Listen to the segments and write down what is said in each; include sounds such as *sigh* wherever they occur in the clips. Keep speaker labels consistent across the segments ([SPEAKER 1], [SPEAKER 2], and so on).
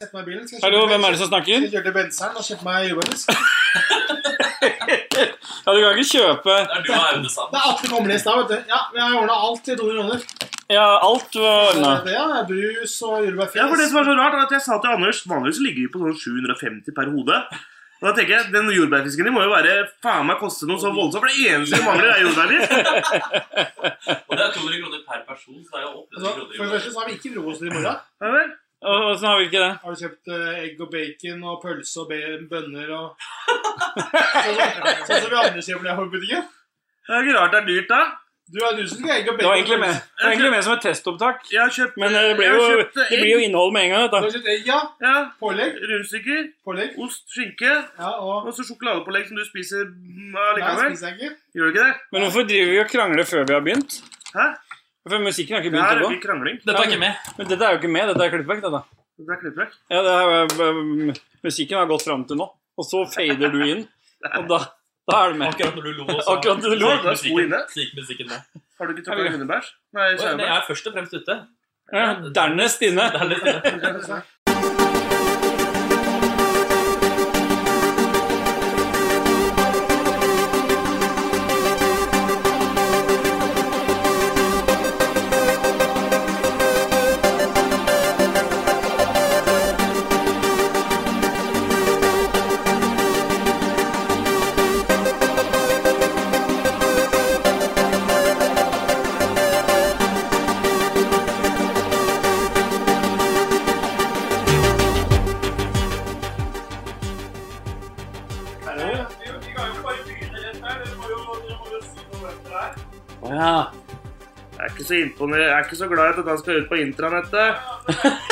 [SPEAKER 1] Sett meg i bilen. Skal jeg
[SPEAKER 2] Hallo,
[SPEAKER 1] kjøre til
[SPEAKER 2] hvem er det som
[SPEAKER 1] Benz-
[SPEAKER 2] snakker?
[SPEAKER 1] Skal jeg kjøre til Benseren og kjøpe meg jordbærbrus?
[SPEAKER 2] Ja, du kan ikke kjøpe
[SPEAKER 3] Det er du og Aune sammen.
[SPEAKER 1] Det er Atle Kommelis da, vet du. Ja, jeg har ordna alt til 200 kroner.
[SPEAKER 2] Ja, alt var ordna.
[SPEAKER 1] Det er brus og jordbærfjes.
[SPEAKER 4] Ja, for det som er så rart, er at jeg sa til Anders Vanligvis ligger vi på sånn 750 per hode. Og da tenker jeg, Den jordbærfisken din må jo være faen meg koste noe så voldsomt, for det eneste vi mangler, er liksom. jordbærfisk.
[SPEAKER 3] Og det er 200 kroner per person, så det er jo
[SPEAKER 1] Altså, for
[SPEAKER 3] 800 kroner. i
[SPEAKER 1] det
[SPEAKER 3] måneden.
[SPEAKER 1] første så har vi ikke frokost i morgen.
[SPEAKER 4] Ja vel?
[SPEAKER 2] Og Åssen har vi ikke det?
[SPEAKER 1] Har du kjøpt eh, egg og bacon og pølse og be- bønner og Sånn som- sånn som vi andre kjøper det her på butikken?
[SPEAKER 4] Det er ikke rart det er dyrt, da.
[SPEAKER 1] Du er du som skal ha egg og bacon.
[SPEAKER 2] Det var egentlig med, det var egentlig med som et testopptak.
[SPEAKER 4] Jeg har kjøpt
[SPEAKER 2] Men eh, det blir
[SPEAKER 4] jeg har
[SPEAKER 2] jo,
[SPEAKER 4] kjøpt,
[SPEAKER 2] det blir jo innhold med en gang.
[SPEAKER 1] Du
[SPEAKER 2] dette.
[SPEAKER 1] har kjøpt egg, ja.
[SPEAKER 4] Ja,
[SPEAKER 1] Pålegg.
[SPEAKER 4] Rundstykker,
[SPEAKER 1] Pålegg.
[SPEAKER 4] ost, skinke
[SPEAKER 1] Ja, og
[SPEAKER 4] og så sjokoladepålegg som du spiser mm,
[SPEAKER 1] Nei,
[SPEAKER 4] allikevel.
[SPEAKER 1] spiser jeg ikke.
[SPEAKER 4] Gjør du ikke det?
[SPEAKER 2] Men hvorfor driver vi og krangler før vi har begynt?
[SPEAKER 4] Hæ?
[SPEAKER 2] For musikken har ikke
[SPEAKER 4] Det
[SPEAKER 2] begynt
[SPEAKER 4] her
[SPEAKER 2] å
[SPEAKER 4] er
[SPEAKER 2] gå.
[SPEAKER 4] ikke krangling.
[SPEAKER 3] Dette er ikke med.
[SPEAKER 2] Men dette er jo ikke med, dette er klippvekk. Dette.
[SPEAKER 4] Det er klippvekk.
[SPEAKER 2] Ja, det er, um, musikken har gått fram til nå, og så fader du inn. Og da, da er det med.
[SPEAKER 3] Akkurat når du lo,
[SPEAKER 2] Akkurat når du lo,
[SPEAKER 3] snek
[SPEAKER 4] da er sko
[SPEAKER 3] musikken,
[SPEAKER 4] inne.
[SPEAKER 3] snek musikken med.
[SPEAKER 4] Har du ikke
[SPEAKER 2] Ja,
[SPEAKER 4] tråkka
[SPEAKER 2] vi-
[SPEAKER 4] hundebæsj? Nei,
[SPEAKER 3] Oi, men
[SPEAKER 4] sauebæsj.
[SPEAKER 3] jeg er først og fremst ute.
[SPEAKER 2] Ja, Dernest inne.
[SPEAKER 3] Det er litt inne.
[SPEAKER 2] Å ja.
[SPEAKER 4] Jeg er ikke så imponer- Jeg er ikke så glad i at han skal ut på intranettet.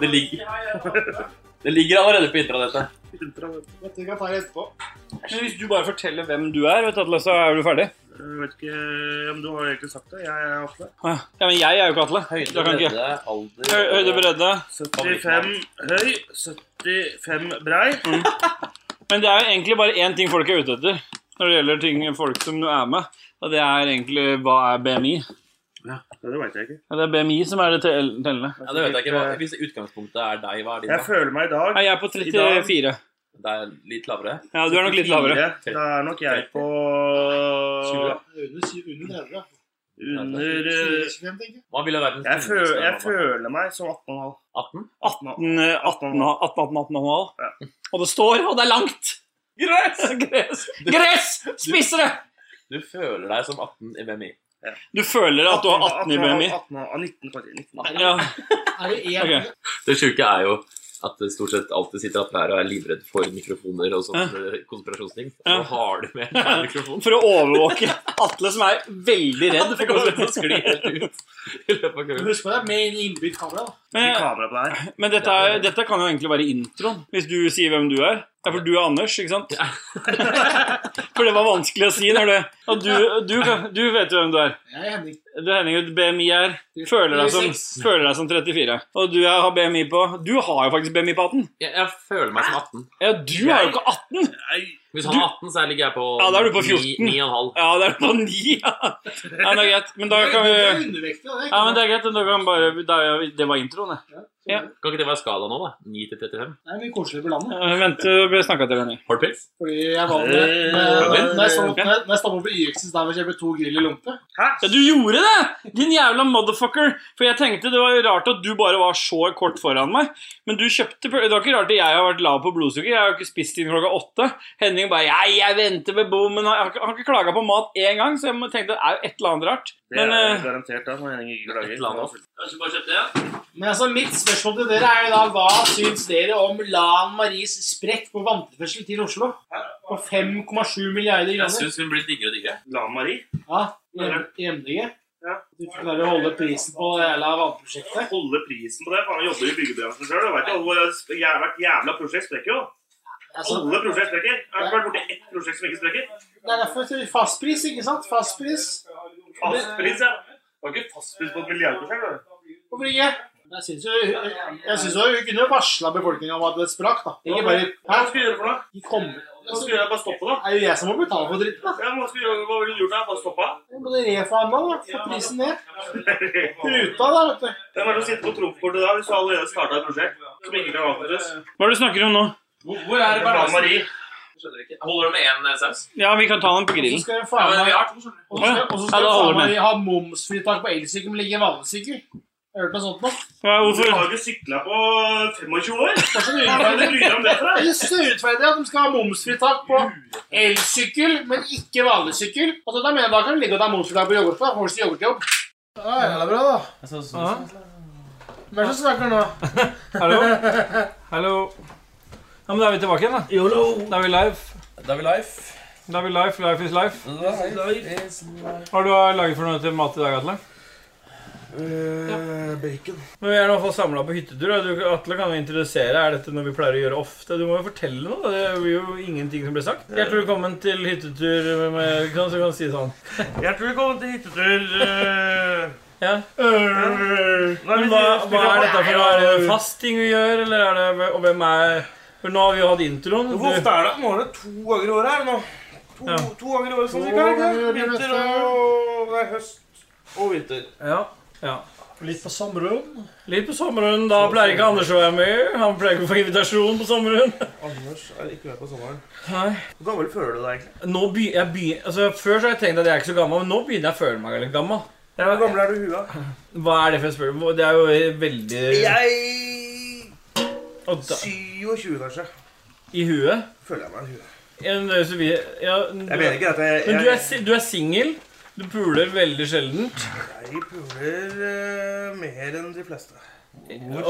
[SPEAKER 3] Det ligger, det ligger allerede på intranettet.
[SPEAKER 4] Intranettet.
[SPEAKER 1] Dette kan jeg ta det etterpå.
[SPEAKER 2] Men hvis du bare forteller hvem du er, vet du, Atle, så er du ferdig.
[SPEAKER 4] Jeg vet ikke om du har egentlig sagt det. Jeg er Atle.
[SPEAKER 2] Å Ja, Ja, men jeg er jo ikke Atle.
[SPEAKER 3] Høyde,
[SPEAKER 2] Da kan ikke-
[SPEAKER 3] bredde, alder
[SPEAKER 2] Høy- Høyde, bredde.
[SPEAKER 4] 75 høy, 75 brei.
[SPEAKER 2] Mm. Men det er jo egentlig bare én ting folk er ute etter når det gjelder ting folk som er med, og det er egentlig hva er BMI?
[SPEAKER 4] Ja, det veit jeg ikke.
[SPEAKER 2] Ja, Det er BMI som er det tell- tellende.
[SPEAKER 3] Ja, det vet jeg ikke. Hva- Hvis utgangspunktet er deg, hva er din?
[SPEAKER 4] Jeg
[SPEAKER 3] da?
[SPEAKER 4] føler meg i dag
[SPEAKER 2] Nei, jeg er på 34.
[SPEAKER 3] Det er litt lavere.
[SPEAKER 2] Ja, du er nok litt lavere.
[SPEAKER 4] fire. Da er nok jeg på
[SPEAKER 1] Under syv- under 30. ja.
[SPEAKER 4] under eh,
[SPEAKER 1] 25, tenker jeg.
[SPEAKER 3] Man vil ha verdens
[SPEAKER 4] jeg føler, jeg
[SPEAKER 3] tynneste mann, da.
[SPEAKER 4] føler meg som 18,5.
[SPEAKER 3] 18?
[SPEAKER 4] 18,5.
[SPEAKER 2] 18-18-18,5. Og det står, og det er langt! Gress! Gress! Gress! Spiss det!
[SPEAKER 3] Du føler deg som 18 i BMI.
[SPEAKER 2] Du føler at du har 18 i BMI.
[SPEAKER 4] 18,5, 19, faktisk. 19.
[SPEAKER 2] Ja,
[SPEAKER 1] Er det én
[SPEAKER 2] Ok.
[SPEAKER 3] Det sjuke er jo at det stort sett alltid sitter at her og er livredd for mikrofoner og sånne konspirasjonsting. Og
[SPEAKER 2] Ja.
[SPEAKER 3] så har du med en mikrofon.
[SPEAKER 2] For å overvåke Atle, som er veldig redd.
[SPEAKER 3] Det kommer til å skli helt ut i løpet av kvelden.
[SPEAKER 1] Husk på det er med innbygd kamera. da.
[SPEAKER 4] Ikke
[SPEAKER 2] Men,
[SPEAKER 4] kamera på det her.
[SPEAKER 2] men dette, er, dette kan jo egentlig være introen, hvis du sier hvem du er. Ja, for du er Anders, ikke sant? *laughs* For det var vanskelig å si når du Og du, du, kan- du vet jo hvem du er.
[SPEAKER 1] Jeg er Henning.
[SPEAKER 2] Du Henning, ut BMI er føler deg, som,
[SPEAKER 1] 36.
[SPEAKER 2] føler deg som 34. Og du er- har BMI på Du har jo faktisk BMI på 18.
[SPEAKER 3] Jeg, jeg føler meg som 18.
[SPEAKER 2] Ja, du er jo ikke 18!
[SPEAKER 4] Nei,
[SPEAKER 3] Hvis han er 18, så ligger jeg på
[SPEAKER 2] Ja, da er du på
[SPEAKER 3] 9,
[SPEAKER 2] 14.
[SPEAKER 3] 9,5.
[SPEAKER 2] Ja, det er på 9. Ja. Nei, det er greit. Men da kan vi
[SPEAKER 1] Det er undervektig, da. Det er ikke
[SPEAKER 2] Ja, men det er greit. Da kan vi bare da, Det var introen, det. ja.
[SPEAKER 1] noe.
[SPEAKER 3] Kan ikke det være skala nå, da? 9 til 35?
[SPEAKER 1] Det er mye koseligere på landet.
[SPEAKER 2] Eh, Vent, du bør snakke til Henning.
[SPEAKER 3] Har du pils?
[SPEAKER 1] Fordi jeg var med
[SPEAKER 4] Øh,
[SPEAKER 1] Når når jeg står opp- når jeg stopper på YX i stad og kjøper to grill i lompe
[SPEAKER 4] Hæ?
[SPEAKER 2] Ja, du gjorde det! Din jævla motherfucker. For jeg tenkte det var rart at du bare var så kort foran meg. Men du kjøpte pøl- Det var ikke rart at jeg har vært lav på blodsukker. Jeg har jo ikke spist siden klokka åtte. Henning bare Jeg, jeg venter ved bommen. Han har ikke- han har ikke klaga på mat én gang, så jeg må- tenkte det er jo et eller annet rart.
[SPEAKER 4] Det er
[SPEAKER 2] Men eh,
[SPEAKER 4] garantert da, når Henning ikke
[SPEAKER 3] Et eller
[SPEAKER 4] klager.
[SPEAKER 3] annet. Kanskje bare kjøpte det?
[SPEAKER 1] Men altså, mitt spørsmål til dere er jo da hva syns dere om Lan Maries sprekk på vanntilførsel til Oslo? På 5,7 milliarder
[SPEAKER 3] Jeg
[SPEAKER 1] kroner.
[SPEAKER 3] syns hun blir diggere og diggere.
[SPEAKER 4] Lan Marie.
[SPEAKER 1] Ja, i M- i MDG.
[SPEAKER 4] Ja.
[SPEAKER 1] Du klarer å holde prisen på det jævla vannprosjektet.
[SPEAKER 4] Holde prisen på det. Faen, jeg jobber i byggebransjen sjøl. Hvert jævla prosjekt sprekker jo.
[SPEAKER 1] Altså,
[SPEAKER 4] Alle prosjekt sprekker. Jeg har ikke vært borti ett prosjekt som ikke sprekker.
[SPEAKER 1] det er derfor jeg tror fastpris, ikke sant? Fastpris
[SPEAKER 4] Fastpris, ja. Det var ikke fastpris på et milliardprosjekt. var det?
[SPEAKER 1] på Brygge. Jeg syns jo jeg synes jo hun kunne varsla befolkninga om at det sprakk, da. Ikke bare
[SPEAKER 4] Hva
[SPEAKER 1] Hæ?
[SPEAKER 4] skal vi gjøre for noe?
[SPEAKER 1] De kom,
[SPEAKER 5] Hva skulle jeg bare stoppe, da?
[SPEAKER 1] Det er jo jeg som må betale for dritten, da.
[SPEAKER 5] Ja, men hva, skulle, jeg- hva ville du gjort da? Bare
[SPEAKER 4] *laughs*
[SPEAKER 5] stoppa?
[SPEAKER 1] Jeg må reforhandle, da. Få prisen ned. Ruta, da, vet du.
[SPEAKER 5] Hvem er det som sitter på trumfkortet da, hvis du allerede starta et prosjekt som ikke kan avsluttes?
[SPEAKER 2] Hva er det du snakker om nå?
[SPEAKER 6] Hvor, hvor er det
[SPEAKER 5] Anne
[SPEAKER 6] balansen?
[SPEAKER 5] Marie.
[SPEAKER 6] Skjønner ikke. Holder det med én eh, saus?
[SPEAKER 2] Ja, vi kan ta den på
[SPEAKER 1] Så
[SPEAKER 2] grillen.
[SPEAKER 1] skal jeg
[SPEAKER 6] Ja,
[SPEAKER 1] faen
[SPEAKER 6] men vi
[SPEAKER 1] meg
[SPEAKER 6] har to, skjønner du.
[SPEAKER 1] Og så skal- og så skal
[SPEAKER 2] Ja, da
[SPEAKER 1] jeg
[SPEAKER 2] holder
[SPEAKER 1] faen
[SPEAKER 2] det.
[SPEAKER 1] meg ha momsfritak på elsykkel, men ligge i vannsykkel. Har du hørt noe sånt nå?
[SPEAKER 2] Hva,
[SPEAKER 5] Du
[SPEAKER 2] hvorfor?
[SPEAKER 5] har jo ikke sykla på 25 år!
[SPEAKER 1] Det er så
[SPEAKER 5] Hva
[SPEAKER 2] *laughs*
[SPEAKER 5] er det
[SPEAKER 1] urettferdig.
[SPEAKER 5] du bryr deg om det for?
[SPEAKER 1] Det
[SPEAKER 5] deg?
[SPEAKER 1] er så urettferdig at de skal ha momsfritak på elsykkel, men ikke vanlig sykkel. Altså, da mener jeg da kan det ligge og ta momsfritak på yoghurt, da. Får du yoghurtjobb. Ja, ja, det er bra, da. Hvem er det som snakker nå?
[SPEAKER 4] *laughs*
[SPEAKER 2] Hallo? Hallo? Ja, men da er vi tilbake igjen, da. Da er vi live.
[SPEAKER 4] Da er vi live.
[SPEAKER 2] Da er vi live. Life is life.
[SPEAKER 4] Live is
[SPEAKER 2] Hva har du laget for noe til mat i dag, Atle?
[SPEAKER 4] Eh, Bacon.
[SPEAKER 2] Men Vi er i hvert fall samla på hyttetur. og Du, Atle kan jo introdusere. Er dette noe vi pleier å gjøre ofte? Du må jo fortelle noe. da. Det blir jo ingenting som blir sagt.
[SPEAKER 4] Eh.
[SPEAKER 2] Hjertelig velkommen til hyttetur med, med kan, Så kan du si sånn.
[SPEAKER 5] Hjertelig velkommen til hyttetur. eh,
[SPEAKER 2] Ja.
[SPEAKER 4] Eh.
[SPEAKER 5] Nei,
[SPEAKER 2] Men
[SPEAKER 5] vi
[SPEAKER 2] hva, hva
[SPEAKER 5] spiller-
[SPEAKER 2] er dette for noe? Er det fast ting vi gjør, eller er det Og hvem er For nå har vi jo hatt introen.
[SPEAKER 4] Hvor ofte er det? Nå er det to ganger i året her nå. To,
[SPEAKER 2] Ja.
[SPEAKER 4] to ganger i året, sånn
[SPEAKER 1] To
[SPEAKER 4] cirka. ikke?
[SPEAKER 1] ganger i året,
[SPEAKER 4] Vinter
[SPEAKER 1] vet du.
[SPEAKER 4] og nei, høst og vinter.
[SPEAKER 2] Ja. ja.
[SPEAKER 1] Litt på sommerrom.
[SPEAKER 2] Litt på sommeren. Da pleier ikke Anders å være med. Han pleier ikke å få invitasjon på sommeren.
[SPEAKER 4] Anders er ikke med på sommeren.
[SPEAKER 2] *laughs* Nei.
[SPEAKER 4] Hvor gammel føler du deg egentlig?
[SPEAKER 2] Nå by, jeg by, altså, før så har jeg tenkt at jeg er ikke så gammel, men nå begynner jeg å føle meg litt gammel. Det
[SPEAKER 4] Hvor
[SPEAKER 2] er,
[SPEAKER 4] gammel er du i huet?
[SPEAKER 2] hva er det for et spørsmål? Det er jo veldig
[SPEAKER 4] Jeg
[SPEAKER 2] Og da,
[SPEAKER 4] 27, kanskje.
[SPEAKER 2] I huet?
[SPEAKER 4] Føler jeg meg i huet.
[SPEAKER 2] Ja, men det er jo så vi- ja,
[SPEAKER 4] Jeg mener ikke at jeg
[SPEAKER 2] Men du er,
[SPEAKER 4] jeg-
[SPEAKER 2] si- du er singel. Du puler veldig sjeldent.
[SPEAKER 4] Jeg puler eh, mer enn de fleste.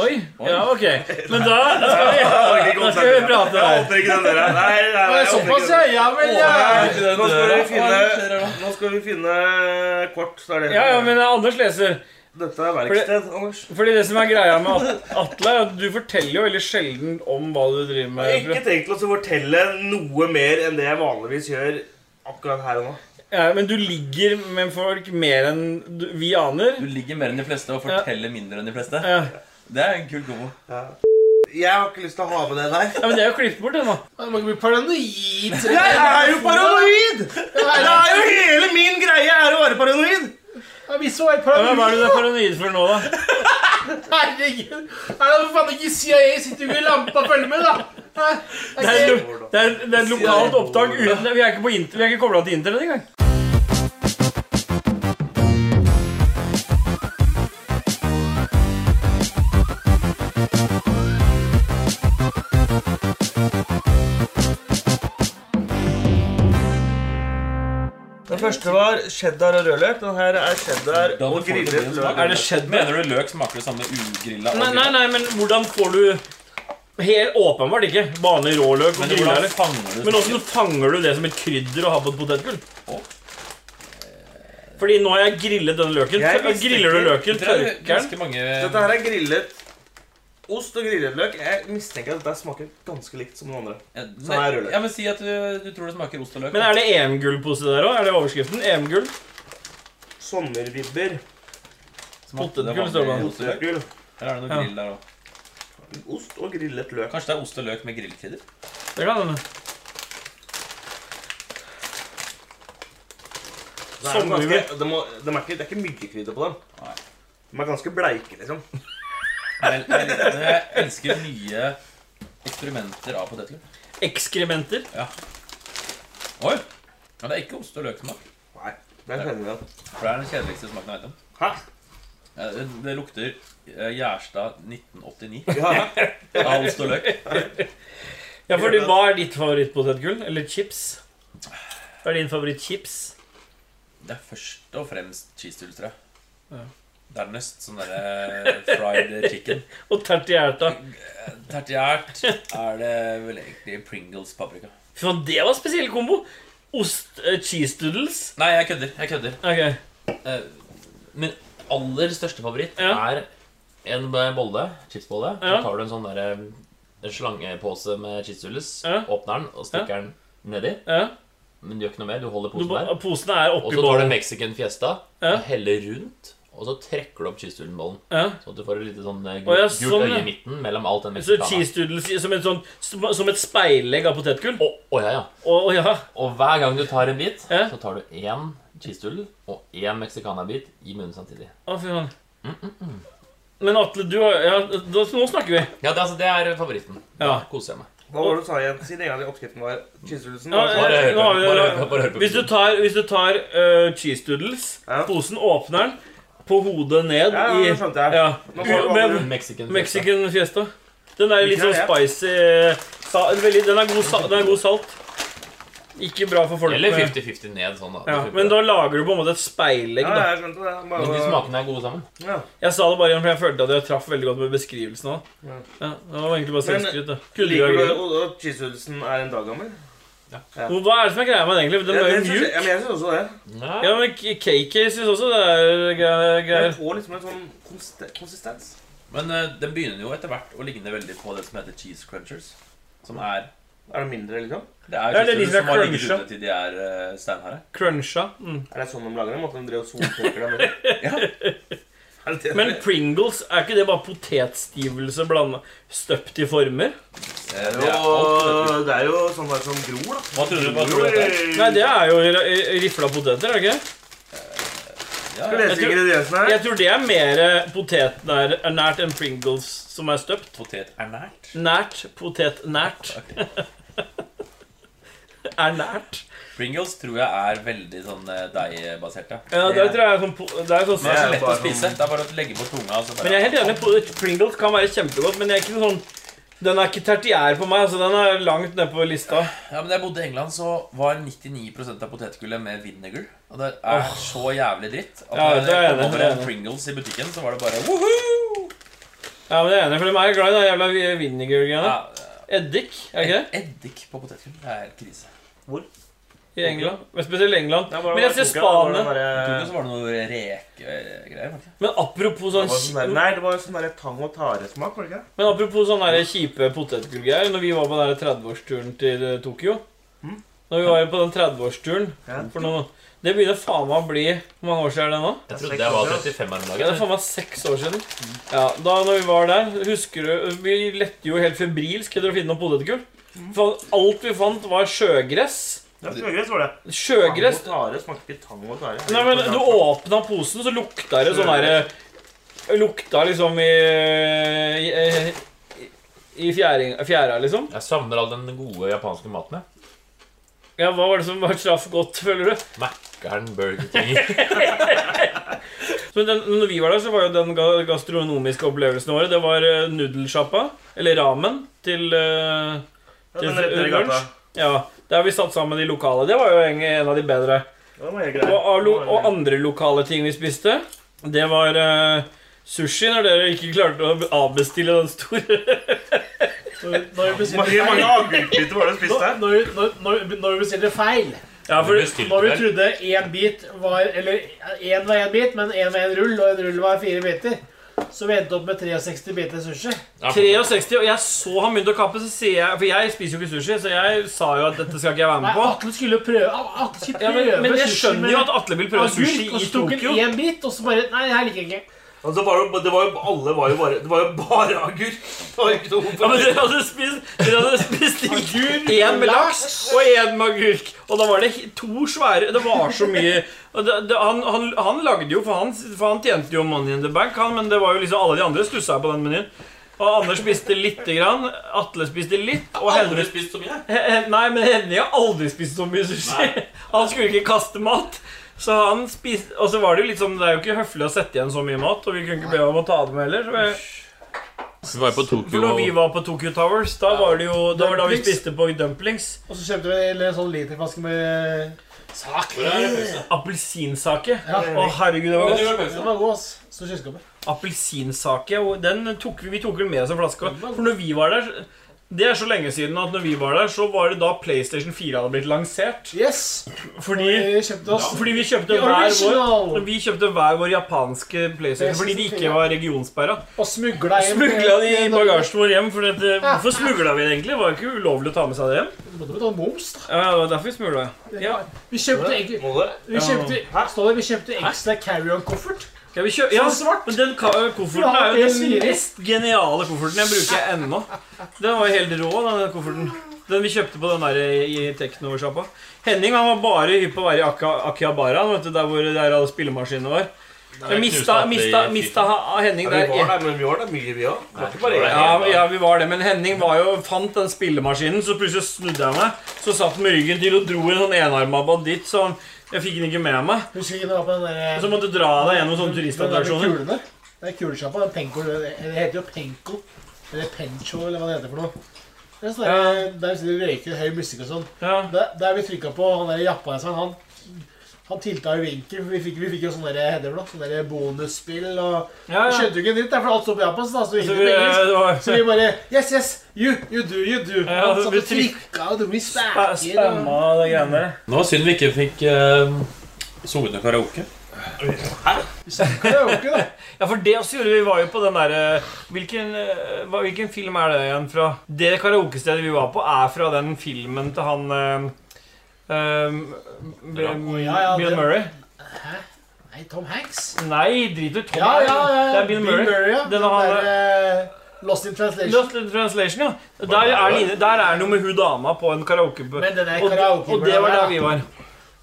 [SPEAKER 2] Oi. Ja, ok. Men da, *laughs* da skal vi Da skal vi prate
[SPEAKER 5] Jeg
[SPEAKER 2] der.
[SPEAKER 5] åpner ikke den døra. Nei, nei, nei, jeg åpner ikke
[SPEAKER 1] Såpass,
[SPEAKER 5] den.
[SPEAKER 1] ja. Ja vel, ja.
[SPEAKER 4] Nå skal vi finne, nå skal vi finne kort. Så er det.
[SPEAKER 2] Ja, ja, men Anders leser.
[SPEAKER 4] Dette er verksted, Anders.
[SPEAKER 2] Fordi det som er greia med At- Atle, er at du forteller jo veldig sjelden om hva du driver
[SPEAKER 4] Jeg har
[SPEAKER 2] med.
[SPEAKER 4] ikke tenkt å fortelle noe mer enn det jeg vanligvis gjør akkurat her og nå.
[SPEAKER 2] Ja, men du ligger med folk mer enn du- vi aner.
[SPEAKER 7] Du ligger mer enn de fleste og forteller mindre enn de fleste.
[SPEAKER 2] Ja.
[SPEAKER 7] Det er en kul kombo.
[SPEAKER 4] Jeg har ikke lyst til å ha med det der.
[SPEAKER 2] Ja, men det er jo klippet bort, det nå.
[SPEAKER 1] Du må ikke bli paranoid.
[SPEAKER 4] Jeg er jo paranoid! Det
[SPEAKER 1] Ja,
[SPEAKER 4] er jo hele min greie er å være paranoid!
[SPEAKER 1] Vi så helt
[SPEAKER 2] Ja, men hva er
[SPEAKER 1] paranoid.
[SPEAKER 2] det du er paranoid for nå, da?
[SPEAKER 1] *laughs* Herregud. Er det for faen ikke CIA sitter jo i lampa og følger med, da? Hæ?
[SPEAKER 2] Det er, et lo- det er, det er et lokalt opptak uten Vi er ikke, på inter- vi er ikke kobla til internett engang.
[SPEAKER 4] Den første var cheddar og rødløk. Den her er cheddar
[SPEAKER 7] Da må
[SPEAKER 4] og
[SPEAKER 7] folk
[SPEAKER 4] grillet
[SPEAKER 7] bli
[SPEAKER 4] løk.
[SPEAKER 7] en smak. Mener du løk smaker det samme ugrilla? og
[SPEAKER 2] Nei, nei,
[SPEAKER 7] grilla?
[SPEAKER 2] nei, men hvordan får du Helt åpenbart ikke. Vanlig råløk og
[SPEAKER 7] Men hvordan
[SPEAKER 2] grillere.
[SPEAKER 7] fanger du
[SPEAKER 2] Men
[SPEAKER 7] smaken?
[SPEAKER 2] åssen fanger du det som et krydder å ha på et potetgull? Fordi nå har jeg grillet den løken.
[SPEAKER 4] Jeg
[SPEAKER 2] Tør-
[SPEAKER 4] visste
[SPEAKER 2] Griller du
[SPEAKER 4] ikke.
[SPEAKER 2] løken,
[SPEAKER 7] Det er
[SPEAKER 2] tørker den
[SPEAKER 7] ganske mange
[SPEAKER 4] Dette her er grillet ost og grillet løk. Jeg mistenker at dette smaker ganske likt som den andre.
[SPEAKER 7] Ja,
[SPEAKER 4] Sånn er rødløk.
[SPEAKER 7] Ja, men Si at du, du tror det smaker ost og løk.
[SPEAKER 2] Men er det EM-gullpose der òg? Er det overskriften? EM-gull?
[SPEAKER 4] Sommervibber.
[SPEAKER 7] Smakte det
[SPEAKER 2] potetgull står det
[SPEAKER 7] vanlig
[SPEAKER 2] på.
[SPEAKER 7] ost og løk?
[SPEAKER 4] Potetgull.
[SPEAKER 7] Eller er det noe
[SPEAKER 2] Ja.
[SPEAKER 7] grill der òg?
[SPEAKER 4] Ost og grillet løk.
[SPEAKER 7] Kanskje det er ost og løk med grillkrydder?
[SPEAKER 2] Det kan hende.
[SPEAKER 4] Det er, jo
[SPEAKER 2] Sommervibber.
[SPEAKER 4] ganske, det, må, det, er ikke, det er ikke mye krydder på dem.
[SPEAKER 7] Nei.
[SPEAKER 4] De er ganske bleike, liksom.
[SPEAKER 7] Jeg, jeg, jeg elsker nye eksperimenter av potetgull.
[SPEAKER 2] Ekskrementer.
[SPEAKER 7] Oi! Ja, det er ikke ost og løksmak.
[SPEAKER 4] Nei, det kjenner jeg at
[SPEAKER 7] For det er den kjedeligste smaken jeg vet om.
[SPEAKER 4] Hæ?
[SPEAKER 7] Ja, Det, det lukter eh, Gjerstad 1989
[SPEAKER 4] Ja, ja.
[SPEAKER 7] av ost og løk.
[SPEAKER 2] Ja, fordi hva er ditt favorittpotetgull? Eller chips? Hva er din favorittchips?
[SPEAKER 7] Det er først og fremst cheesedoodle, tror jeg. Dernest sånn derre fried chicken.
[SPEAKER 2] Og tertiærta.
[SPEAKER 7] Tertiært er det vel egentlig Pringles paprika.
[SPEAKER 2] Fy faen, det var spesiell kombo. Ost eh, cheese doodles.
[SPEAKER 7] Nei, jeg kødder. jeg kødder
[SPEAKER 2] Ok.
[SPEAKER 7] Eh, Min aller største favoritt
[SPEAKER 2] Ja.
[SPEAKER 7] er en bolle, chipsbolle.
[SPEAKER 2] Ja.
[SPEAKER 7] Så tar du en sånn derre en slangepose med cheesedoodles,
[SPEAKER 2] Ja.
[SPEAKER 7] åpner den og stikker den nedi.
[SPEAKER 2] Ja.
[SPEAKER 7] Men du gjør ikke noe mer. Du holder
[SPEAKER 2] Du,
[SPEAKER 7] posen der.
[SPEAKER 2] posene er
[SPEAKER 7] Og
[SPEAKER 2] oppi
[SPEAKER 7] så tar du
[SPEAKER 2] bollen.
[SPEAKER 7] Mexican fiesta
[SPEAKER 2] Ja.
[SPEAKER 7] og heller rundt.
[SPEAKER 3] Og så trekker du opp cheesedoodle-bollen.
[SPEAKER 8] Ja.
[SPEAKER 3] Så at du får et lite sånn eh,
[SPEAKER 8] Å, ja,
[SPEAKER 3] gult, gult
[SPEAKER 8] sånn,
[SPEAKER 3] øye
[SPEAKER 8] ja.
[SPEAKER 3] i midten mellom alt den
[SPEAKER 8] Så
[SPEAKER 3] meksikanen.
[SPEAKER 8] cheese doodles i- som, en sånn, som et speilegg av potetgull?
[SPEAKER 3] Å, å, ja, ja.
[SPEAKER 8] Å ja.
[SPEAKER 3] Og hver gang du tar en bit,
[SPEAKER 8] Ja.
[SPEAKER 3] så tar du én cheesedoodle og én meksikanerbit i munnen samtidig.
[SPEAKER 8] Å, fy faen. Men Atle, du har ja, da, Nå snakker vi.
[SPEAKER 3] Ja, det, altså, det er favoritten. Da
[SPEAKER 8] Ja.
[SPEAKER 3] koser jeg meg.
[SPEAKER 9] Hva var det du sa igjen? Si det en gang i oppskriften var cheesedoodlesen.
[SPEAKER 8] Ja,
[SPEAKER 3] Bare hør på,
[SPEAKER 8] Nå har vi-
[SPEAKER 3] bare hør på, bare hør på.
[SPEAKER 8] Hvis du tar, hvis du tar eh, cheese doodles,
[SPEAKER 9] Ja.
[SPEAKER 8] posen åpner den, på hodet ned
[SPEAKER 9] Ja,
[SPEAKER 8] i
[SPEAKER 9] ja, det skjønte jeg.
[SPEAKER 8] ja.
[SPEAKER 9] Nå får du
[SPEAKER 8] Men-
[SPEAKER 9] over.
[SPEAKER 3] Mexican Mexican.
[SPEAKER 8] Mexican fiesta. Den er litt sånn
[SPEAKER 9] Hvilken er
[SPEAKER 8] spicy eh, sa, veldig, den, er god, sa- den er god salt. Ikke bra for folk.
[SPEAKER 3] Eller
[SPEAKER 8] med-
[SPEAKER 3] 50-50 ned, sånn, da.
[SPEAKER 8] ja, men da lager du på en måte et speilegg,
[SPEAKER 9] Ja,
[SPEAKER 8] da.
[SPEAKER 9] jeg skjønte det. Bare,
[SPEAKER 3] Men de smakene er gode sammen.
[SPEAKER 8] Jeg sa det bare igjen, for jeg følte at jeg traff veldig godt med beskrivelsen av det.
[SPEAKER 9] Ja.
[SPEAKER 8] Ja, det var egentlig bare
[SPEAKER 9] Men,
[SPEAKER 8] selvskryt. da. Kunne du ha
[SPEAKER 9] Liker du
[SPEAKER 8] grunn?
[SPEAKER 9] og- og cheesedoodlesen er en dag gammel?
[SPEAKER 8] Hvor- Hva er det som er greia med den egentlig?
[SPEAKER 9] Ja,
[SPEAKER 8] Den er jo
[SPEAKER 9] det synes jeg-
[SPEAKER 8] mjuk.
[SPEAKER 9] Ja, men jeg syns også det.
[SPEAKER 8] Ja, men KK syns også det er greier.
[SPEAKER 9] Den
[SPEAKER 8] greier.
[SPEAKER 9] får liksom en sånn konste- konsistens.
[SPEAKER 7] Men eh, den begynner jo etter hvert å ligne veldig på det som heter cheese crunchers. Som er
[SPEAKER 9] Er det mindre, liksom?
[SPEAKER 7] Det er jo
[SPEAKER 8] Ja, det er de
[SPEAKER 7] cheese
[SPEAKER 8] som er
[SPEAKER 7] som har ligget
[SPEAKER 8] crunchet.
[SPEAKER 7] ute til de er eh, steinharde.
[SPEAKER 8] Cruncha. Mm.
[SPEAKER 9] Er det sånn de lager dem? At de drev og soltørker
[SPEAKER 8] *laughs*
[SPEAKER 9] dem? eller? Er det det?
[SPEAKER 8] Men Pringles, er ikke det bare potetstivelse blanda støpt i former?
[SPEAKER 7] Eh,
[SPEAKER 9] Det
[SPEAKER 7] det er alt
[SPEAKER 9] er jo- det er jo sånn der som gror, da.
[SPEAKER 7] Hva tror du hva tror du det er?
[SPEAKER 8] Nei, det er jo ri- rifla poteter, er det ikke?
[SPEAKER 7] Ja, ja.
[SPEAKER 9] Skal vi lese
[SPEAKER 8] Jeg tror-
[SPEAKER 9] ingrediensene her?
[SPEAKER 8] Jeg tror det er mer eh, potetnært eh, enn Pringles som er støpt.
[SPEAKER 7] Potet er nært.
[SPEAKER 8] Nært. *laughs* Potetnært. er nært.
[SPEAKER 7] Pringles tror jeg er veldig sånn eh, deigbasert. Ja.
[SPEAKER 8] Ja, det tror jeg er sånn, po- det er sånn
[SPEAKER 7] Men det er så
[SPEAKER 9] Det er
[SPEAKER 7] lett å
[SPEAKER 9] bare
[SPEAKER 7] spise. Det er bare å legge på tunga. og så bare-
[SPEAKER 8] Men jeg er helt enig. på- Pringles kan være kjempegodt, men jeg er ikke sånn den er ikke tertiær på meg. altså Den er langt nede på lista.
[SPEAKER 7] Ja, men Da jeg bodde i England, så var 99 av potetgullet med vinegar. Og det er så jævlig dritt at
[SPEAKER 8] Ja,
[SPEAKER 7] når
[SPEAKER 8] det
[SPEAKER 7] jeg
[SPEAKER 8] er jeg enig,
[SPEAKER 7] kom over
[SPEAKER 8] det er
[SPEAKER 7] en
[SPEAKER 8] jeg
[SPEAKER 7] Pringles i butikken, så var det bare woohoo!
[SPEAKER 8] Ja, men jeg er enig, for De er glad i den jævla vi-
[SPEAKER 7] Ja, eh,
[SPEAKER 8] vinegar-greiene. Eddik, er det ikke det?
[SPEAKER 7] eddik på potetgull. Det er helt krise.
[SPEAKER 8] I England. Men spesielt England.
[SPEAKER 9] Det er bare
[SPEAKER 8] Men jeg
[SPEAKER 9] å
[SPEAKER 8] ser
[SPEAKER 9] koke, da. Det
[SPEAKER 8] Spania.
[SPEAKER 9] var eh,
[SPEAKER 7] Jeg tror
[SPEAKER 9] bare-
[SPEAKER 7] ikke så var det noe rekegreier. var det ikke?
[SPEAKER 8] Men apropos
[SPEAKER 9] Det var sånn der-
[SPEAKER 8] sånn
[SPEAKER 9] Nei, det var jo sånn der tang og tare-smak, var det ikke?
[SPEAKER 8] Men apropos sånne der kjipe potetgullgreier Når vi var på den der 30-årsturen til eh, Tokyo Når vi var på den 30-årsturen
[SPEAKER 9] Mm. Ja.
[SPEAKER 8] for noe, Det begynner faen meg å bli Hvor mange år siden er det nå?
[SPEAKER 3] Jeg trodde det var 35 her om
[SPEAKER 8] Ja, det er
[SPEAKER 3] dagen.
[SPEAKER 8] faen meg seks år siden
[SPEAKER 9] Mm.
[SPEAKER 8] Ja, da når vi var der Husker du, vi lette jo helt febrilsk Etter å finne noen potetgull
[SPEAKER 9] Mm.
[SPEAKER 8] For alt vi fant var sjøgress
[SPEAKER 9] Det var sjøgress, var det.
[SPEAKER 8] Sjøgress
[SPEAKER 9] Tang og tare smakte ikke tang og tare.
[SPEAKER 8] Nei, men du åpna posen, så lukta det sånn her Lukta liksom i I, i, i fjæring, fjæra, liksom.
[SPEAKER 3] Jeg savner all den gode japanske maten. jeg.
[SPEAKER 8] Ja, Hva var det som var traff godt, føler du?
[SPEAKER 3] Mækkern, Burger King
[SPEAKER 8] Men den, når vi var der, så var jo den ga- gastronomiske opplevelsen vår Det var eh, nudelsjappa, eller ramen, til, eh,
[SPEAKER 9] Ja,
[SPEAKER 8] til
[SPEAKER 9] den rett ned i
[SPEAKER 8] lunsj.
[SPEAKER 9] gata.
[SPEAKER 8] Ja, Der vi satt sammen i lokalet. Det var jo en, en av de bedre.
[SPEAKER 9] Ja, den var helt
[SPEAKER 8] Og,
[SPEAKER 9] grei.
[SPEAKER 8] av lo- og andre lokale ting vi spiste, det var eh, sushi, når dere ikke klarte å avbestille den store
[SPEAKER 1] Når vi
[SPEAKER 9] Hvor
[SPEAKER 1] bestilte
[SPEAKER 9] mange
[SPEAKER 1] feil.
[SPEAKER 9] agurkbiter var det du spiste?
[SPEAKER 1] Når, når, når, når, når vi bestilte feil.
[SPEAKER 8] Ja, for
[SPEAKER 1] Når vi trodde én bit var Eller én var én bit, men én var én rull, og en rull var fire biter. Så vi endte opp med 63 biter sushi.
[SPEAKER 8] 63, og jeg så han begynte å kappe, så sier jeg For jeg spiser jo ikke sushi, så jeg sa jo at dette skal ikke jeg være
[SPEAKER 1] Nei,
[SPEAKER 8] med på.
[SPEAKER 1] Atle skulle prøve Atle skulle
[SPEAKER 8] Ja,
[SPEAKER 1] prøve
[SPEAKER 8] men, men jeg
[SPEAKER 1] sushi
[SPEAKER 8] skjønner
[SPEAKER 1] med
[SPEAKER 8] jo at Atle vil prøve
[SPEAKER 1] agurk,
[SPEAKER 8] sushi
[SPEAKER 1] og
[SPEAKER 8] i
[SPEAKER 1] så tok han
[SPEAKER 8] Tokyo.
[SPEAKER 1] én bit, og så bare Nei, det her liker jeg ikke.
[SPEAKER 9] Og så var jo, det var jo, alle var jo bare, det var jo bare agurk. Det var jo ikke noe
[SPEAKER 8] Ja, men dere hadde spist, dere hadde spist én med laks og én med agurk. Og da var det he- to svære Det var så mye og det, det, han, han, han lagde jo, for han, for han tjente jo money in the bank, han, men det var jo liksom alle de andre stussa på den menyen. Og Anders spiste lite grann, Atle spiste litt, og Henrik
[SPEAKER 7] Aldri spist så mye.
[SPEAKER 8] He- he- Nei, men Henning har aldri spist så mye sushi. *laughs* Han skulle ikke kaste mat. Så han spiste Og så var det jo litt sånn Det er jo ikke høflig å sette igjen så mye mat, og vi kunne ikke be om å ta det med heller. Så jeg,
[SPEAKER 3] Vi var jo på
[SPEAKER 8] for
[SPEAKER 3] Tokyo
[SPEAKER 8] når vi var på Tokyo Towers, da var det jo Da var det da vi
[SPEAKER 1] Dumplings.
[SPEAKER 8] spiste på dumplings.
[SPEAKER 1] Og så kjøpte vi en sånn literflaske med
[SPEAKER 8] Appelsinsake.
[SPEAKER 1] Ja,
[SPEAKER 8] Å, herregud, det var godt.
[SPEAKER 1] Den var god, ass. Står i kjøleskapet.
[SPEAKER 8] Appelsinsake. og Den tok vi, vi tok vel med oss en flaske. For når vi var der Det er så lenge siden at når vi var der, så var det da PlayStation 4 hadde blitt lansert.
[SPEAKER 1] Yes!
[SPEAKER 8] Fordi
[SPEAKER 1] Vi kjøpte oss
[SPEAKER 8] Fordi vi kjøpte
[SPEAKER 1] The
[SPEAKER 8] hver vår
[SPEAKER 1] original.
[SPEAKER 8] Vi kjøpte hver vår japanske PlayStation fordi de ikke var regionsperra.
[SPEAKER 1] og smugla hjem.
[SPEAKER 8] Smugla de i bagasjen vår hjem. For dette, hvorfor smugla vi det egentlig? Var det ikke ulovlig å ta med seg det hjem?
[SPEAKER 1] Vi måtte betale moms, da.
[SPEAKER 8] Ja, det var derfor vi smugla. Ja.
[SPEAKER 1] Vi kjøpte egentlig
[SPEAKER 9] Målet?
[SPEAKER 1] Vi kjøpte, Står det, vi kjøpte ekstra carry-on-koffert.
[SPEAKER 8] Ja, vi kjø ja,
[SPEAKER 9] Så svart.
[SPEAKER 8] Men den ka- kofferten er jo den mest geniale kofferten jeg bruker ennå. Den var jo helt rå, den kofferten. Den vi kjøpte på den der eh, i i Tekno-sjappa. Henning han var bare hypp på å være i Aka- Akihabara, vet du, der hvor der alle spillemaskinene var. Jeg mista, mista, mista ha- Henning
[SPEAKER 9] Vi
[SPEAKER 8] der.
[SPEAKER 9] var der, men vi var der mye, vi òg. Det var ikke bare jeg.
[SPEAKER 8] Ja, ja, vi var det, men Henning var jo, fant den spillemaskinen, så plutselig snudde jeg meg. Så satt han med ryggen til og dro en sånn enarma banditt, så han, jeg fikk den ikke med meg.
[SPEAKER 1] Husker ikke det var på den der
[SPEAKER 8] Og så måtte jeg dra deg gjennom sånne turistattraksjoner.
[SPEAKER 1] Den der kulene. Det er kulesjappa. den Penko, Det det heter jo Penko. Eller Pencho, eller hva det heter for noe. Det er sånn der, der sitter de og røyker høy musikk og sånn.
[SPEAKER 8] Ja.
[SPEAKER 1] Der, der vi trykka på han der japaneseren, han, han tilta jo vinkel. for Vi fikk, vi fikk jo sånne der, heter det for noe, sånne der bonusspill og
[SPEAKER 8] Ja,
[SPEAKER 1] Vi
[SPEAKER 8] ja.
[SPEAKER 1] skjønte jo ikke en dritt, det er for alt står på japansk. da, så det
[SPEAKER 8] Så
[SPEAKER 1] gikk
[SPEAKER 8] vi, eh,
[SPEAKER 1] det på engelsk.
[SPEAKER 8] det var,
[SPEAKER 1] Så vi bare Yes, yes, you, you do, you do.
[SPEAKER 8] Ja,
[SPEAKER 1] han satt
[SPEAKER 8] vi
[SPEAKER 1] og trykka og dro i staker. og-
[SPEAKER 8] spamma og de greiene der.
[SPEAKER 7] Det var synd vi ikke fikk uh, sunget noe karaoke.
[SPEAKER 1] Det var jo ikke det.
[SPEAKER 8] Ja, for det også gjorde vi. Vi var jo på den derre hvilken, eh, hva- hvilken film er det igjen fra? Det karaokestedet vi var på, er fra den filmen til han eh, eh, Bill
[SPEAKER 1] Ja, ja,
[SPEAKER 8] Bill
[SPEAKER 1] det-
[SPEAKER 8] Murray?
[SPEAKER 1] Hæ? Nei, Tom Hanks?
[SPEAKER 8] Nei, drit i Tom.
[SPEAKER 1] Ja, ja, ja.
[SPEAKER 8] Det er Bill Murray.
[SPEAKER 1] ja.
[SPEAKER 8] Den han-
[SPEAKER 1] der, eh, Lost in Translation.
[SPEAKER 8] Lost in Translation, ja. Der er, den inne, der er noe med hun dama på en karaoke...
[SPEAKER 1] Men den er
[SPEAKER 8] og,
[SPEAKER 1] karaoke-
[SPEAKER 8] og det var der vi var.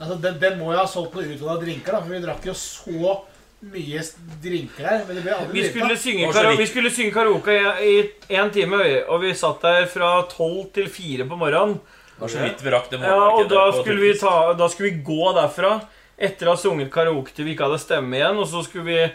[SPEAKER 1] Altså, den, den må jo ha solgt noe ut av drinker, da, for vi drakk jo så mye s- drinker her. Men det ble aldri
[SPEAKER 8] Vi skulle synge,
[SPEAKER 7] Og så
[SPEAKER 8] kara
[SPEAKER 7] vidt.
[SPEAKER 8] vi skulle synge karaoke i én time, og vi satt der fra tolv til fire på morgenen.
[SPEAKER 7] Det var så vidt vi rakk det
[SPEAKER 8] Ja, og
[SPEAKER 7] målmarkedet
[SPEAKER 8] da
[SPEAKER 7] på
[SPEAKER 8] skulle, vi
[SPEAKER 7] turkis.
[SPEAKER 8] ta, da skulle vi gå derfra etter å ha sunget karaoke til vi ikke hadde stemme igjen, og så skulle vi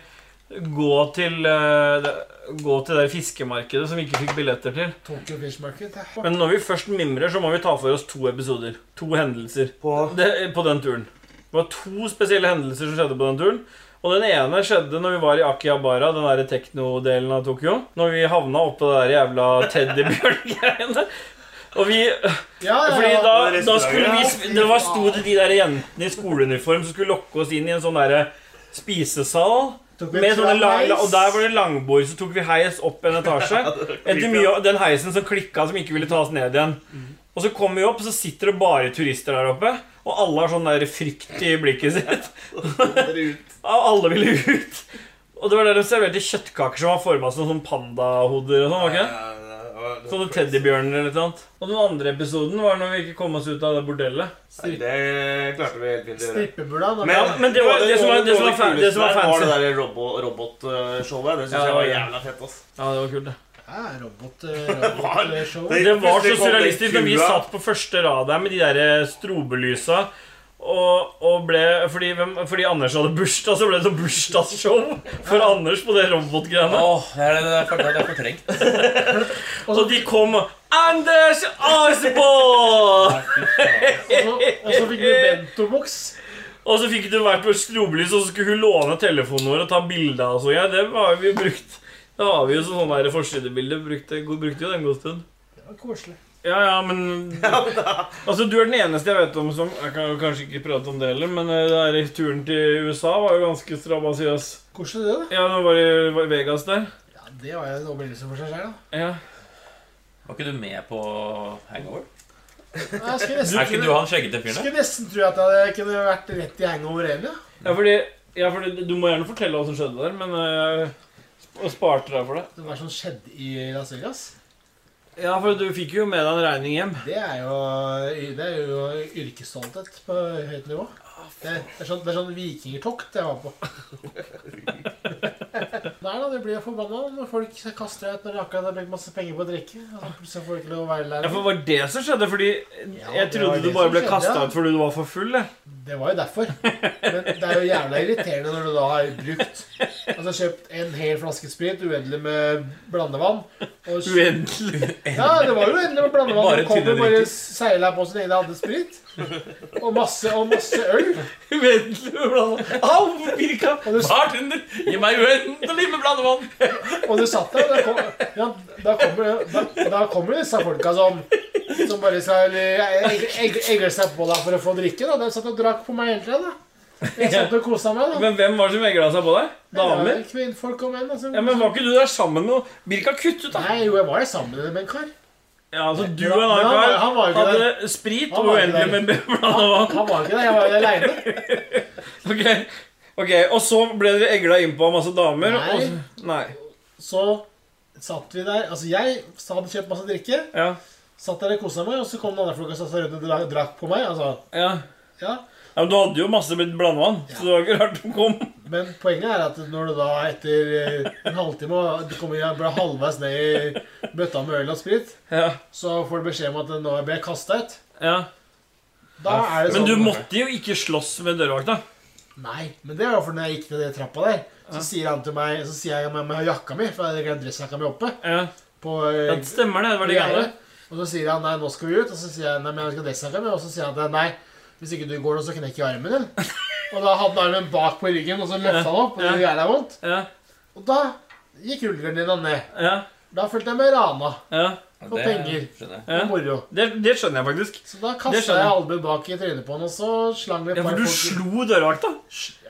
[SPEAKER 8] gå til, eh, det- gå til det fiskemarkedet som vi ikke fikk billetter til.
[SPEAKER 1] Tokyo Fish Market. Ja.
[SPEAKER 8] Men når vi først mimrer, så må vi ta for oss to episoder. To hendelser
[SPEAKER 9] På-
[SPEAKER 8] det, på den turen. Det var to spesielle hendelser som skjedde på den turen. Og den ene skjedde når vi var i Akihabara, den der teknodelen av Tokyo. Når vi havna oppå det der jævla teddybjørn-greiene. Og vi
[SPEAKER 1] Ja, ja,
[SPEAKER 8] fordi
[SPEAKER 1] ja.
[SPEAKER 8] da,
[SPEAKER 9] det er
[SPEAKER 8] da skulle vi
[SPEAKER 1] restaurant.
[SPEAKER 8] sp- Det var sto det de der jentene i skoleuniform som skulle lokke oss inn i en sånn derre spisesal.
[SPEAKER 1] Tok vi
[SPEAKER 8] Med
[SPEAKER 1] fra
[SPEAKER 8] sånne lang,
[SPEAKER 1] heis.
[SPEAKER 8] og der var det langbord, så tok vi heis opp en
[SPEAKER 1] *laughs*
[SPEAKER 8] etasje. Etter mye av den heisen som klikka, som ikke ville ta oss ned igjen.
[SPEAKER 1] Mm.
[SPEAKER 8] Og så kommer vi opp, så sitter det bare turister der oppe. Og alle har sånn der frykt i
[SPEAKER 1] *laughs*
[SPEAKER 8] blikket sitt. *laughs* Og alle ville ut. Og det var der de serverte kjøttkaker som var forma som sånn pandahoder og sånn. var ikke det? Sånne teddybjørner eller noe annet. Og den andre episoden var når vi ikke kom oss ut av det bordellet.
[SPEAKER 9] Nei, Det klarte vi helt fint å gjøre.
[SPEAKER 1] Strippebula. da-
[SPEAKER 8] Men, men det, var, det, som var, det, som var, fa- det som var
[SPEAKER 9] var det
[SPEAKER 8] fancy.
[SPEAKER 9] der robo- robotshowet. Det syns
[SPEAKER 8] Ja,
[SPEAKER 9] jeg var
[SPEAKER 8] ja.
[SPEAKER 9] jævla fett. ass.
[SPEAKER 8] Ja, det var kult, det.
[SPEAKER 1] Ja, robot, eh, robotshow.
[SPEAKER 9] Det-
[SPEAKER 8] *laughs* Det
[SPEAKER 9] Plutselig
[SPEAKER 8] var så
[SPEAKER 9] kom det
[SPEAKER 8] surrealistisk når vi
[SPEAKER 9] kua.
[SPEAKER 8] satt på første rad der med de der strobelysa. Og, og ble, fordi, hvem, fordi Anders hadde bursdag, så ble det sånn bursdagsshow for Anders på det robotgreiene.
[SPEAKER 7] Åh, det er det er for- det er fortrengt.
[SPEAKER 8] Og de kom og Anders Aasborg!
[SPEAKER 1] Og så- og så fikk vi bentoboks.
[SPEAKER 8] Og så fikk du vært på strobelys, og så skulle hun låne telefonen vår og ta bilde av oss. og greier. det har vi jo brukt. Da har vi jo sånn der forsidebilde. Brukte, brukte jo det en god stund.
[SPEAKER 1] Det var koselig.
[SPEAKER 8] Ja, ja, men Altså, du er den eneste jeg vet om som Jeg kan jo kanskje ikke prate om det heller, men eh, det der turen til USA var jo ganske strabasiøs.
[SPEAKER 1] Koselig det, da.
[SPEAKER 8] Ja, det var i var i Vegas der.
[SPEAKER 1] Ja, Det var jo en opplevelse for seg selv, da.
[SPEAKER 8] Ja.
[SPEAKER 7] Var ikke du med på Hangover?
[SPEAKER 1] Nei, Jeg skulle nesten,
[SPEAKER 7] Er ikke du han skjeggete fyren der?
[SPEAKER 1] skulle nesten tro at jeg kunne vært rett i hangover igjen, ja.
[SPEAKER 8] ja, fordi ja, fordi Du må gjerne fortelle hva som skjedde der, men eh, sp- jeg sparte deg for det.
[SPEAKER 1] Det var sånn skjedde i Las Vegas.
[SPEAKER 8] Ja, for du fikk jo med deg en regning hjem.
[SPEAKER 1] Det er jo, det er jo yrkesstolthet på høyt nivå. Det, det, er sånn, det er sånn vikingtokt jeg var på. Nei da, du blir jo forbanna når folk kaster deg ut når de akkurat har brukt masse penger på å drikke. Og så plutselig får du ikke lov å være
[SPEAKER 8] Ja, for
[SPEAKER 1] lærer.
[SPEAKER 8] var det som skjedde? Fordi
[SPEAKER 1] Ja,
[SPEAKER 8] jeg
[SPEAKER 1] det var
[SPEAKER 8] trodde du
[SPEAKER 1] det
[SPEAKER 8] bare
[SPEAKER 1] som
[SPEAKER 8] ble
[SPEAKER 1] skjedde,
[SPEAKER 8] kasta
[SPEAKER 1] ja.
[SPEAKER 8] ut fordi du var for full. jeg.
[SPEAKER 1] Det var jo derfor. Men det er jo jævla irriterende når du da har brukt Altså kjøpt en hel flaske sprit, uendelig med blandevann og kjøpt-
[SPEAKER 8] Uendelig.
[SPEAKER 1] Ja, det var jo endelig med blandevann.
[SPEAKER 7] Bare
[SPEAKER 1] Bare kom jo
[SPEAKER 7] tynne
[SPEAKER 1] bare
[SPEAKER 7] drikker.
[SPEAKER 1] seila på sin egen andre sprit. Og masse, og masse øl.
[SPEAKER 8] Uendelig med blandevann. Au, Birka!
[SPEAKER 1] Og du,
[SPEAKER 7] Bartender, gi meg uendelig med blandevann!
[SPEAKER 1] og du satt der. og Da, kom, ja, da kommer da, da kommer disse folka som som bare skal eh, egg- egg- egle seg på deg for å få drikke. da De satt og drakk på meg hele tida. da. Jeg satt og kosa meg. da
[SPEAKER 8] Men hvem var det som egla seg på deg? Damer?
[SPEAKER 1] Kvinnfolk og menn. Altså.
[SPEAKER 8] Ja, men Var ikke du der sammen med noe? Birka, kutt ut, da!
[SPEAKER 1] Nei, jo, jeg var jo sammen med en kar.
[SPEAKER 8] Ja, altså, du
[SPEAKER 1] Men
[SPEAKER 8] og en
[SPEAKER 1] han-
[SPEAKER 8] annen
[SPEAKER 1] han var jo
[SPEAKER 8] kar
[SPEAKER 1] ikke
[SPEAKER 8] hadde sprit
[SPEAKER 1] Han
[SPEAKER 8] og
[SPEAKER 1] var ikke
[SPEAKER 8] uendelig
[SPEAKER 1] der.
[SPEAKER 8] med blanda vann.
[SPEAKER 1] Han var ikke der, jeg var aleine.
[SPEAKER 8] Ok, Ok, Og så ble dere egla innpå av masse damer?
[SPEAKER 1] Nei.
[SPEAKER 8] Og, nei.
[SPEAKER 1] Så satt vi der Altså, jeg hadde kjøpt masse drikke.
[SPEAKER 8] Ja.
[SPEAKER 1] Satt der og kosa meg, og så kom den andre flokka og satte seg rundt og dra- drakk på meg. altså.
[SPEAKER 8] ja.
[SPEAKER 1] Ja.
[SPEAKER 8] Ja, men Du hadde jo masse blitt blandevann, så det var ikke rart de kom.
[SPEAKER 1] Men poenget er at når du da etter eh, en halvtime og du kommer igjen, bare halvveis ned i bøtta med øl og sprit,
[SPEAKER 8] Ja,
[SPEAKER 1] så får du beskjed om at nå ble jeg kasta ut.
[SPEAKER 8] ja.
[SPEAKER 1] Da er det
[SPEAKER 8] Men
[SPEAKER 1] sånn
[SPEAKER 8] du måtte jo ikke slåss med dørvakta.
[SPEAKER 1] Nei, men det var for når jeg gikk ned den trappa der. Så sier han til meg Så sier jeg med, med jakka mi, for jeg hadde glemt dressjakka mi oppe.
[SPEAKER 8] Ja.
[SPEAKER 1] På,
[SPEAKER 8] ja,
[SPEAKER 1] eh,
[SPEAKER 8] det stemmer det. det var det
[SPEAKER 1] greier.
[SPEAKER 8] greiene.
[SPEAKER 1] Og så sier han nei, nå skal vi ut. Og så sier jeg nei, men jeg skal dressjakka mi. Og så sier han til meg, nei, hvis ikke du går nå, så knekker jeg armen
[SPEAKER 8] *laughs*
[SPEAKER 1] din. Og da hadde han armen bak på ryggen, og så løfta han opp. Og det gjør jævla vondt.
[SPEAKER 8] Ja,
[SPEAKER 1] Og da gikk rullegardina ned.
[SPEAKER 8] ja,
[SPEAKER 1] Da følte jeg meg rana.
[SPEAKER 8] ja.
[SPEAKER 7] Og
[SPEAKER 1] For
[SPEAKER 7] det
[SPEAKER 1] penger.
[SPEAKER 7] skjønner jeg.
[SPEAKER 1] og Moro.
[SPEAKER 8] Det, det skjønner jeg faktisk.
[SPEAKER 1] Så da
[SPEAKER 8] Det
[SPEAKER 1] kasta
[SPEAKER 8] skjønner
[SPEAKER 1] jeg
[SPEAKER 8] jeg.
[SPEAKER 1] albuen bak i trynet på han, og så slang vi et
[SPEAKER 8] Ja,
[SPEAKER 1] par
[SPEAKER 8] For du
[SPEAKER 1] folk-
[SPEAKER 8] slo dørvakta?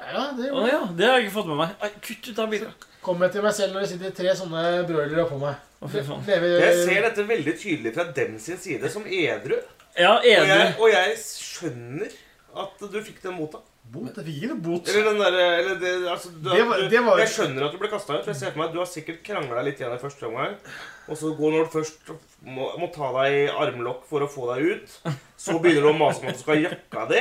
[SPEAKER 1] Ja, det
[SPEAKER 8] Å
[SPEAKER 1] gjorde jeg.
[SPEAKER 8] ja, det har jeg ikke fått med meg. Ai, kutt ut av bildet.
[SPEAKER 1] Kom jeg til meg selv når det sitter tre sånne broilere oppå meg.
[SPEAKER 8] Å, fy faen.
[SPEAKER 1] Lever-
[SPEAKER 9] Jeg ser dette veldig tydelig fra dem sin side, som edru.
[SPEAKER 8] Ja,
[SPEAKER 9] Og jeg,
[SPEAKER 8] edru.
[SPEAKER 9] og jeg skjønner at du fikk den mota.
[SPEAKER 1] Bot? Jeg fikk ikke noe bot.
[SPEAKER 9] Eller den derre eller det, altså, du,
[SPEAKER 1] Det var- det var-
[SPEAKER 9] Jeg skjønner at du ble kasta ut. for Jeg ser for meg at Du har sikkert krangla litt igjen i første omgang. Og så går når du først må, må ta deg i armlokk for å få deg ut. Så begynner du å mase om at du skal ha jakka di.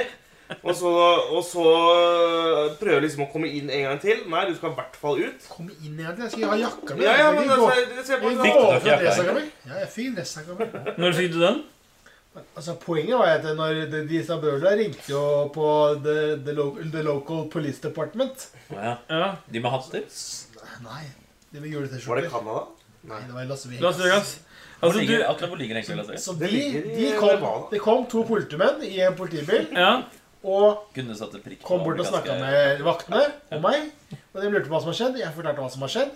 [SPEAKER 9] Og så, og så prøver du liksom å komme inn en gang til. Nei, du skal i hvert fall ut.
[SPEAKER 1] Kom inn igjen. Jeg skal ha jakka mi.
[SPEAKER 9] Ja, ja, men
[SPEAKER 1] jeg
[SPEAKER 9] altså,
[SPEAKER 1] går-
[SPEAKER 9] jeg, jeg ser på
[SPEAKER 1] jeg
[SPEAKER 9] det.
[SPEAKER 1] går
[SPEAKER 7] du
[SPEAKER 1] for
[SPEAKER 7] jakka?
[SPEAKER 1] dressjakka mi. Ja, jeg fikk dressjakka mi.
[SPEAKER 8] Når fikk du den?
[SPEAKER 1] Altså, poenget var at når de, disse broilerne ringte jo på the, the, lo- the local police department
[SPEAKER 7] Å, ja.
[SPEAKER 8] Ja,
[SPEAKER 7] De med hatter?
[SPEAKER 1] Nei, det var juleteskjorter.
[SPEAKER 9] Var det Canada?
[SPEAKER 1] Nei, det var i Las Vegas.
[SPEAKER 8] Las Vegas.
[SPEAKER 7] Hvor
[SPEAKER 8] Altså, du,
[SPEAKER 7] ligger, akkurat hvor ligger egentlig Las Vegas?
[SPEAKER 1] Så de,
[SPEAKER 9] Det ligger i eh,
[SPEAKER 1] de kom,
[SPEAKER 9] Nevada.
[SPEAKER 1] det kom to politimenn i en politibil
[SPEAKER 8] ja,
[SPEAKER 1] og
[SPEAKER 7] Kunne satt et prikk på
[SPEAKER 1] kom bort og snakka
[SPEAKER 7] amerikanske-
[SPEAKER 1] med vaktene og meg. Og de lurte på hva som har skjedd. Jeg fortalte hva som har skjedd.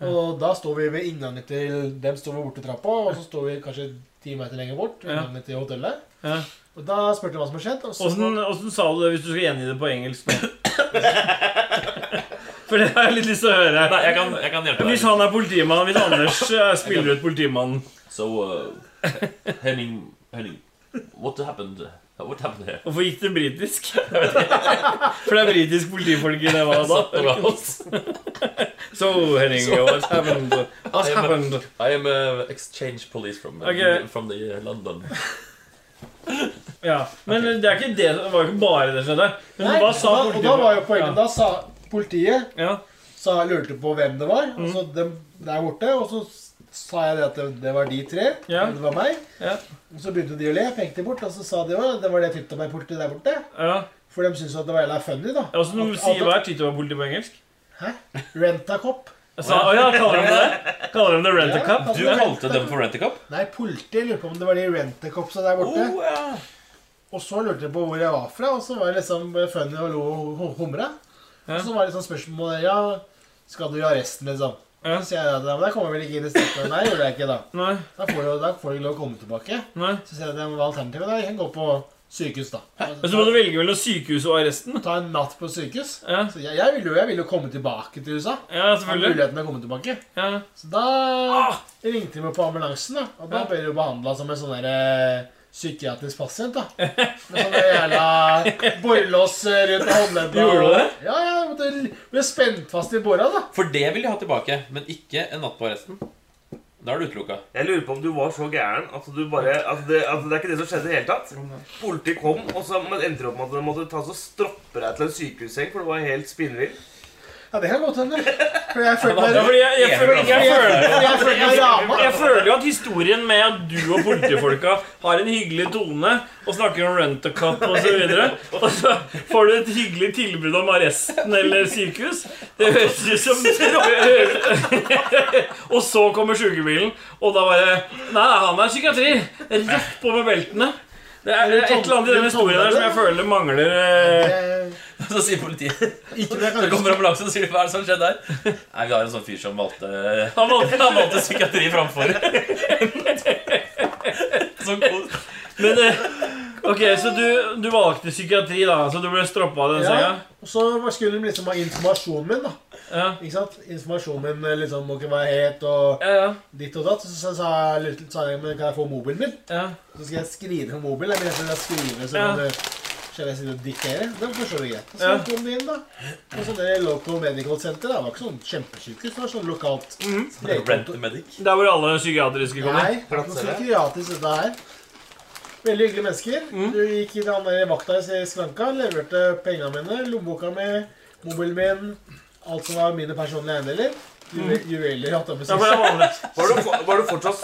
[SPEAKER 1] Og da står vi ved inngangen til Dem står vi borte i trappa, og så står vi kanskje ti meter lenger bort. ved
[SPEAKER 8] Ja.
[SPEAKER 1] inngangen til hotellet.
[SPEAKER 8] ja.
[SPEAKER 1] Og da spurte de hva som har skjedd. Og så
[SPEAKER 8] Åssen åssen sa du det hvis du skal gjengi det på engelsk nå? For det har jeg litt lyst til å høre.
[SPEAKER 7] Nei, jeg kan, jeg kan hjelpe deg.
[SPEAKER 8] Hvis
[SPEAKER 3] sånn-
[SPEAKER 8] han er politimann, hvis Anders eh, spiller ut politimannen
[SPEAKER 7] So, uh, Henning, Henning, what happened? What happened here?
[SPEAKER 8] Hvorfor gikk det britisk? For det er britisk politifolk i det hva da?
[SPEAKER 7] Satt over oss.
[SPEAKER 8] So, Henning, what happened? What happened?
[SPEAKER 7] I am uh, exchange police from, uh,
[SPEAKER 8] Okay.
[SPEAKER 7] from the uh, London.
[SPEAKER 8] Ja, Men det, er ikke det, det var jo ikke bare det som skjedde. Men hva sa
[SPEAKER 1] da, og da var jo poenget
[SPEAKER 8] da.
[SPEAKER 1] Da sa politiet
[SPEAKER 8] Ja. Mm.
[SPEAKER 1] sa, lurte på hvem det var. Og så dem der borte. Og så s- sa jeg det at det, det var de tre.
[SPEAKER 8] Ja.
[SPEAKER 1] og Det var meg.
[SPEAKER 8] Ja.
[SPEAKER 1] Og så begynte de å le. Jeg pekte bort, og så sa de jo det var det tytta meg politiet der borte.
[SPEAKER 8] ja.
[SPEAKER 1] For de syntes jo at det var jævla funny, da.
[SPEAKER 8] Og så
[SPEAKER 1] At-
[SPEAKER 8] sier
[SPEAKER 1] at-
[SPEAKER 8] hva er Tito-politi på engelsk?
[SPEAKER 1] Rent-a-cop.
[SPEAKER 8] Jeg sa, å ja, kaller de det Kaller de det rent a cup?
[SPEAKER 1] Ja,
[SPEAKER 7] Du
[SPEAKER 1] altså,
[SPEAKER 7] kalte dem for Rent-A-Cup?
[SPEAKER 1] Nei, politi. Lurer på om det var de rentekopsa der borte.
[SPEAKER 8] Oh,
[SPEAKER 1] Og så lurte jeg på hvor jeg var fra, og så var det liksom funny og lo og hu- humra. Og så var det sånn spørsmål Ja, skal du i arresten, liksom?
[SPEAKER 8] Ja.
[SPEAKER 1] Så sier jeg at ja, men da kommer jeg vel ikke inn i stedet. Nei, gjorde jeg ikke, da.
[SPEAKER 8] Nei,
[SPEAKER 1] Da får du, da får du ikke lov å komme tilbake.
[SPEAKER 8] nei.
[SPEAKER 1] Så sier jeg at ja, men hva er alternativet? Da? Jeg kan gå på sykehus, da.
[SPEAKER 8] Men så må du velge mellom sykehuset og arresten.
[SPEAKER 1] Ta en natt på sykehus.
[SPEAKER 8] Ja,
[SPEAKER 1] Så jeg, jeg ville jo, jeg ville jo komme tilbake til USA.
[SPEAKER 8] ja
[SPEAKER 1] Ha
[SPEAKER 8] selvfølgelig.
[SPEAKER 1] muligheten til å komme tilbake.
[SPEAKER 8] Ja.
[SPEAKER 1] Så da
[SPEAKER 8] Ah!
[SPEAKER 1] ringte de meg på ambulansen, da. Og da
[SPEAKER 8] Ja.
[SPEAKER 1] ble du behandla som en sånn der eh, psykiatrisk pasient,
[SPEAKER 8] *laughs*
[SPEAKER 1] da. Med sånne jævla borrelås eh, rundt håndleddet.
[SPEAKER 8] Gjorde du det?
[SPEAKER 1] Ja, ja. Jeg måtte, ble spent fast i båra, da.
[SPEAKER 7] For det vil de ha tilbake, men ikke en natt på arresten. Da er du utelukka.
[SPEAKER 9] Jeg lurer på om du var så gæren at du bare at det, at det er ikke det som skjedde i det hele tatt. Politiet kom, og så men endte det opp med at de måtte ta og stroppe deg til en sykehusseng, for du var helt spinnvill.
[SPEAKER 1] Ja, det kan godt hende. For jeg følte
[SPEAKER 8] Ja,
[SPEAKER 1] meg
[SPEAKER 8] fordi jeg, jeg, føler, jeg, føler,
[SPEAKER 1] jeg følte meg rama.
[SPEAKER 8] jeg føler jo at historien med at du og politifolka har en hyggelig tone og snakker om rent a cup og så videre og så får du et hyggelig tilbud om arresten eller sykehus Det høres ut som Og så kommer sykebilen, og da bare Nei, nei, han er psykiatri. Rett på med beltene. Det er et eller annet i den historien der som jeg føler mangler eh,
[SPEAKER 1] Eh,
[SPEAKER 7] Så sier politiet
[SPEAKER 1] Ikke noe jeg
[SPEAKER 7] Så
[SPEAKER 1] kan huske.
[SPEAKER 7] kommer ambulansen og sier de, 'hva er det som skjedde her?' Nei, vi har en sånn fyr som valgte
[SPEAKER 8] Han valgte-
[SPEAKER 7] Han valgte psykiatri framfor.
[SPEAKER 8] *laughs*
[SPEAKER 7] Sånn kos.
[SPEAKER 8] Men eh, Ok, så du, du valgte psykiatri, da. Så du ble stroppa av den senga?
[SPEAKER 1] Ja. Og så skulle de liksom ha informasjonen min, da.
[SPEAKER 8] Ja.
[SPEAKER 1] Ikke sant? Informasjonen min eh, liksom må ikke være het og
[SPEAKER 8] Ja, ja,
[SPEAKER 1] ditt og datt. Så sa- sa jeg lurte litt, sa jeg, men kan jeg få mobilen min?
[SPEAKER 8] ja.
[SPEAKER 1] Så skal jeg skrive på mobilen. Jeg mener jeg skal skrive sånn
[SPEAKER 8] Ja.
[SPEAKER 1] at det Selv jeg sitter og dikterer. Det forstår du greit. Så kom de inn, da. Og så det Local Medical Center det var ikke sånn kjempesykehus. Det var sånn lokalt
[SPEAKER 8] Mhm.
[SPEAKER 7] Rent
[SPEAKER 1] legekontor.
[SPEAKER 7] a medic.
[SPEAKER 8] Der hvor alle psykiatriske kommer.
[SPEAKER 1] Nei, det var noe psykiatrisk dette her. Veldig hyggelige mennesker.
[SPEAKER 8] Mhm.
[SPEAKER 1] Du gikk i det andre vakta i skranka, leverte pengene mine, lommeboka mi, mobilen min, alt som var mine personlige eiendeler. Juve- Juveler hatt av med
[SPEAKER 8] Mhm. Ja, for det er vanlig.
[SPEAKER 9] Var du, for- var du fortsatt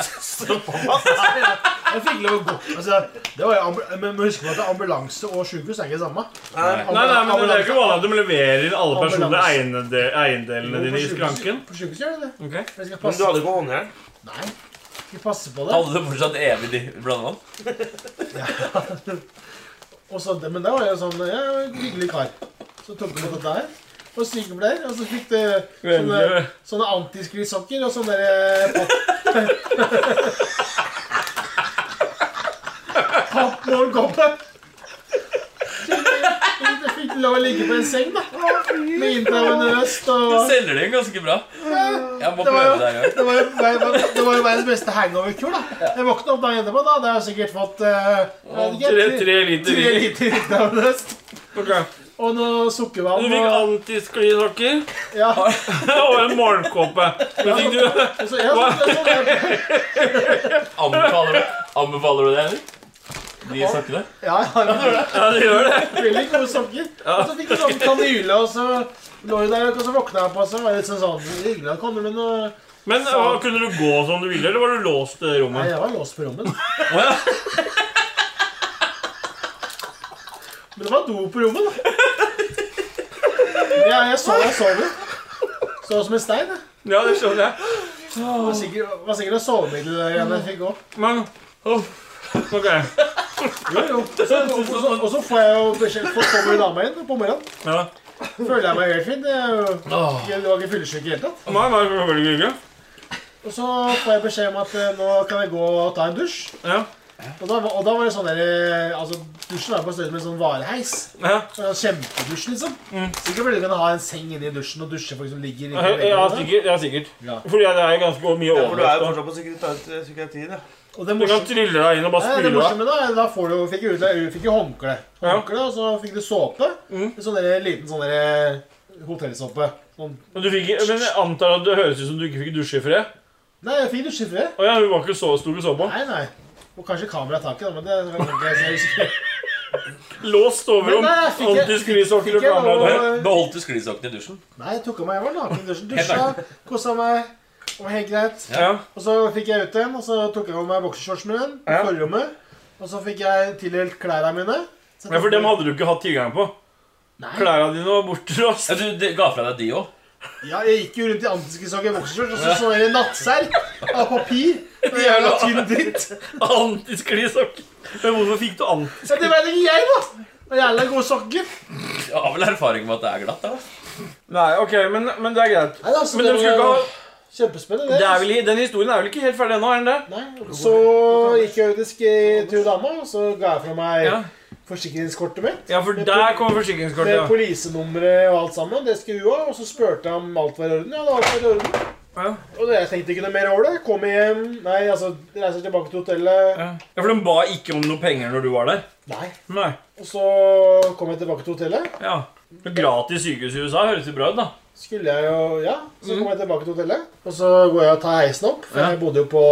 [SPEAKER 1] Jeg fikk lov å gå. Altså, det var jo ambu- men men husk på at ambulanse og sykehus er ikke det samme.
[SPEAKER 8] Nei, nei, men det er jo ikke vanlig at de leverer inn alle
[SPEAKER 1] Ambulanse.
[SPEAKER 8] personlige eiendel- eiendelene
[SPEAKER 1] På
[SPEAKER 8] dine i
[SPEAKER 1] sykehus-
[SPEAKER 8] skranken.
[SPEAKER 1] På sykehus gjør de det.
[SPEAKER 8] Ok.
[SPEAKER 1] For Jeg skal
[SPEAKER 9] Men du
[SPEAKER 1] passe,
[SPEAKER 9] hadde ikke håndjern?
[SPEAKER 1] nei, skal passe på det.
[SPEAKER 7] Hadde du fortsatt evig di- blandevann?
[SPEAKER 1] Og så, men da var jeg jo sånn ja, jeg var en hyggelig kar. Så tok vi på dette her. Og sykepleier. Og så fikk det sånne,
[SPEAKER 8] Vennlig.
[SPEAKER 1] sånne antiskrittsokker og sånne der, eh, *laughs* papp... Pappmålkoppe. Jeg fikk lov å ligge på en seng, da. Med intravenøst og
[SPEAKER 7] Selger de den ganske bra. Jeg må
[SPEAKER 1] Det var
[SPEAKER 7] prøve
[SPEAKER 1] jo-
[SPEAKER 7] det en gang.
[SPEAKER 1] Det var jo, det var jo verdens beste hangover-kur, da. Jeg våkna opp dagen etterpå, da hadde jeg sikkert fått eh, jeg
[SPEAKER 8] Tre,
[SPEAKER 1] vet ikke,
[SPEAKER 8] tre liter
[SPEAKER 1] tre
[SPEAKER 8] vin.
[SPEAKER 1] liter intravenøst.
[SPEAKER 8] Ok.
[SPEAKER 1] Og noe sukkervann.
[SPEAKER 8] Du fikk
[SPEAKER 1] og-
[SPEAKER 8] antisklisokker
[SPEAKER 1] Ja,
[SPEAKER 8] og en morgenkåpe. Men fikk du
[SPEAKER 1] så, ja, så, så, så,
[SPEAKER 7] Anbefaler du, anbefaler du det, eller? De snakkene?
[SPEAKER 1] ja, ja,
[SPEAKER 8] Ja, det gjør det.
[SPEAKER 1] veldig gode sokker. Og så fikk jeg sånn kanyle, og så lå jeg der, og så våkna jeg på, og så var jeg litt sånn sånn Hyggelig at kommer med noe
[SPEAKER 8] Men hva, kunne du gå som du ville, eller var du låst i det
[SPEAKER 1] Nei,
[SPEAKER 8] rommet?
[SPEAKER 1] jeg var låst på rommet.
[SPEAKER 8] ja.
[SPEAKER 1] Men det var do på rommet, da. Ja, jeg så jeg sov jo. Sov som en stein. jeg.
[SPEAKER 8] Ja, det skjønner jeg.
[SPEAKER 1] Det var sikkert, var sikkert noe sovemiddel der igjen jeg fikk òg.
[SPEAKER 8] Men uff. Ok.
[SPEAKER 1] Jo, jo. Og så- og så- Og så får jeg jo beskjed for så mye dame inn på morgenen.
[SPEAKER 8] Ja.
[SPEAKER 1] Føler jeg meg helt fin. Det er jo ikke, det var ikke fyllesyk i det hele tatt.
[SPEAKER 8] Nei, nei, selvfølgelig ikke.
[SPEAKER 1] Og så får jeg beskjed om at eh, nå kan jeg gå og ta en dusj.
[SPEAKER 8] Ja.
[SPEAKER 1] Og da, var- og da var det sånn der eh, Altså, dusjen var på størrelse med en sånn vareheis.
[SPEAKER 8] Ja. Mm.
[SPEAKER 1] Det var en Kjempedusj, liksom. Sikkert fordi du kan ha en seng inni dusjen og dusje folk som ligger inni
[SPEAKER 8] Ja,
[SPEAKER 1] veggene.
[SPEAKER 8] sikkert. Ja, sikkert.
[SPEAKER 1] Ja.
[SPEAKER 8] Fordi det er ganske mye
[SPEAKER 9] Ja, for du er jo
[SPEAKER 8] overlast. da.
[SPEAKER 9] fortsatt på psykiatri- eh, psykiatrien, ja.
[SPEAKER 1] Og det
[SPEAKER 8] Du kan
[SPEAKER 1] morsomme
[SPEAKER 8] trille deg inn og bare
[SPEAKER 1] Nei, det
[SPEAKER 8] spyle deg.
[SPEAKER 1] morsomme da, er da får du, fikk du ut, fikk jo håndkle. Håndkle, Og så fikk du såpe.
[SPEAKER 8] Mm.
[SPEAKER 1] En sånn der liten sånn der hotellsåpe. Sånn.
[SPEAKER 8] Men, du fikk, men jeg antar at det høres ut som du ikke fikk dusje i fred?
[SPEAKER 1] Nei, jeg fikk dusje før.
[SPEAKER 8] Å ja, hun var ikke så stor du så på?
[SPEAKER 1] Nei, nei. Og kanskje kameraet tar ikke, da, men det det kan ikke jeg se.
[SPEAKER 8] Låst
[SPEAKER 1] Men
[SPEAKER 8] overrom,
[SPEAKER 1] nei, jeg fikk-
[SPEAKER 8] antisklisokker
[SPEAKER 1] fikk
[SPEAKER 8] og
[SPEAKER 1] jeg
[SPEAKER 8] kamera
[SPEAKER 1] noe-
[SPEAKER 8] der.
[SPEAKER 7] Beholdt du sklisokkene i dusjen?
[SPEAKER 1] Nei, jeg tok av meg, jeg var naken i dusjen. Dusja, kosa meg. Det var helt greit.
[SPEAKER 8] Ja.
[SPEAKER 1] Og så fikk jeg ut igjen, og så tok jeg av meg boksershortsen min. i Forrommet. Og så fikk jeg tildelt klærne mine. Så
[SPEAKER 8] ja, for dem hadde du ikke hatt tilgang på.
[SPEAKER 1] Nei.
[SPEAKER 8] Klærne dine var bortblåst.
[SPEAKER 7] Ja, du de, ga fra deg de òg?
[SPEAKER 1] Ja, jeg gikk jo rundt i antiskrisokker i boksershorts og så sånn der nattserk av papir. Og jævla tynn dritt.
[SPEAKER 8] Antisklisokker. Men hvorfor fikk du an...
[SPEAKER 1] Så det vet ikke jeg, da. Og jævla gode sokker.
[SPEAKER 7] Du har vel erfaring med at det er glatt? da?
[SPEAKER 8] Nei, ok, men, men det er greit.
[SPEAKER 1] Nei, da, så
[SPEAKER 8] Men de skulle ikke ha...
[SPEAKER 1] Kjempespennende.
[SPEAKER 8] Det er vel, den historien er vel ikke helt ferdig ennå, er den det?
[SPEAKER 1] Nei, Så gikk jeg ut i sk- til dama, og så ga jeg fra meg
[SPEAKER 8] Ja.
[SPEAKER 1] forsikringskortet mitt.
[SPEAKER 8] Ja, for der kommer
[SPEAKER 1] Med
[SPEAKER 8] forsikringskortet.
[SPEAKER 1] polisenummeret og alt sammen. Det skulle hun ha. Og så spurte jeg om alt var i orden. Ja, det var alt var i orden.
[SPEAKER 8] Ja.
[SPEAKER 1] Og det, jeg tenkte ikke noe mer over det. Kommer hjem Nei, altså, reiser tilbake til hotellet.
[SPEAKER 8] Ja, Ja, for de ba ikke om noe penger når du var der.
[SPEAKER 1] Nei.
[SPEAKER 8] Nei.
[SPEAKER 1] Og så kom jeg tilbake til hotellet.
[SPEAKER 8] Ja. Men gratis sykehus i USA høres jo bra ut, da.
[SPEAKER 1] Skulle jeg jo Ja,
[SPEAKER 10] Mm.
[SPEAKER 1] så kom jeg tilbake til hotellet. Og så går jeg og tar heisen opp. For
[SPEAKER 8] Ja.
[SPEAKER 1] jeg bodde jo på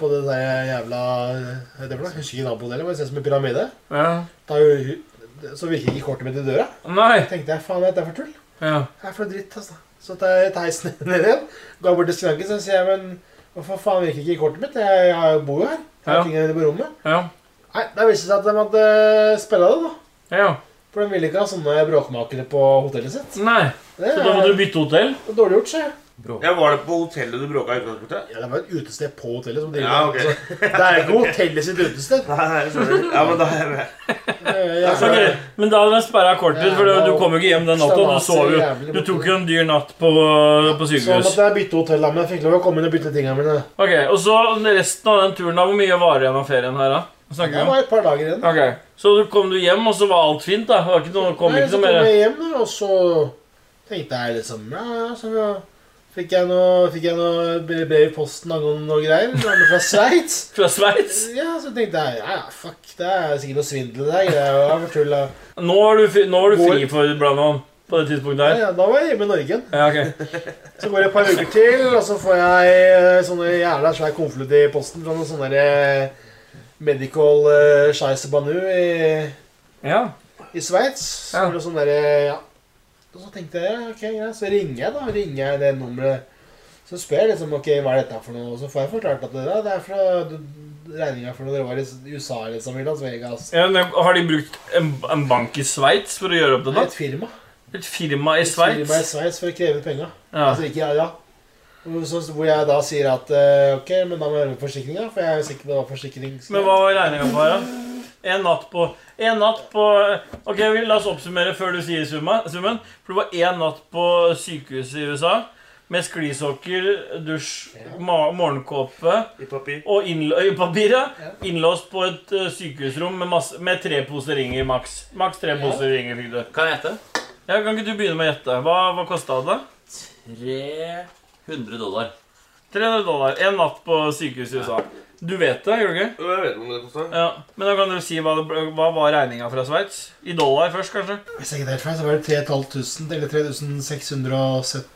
[SPEAKER 1] på det der jævla hva heter det for noe? Jeg Husker ikke navnet på hotellet, men det ser ut som en pyramide.
[SPEAKER 8] Ja.
[SPEAKER 1] Da er jo, hu- så virker ikke kortet mitt i døra.
[SPEAKER 8] Nei.
[SPEAKER 1] tenkte jeg, faen, dette er for tull.
[SPEAKER 8] Ja.
[SPEAKER 1] Det er for noe dritt, altså. Så tar jeg heisen *laughs* ned igjen, går bort til skranken, så sier jeg, men hvorfor faen virker ikke kortet mitt? Jeg, jeg bor jo her. Jeg
[SPEAKER 8] Ja.
[SPEAKER 1] har tingene mine på rommet.
[SPEAKER 8] Ja.
[SPEAKER 1] Nei, da viste det seg at de hadde spilla det, da.
[SPEAKER 8] Ja.
[SPEAKER 1] For de ville ikke ha sånne bråkmakere på hotellet sitt.
[SPEAKER 8] Nei.
[SPEAKER 1] Det
[SPEAKER 8] Så da må
[SPEAKER 1] er
[SPEAKER 8] du bytte hotell?
[SPEAKER 1] dårlig gjort, sier jeg.
[SPEAKER 9] Ja, Var det på hotellet du bråka i utgangspunktet?
[SPEAKER 1] Ja, det var et utested på hotellet som driver
[SPEAKER 9] Ja, ok.
[SPEAKER 1] med det, altså. Det er ikke hotellet sitt utested.
[SPEAKER 9] Nei, jeg skjønner. Ja, men da er jeg med.
[SPEAKER 1] Eh, jeg-
[SPEAKER 8] Ok, Men da hadde de sperra kortet ditt, for
[SPEAKER 1] Ja,
[SPEAKER 8] du
[SPEAKER 1] da-
[SPEAKER 8] kom jo ikke hjem den natta. Du sov jo. Du tok jo en dyr natt på, på
[SPEAKER 1] Så
[SPEAKER 8] sykehus.
[SPEAKER 1] måtte sånn jeg bytte hotell, da, men jeg fikk lov å komme inn og bytte tingene mine.
[SPEAKER 8] Ok, Og så resten av den turen, da. Hvor mye varer igjen av ferien her, da? Hva snakker vi
[SPEAKER 1] Det
[SPEAKER 8] om?
[SPEAKER 1] var et par dager igjen.
[SPEAKER 8] Ok, Så du kom du hjem, og så var alt fint? da? Det liksom var ikke noe, kom
[SPEAKER 1] Nei,
[SPEAKER 8] ikke
[SPEAKER 1] så
[SPEAKER 8] noe
[SPEAKER 1] kom
[SPEAKER 8] mer?
[SPEAKER 1] jeg hjem, da, og så tenkte jeg liksom ja, ja, så
[SPEAKER 10] Fikk jeg noe, fikk jeg noe brev i posten angående noe greier. Det var fra Sveits.
[SPEAKER 8] *laughs* Fra Sveits?
[SPEAKER 10] Ja, så tenkte jeg ja, ja, fuck, det er sikkert noe svindel der. greier og jeg var tull, da.
[SPEAKER 8] Nå var du, fri- nå var du
[SPEAKER 10] Hvor-
[SPEAKER 8] fri for Brannan på det tidspunktet
[SPEAKER 10] Ja,
[SPEAKER 8] her.
[SPEAKER 10] ja, da var jeg hjemme i Norge.
[SPEAKER 8] Ja, ok.
[SPEAKER 10] Så går det et par uker til, og så får jeg eh, sånne jævla svær konvolutt i posten fra noen sånne der, eh, medical eh, scheisebanu i,
[SPEAKER 8] Ja.
[SPEAKER 10] i Sveits. Så
[SPEAKER 8] Ja.
[SPEAKER 10] var det sånn der, eh, ja. Og så tenkte jeg ok, greit, så ringer jeg da, ringer jeg det nummeret. Så spør jeg liksom ok, hva er dette her for noe, og så får jeg forklart at det, ja, det er fra regninga for når dere var i USA liksom, i Las Vegas.
[SPEAKER 8] Ja, men Har de brukt en, en bank i Sveits for å gjøre opp det? da?
[SPEAKER 10] Et firma.
[SPEAKER 8] Et firma i
[SPEAKER 10] Et firma i
[SPEAKER 8] Sveits?
[SPEAKER 10] Sveits for å kreve penga.
[SPEAKER 8] Ja.
[SPEAKER 10] Altså ikke ja, ja. Og Så, hvor jeg da sier at eh, ok, men da må jeg gjøre forsikringa, for jeg visste ikke det var forsikring.
[SPEAKER 8] Men hva var regninga på her, da? En natt på En natt på Ok, vi, la oss oppsummere før du sier summa, summen. For det var én natt på sykehuset i USA. Med sklisokker, dusj, ma morgenkåpe
[SPEAKER 9] I papir.
[SPEAKER 8] og innløypapir. Innlåst på et eh, sykehusrom med, masse, med tre poser ringer maks. Maks tre poser ringer fikk du.
[SPEAKER 3] Kan jeg hete?
[SPEAKER 8] Ja, kan ikke du begynne med å gjette? Hva, hva kosta det?
[SPEAKER 3] 300 dollar.
[SPEAKER 8] 300 dollar. En natt på sykehuset i USA. Du vet det, gjør du ikke?
[SPEAKER 9] Jeg vet om det koster.
[SPEAKER 8] Ja, Men da kan du si hva, det, ble- hva var regninga fra Sveits? I dollar først, kanskje?
[SPEAKER 10] Hvis jeg ikke tar feil, så var det 3500 eller 3670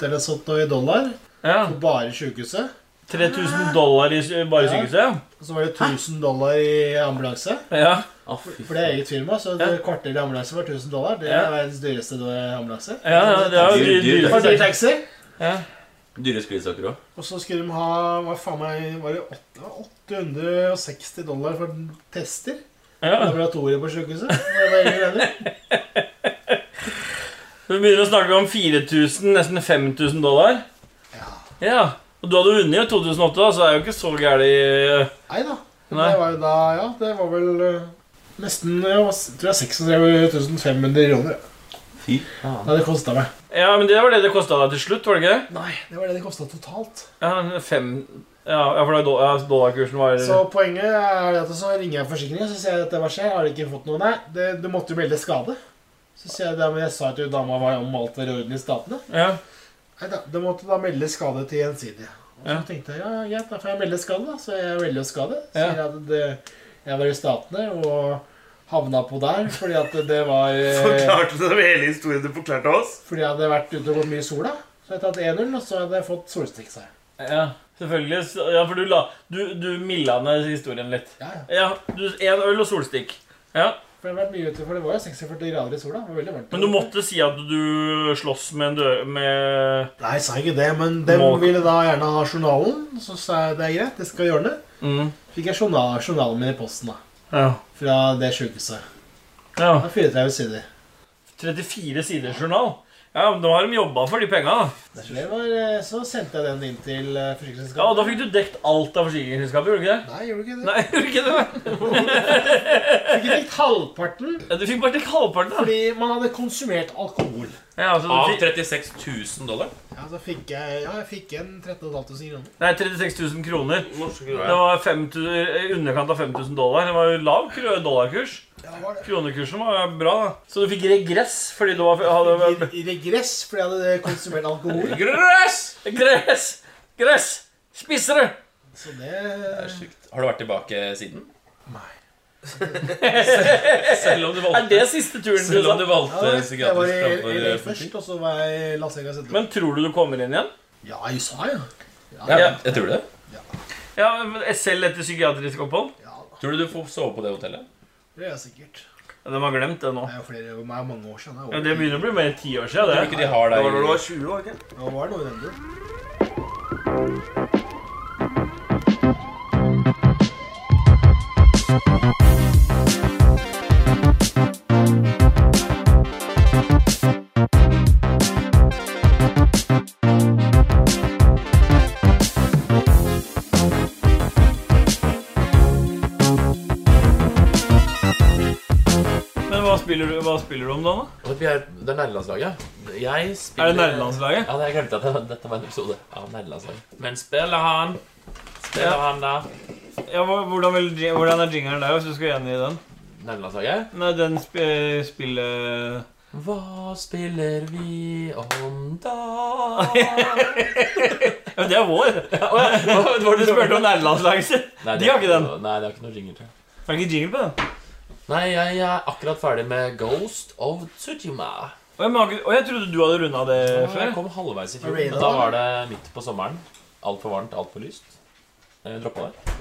[SPEAKER 10] eller sånt noe i dollar.
[SPEAKER 8] Ja.
[SPEAKER 10] For bare sykehuset.
[SPEAKER 8] 3000 dollar i sy- bare
[SPEAKER 10] Ja.
[SPEAKER 8] sykehuset?
[SPEAKER 10] Og så var det 1000 dollar i ambulanse.
[SPEAKER 8] Ja. ja.
[SPEAKER 3] Å, fy
[SPEAKER 10] For det er eget firma, så
[SPEAKER 8] Ja.
[SPEAKER 10] et kvarter i ambulanse var 1000 dollar. Det
[SPEAKER 8] Ja.
[SPEAKER 10] er verdens dyreste do- ambulanse.
[SPEAKER 8] ja, ja det er jo
[SPEAKER 3] Dyr-
[SPEAKER 8] dyr,
[SPEAKER 3] dyr
[SPEAKER 10] For dyr
[SPEAKER 8] dyr.
[SPEAKER 10] taxi.
[SPEAKER 3] Dyre sklisokker òg.
[SPEAKER 10] Og så skulle de ha hva faen meg, var det åtte- 860 dollar for tester.
[SPEAKER 8] Ja.
[SPEAKER 10] Laboratoriet på sykehuset. Det var ingen regning.
[SPEAKER 8] Vi begynner å snakke om 4000, nesten 5000 dollar. Ja. Og du hadde vunnet i 2008, da, så det er jo ikke så gærent. eh,
[SPEAKER 10] Nei da.
[SPEAKER 8] Nei.
[SPEAKER 10] Det var jo da Ja, det var vel eh, nesten jeg var, tror jeg 36 500 kroner.
[SPEAKER 3] Fy
[SPEAKER 10] Det hadde kosta meg.
[SPEAKER 8] Ja, men det var det det kosta deg til slutt, var det ikke? det?
[SPEAKER 10] Nei, det var det det kosta totalt.
[SPEAKER 8] Ja, men fem Ja, ja, for da do- ja, dollarkursen var
[SPEAKER 10] Så poenget er at så ringer jeg forsikringen så sier jeg at det var skjer. Har du ikke fått noe? Nei, det, du måtte jo melde skade. Så sier jeg det, men jeg sa til dama hva om alt var i orden i statene.
[SPEAKER 8] Ja.
[SPEAKER 10] Nei da, du måtte da melde skade til gjensidige. Og så
[SPEAKER 8] Ja.
[SPEAKER 10] tenkte jeg ja, greit, da får jeg melde skade, da. Så jeg melder jo skade.
[SPEAKER 8] Ja.
[SPEAKER 10] Sier at det, jeg var i statene og havna på der fordi at det var eh,
[SPEAKER 9] Forklarte du dem hele historien du forklarte oss?
[SPEAKER 10] Fordi jeg hadde vært ute og gått mye i sola. Så hadde jeg tatt 1-0, og så hadde jeg fått solstikk seg.
[SPEAKER 8] Ja, selvfølgelig. Så- Ja, for du, la, du, du milla ned historien litt.
[SPEAKER 10] Ja, ja.
[SPEAKER 8] Ja, du, En øl og solstikk. Ja,
[SPEAKER 10] For jeg hadde vært mye ute, for det var jo 46 grader i sola. Det var veldig varmt.
[SPEAKER 8] Men du måtte si at du slåss med en dør... Med
[SPEAKER 10] Nei, jeg sa ikke det, men dem
[SPEAKER 8] Må-
[SPEAKER 10] ville da gjerne ha journalen. Så sa jeg det er greit, det skal jeg ordne.
[SPEAKER 8] mm.
[SPEAKER 10] Fikk jeg journal, journalen min i posten da.
[SPEAKER 8] ja.
[SPEAKER 10] Fra det sjukehuset.
[SPEAKER 8] ja.
[SPEAKER 10] Det var 34 sider.
[SPEAKER 8] 34 siders journal. Ja, men Nå har de jobba for de penga. da.
[SPEAKER 10] Så, det var, eh, så sendte jeg den inn til
[SPEAKER 8] Ja,
[SPEAKER 10] eh,
[SPEAKER 8] og
[SPEAKER 10] forsikringsselskapet.
[SPEAKER 8] Da fikk du dekt alt av forsikringsselskapet, gjorde du ikke det?
[SPEAKER 10] Nei, gjorde du ikke det?
[SPEAKER 8] Nei, gjorde du ikke det?
[SPEAKER 10] Jeg fikk ikke halvparten
[SPEAKER 8] Ja, Du fikk bare dekt halvparten. da.
[SPEAKER 10] fordi man hadde konsumert alkohol.
[SPEAKER 8] Ja, altså,
[SPEAKER 7] Av
[SPEAKER 8] du fikk,
[SPEAKER 7] 36 000 dollar?
[SPEAKER 10] Ja, så fikk jeg, ja, jeg fikk igjen 13.500 kroner.
[SPEAKER 8] nei, 36 000 kroner.
[SPEAKER 9] Norske
[SPEAKER 8] Det
[SPEAKER 9] kroner.
[SPEAKER 8] var 5000 i underkant av 5000 dollar. Det var jo lav kro- dollarkurs.
[SPEAKER 10] Ja, det var det.
[SPEAKER 8] Kronekursen var bra, da. Så du fikk regress fordi du var, hadde
[SPEAKER 10] I, I regress, fordi jeg hadde konsumert alkohol.
[SPEAKER 8] *laughs*
[SPEAKER 7] Gress!
[SPEAKER 8] Gress! Gress! Spisere!
[SPEAKER 10] Så det
[SPEAKER 7] Det er sykt. Har du vært tilbake siden?
[SPEAKER 8] *laughs*
[SPEAKER 7] Selv om du
[SPEAKER 8] Er
[SPEAKER 7] valgte,
[SPEAKER 8] det siste turen til
[SPEAKER 7] selv om
[SPEAKER 8] USA?
[SPEAKER 7] du valgte
[SPEAKER 10] Ja, jeg var
[SPEAKER 7] psykiatrisk
[SPEAKER 10] i LA
[SPEAKER 7] framfor
[SPEAKER 8] eh,
[SPEAKER 7] eh,
[SPEAKER 10] først, og så var jeg i Las Vegas etterpå.
[SPEAKER 8] Men tror du du kommer inn igjen?
[SPEAKER 10] Ja, i USA, ja.
[SPEAKER 7] ja, jeg tror det.
[SPEAKER 8] Ja, men Selv etter psykiatrisk opphold?
[SPEAKER 10] Ja da,
[SPEAKER 7] Tror du du får sove på det hotellet?
[SPEAKER 10] det er jeg sikkert.
[SPEAKER 8] Ja, De har glemt det nå.
[SPEAKER 10] Det er jo flere, det er mange år siden.
[SPEAKER 8] Ja,
[SPEAKER 10] Det
[SPEAKER 8] Det
[SPEAKER 10] er over.
[SPEAKER 8] begynner å bli mer enn ti år siden.
[SPEAKER 7] Jeg tror
[SPEAKER 8] det
[SPEAKER 7] ikke de har
[SPEAKER 9] Det var når du
[SPEAKER 7] deg i
[SPEAKER 9] var 20 år, ikke?
[SPEAKER 10] Ja, det var noe i den duren.
[SPEAKER 8] Men hva spiller du, hva spiller du om da? da?
[SPEAKER 3] Og vi er- Det er nerdelandslaget. Jeg spiller
[SPEAKER 8] Er det nerdelandslaget?
[SPEAKER 3] Ja, jeg glemte at det- dette var en episode av nerdelandslaget. Men spiller han? Spiller
[SPEAKER 8] Ja.
[SPEAKER 3] han da?
[SPEAKER 8] Ja, hva- hvordan, vil, hvordan er jingeren der, hvis du skal gjengi den? eh,
[SPEAKER 3] Nerdelandslaget?
[SPEAKER 8] Nei, den sp spille...
[SPEAKER 3] Hva spiller vi om da?
[SPEAKER 8] Ja, men det er vår. Hva var det du spurte om nærlandslaget?
[SPEAKER 3] Nei,
[SPEAKER 8] De har ikke den.
[SPEAKER 3] noe- Nei, det har ikke noe jingle til.
[SPEAKER 8] Får jeg ikke jingle på den?
[SPEAKER 3] Nei, jeg er akkurat ferdig med Ghost of Tsushima.
[SPEAKER 8] Og jeg, mager, og jeg trodde du hadde runda det
[SPEAKER 3] Og Jeg
[SPEAKER 8] før.
[SPEAKER 3] kom halvveis i fjor.
[SPEAKER 10] Arena,
[SPEAKER 3] men Da var det midt på sommeren. Altfor varmt, altfor lyst. Jeg droppa det.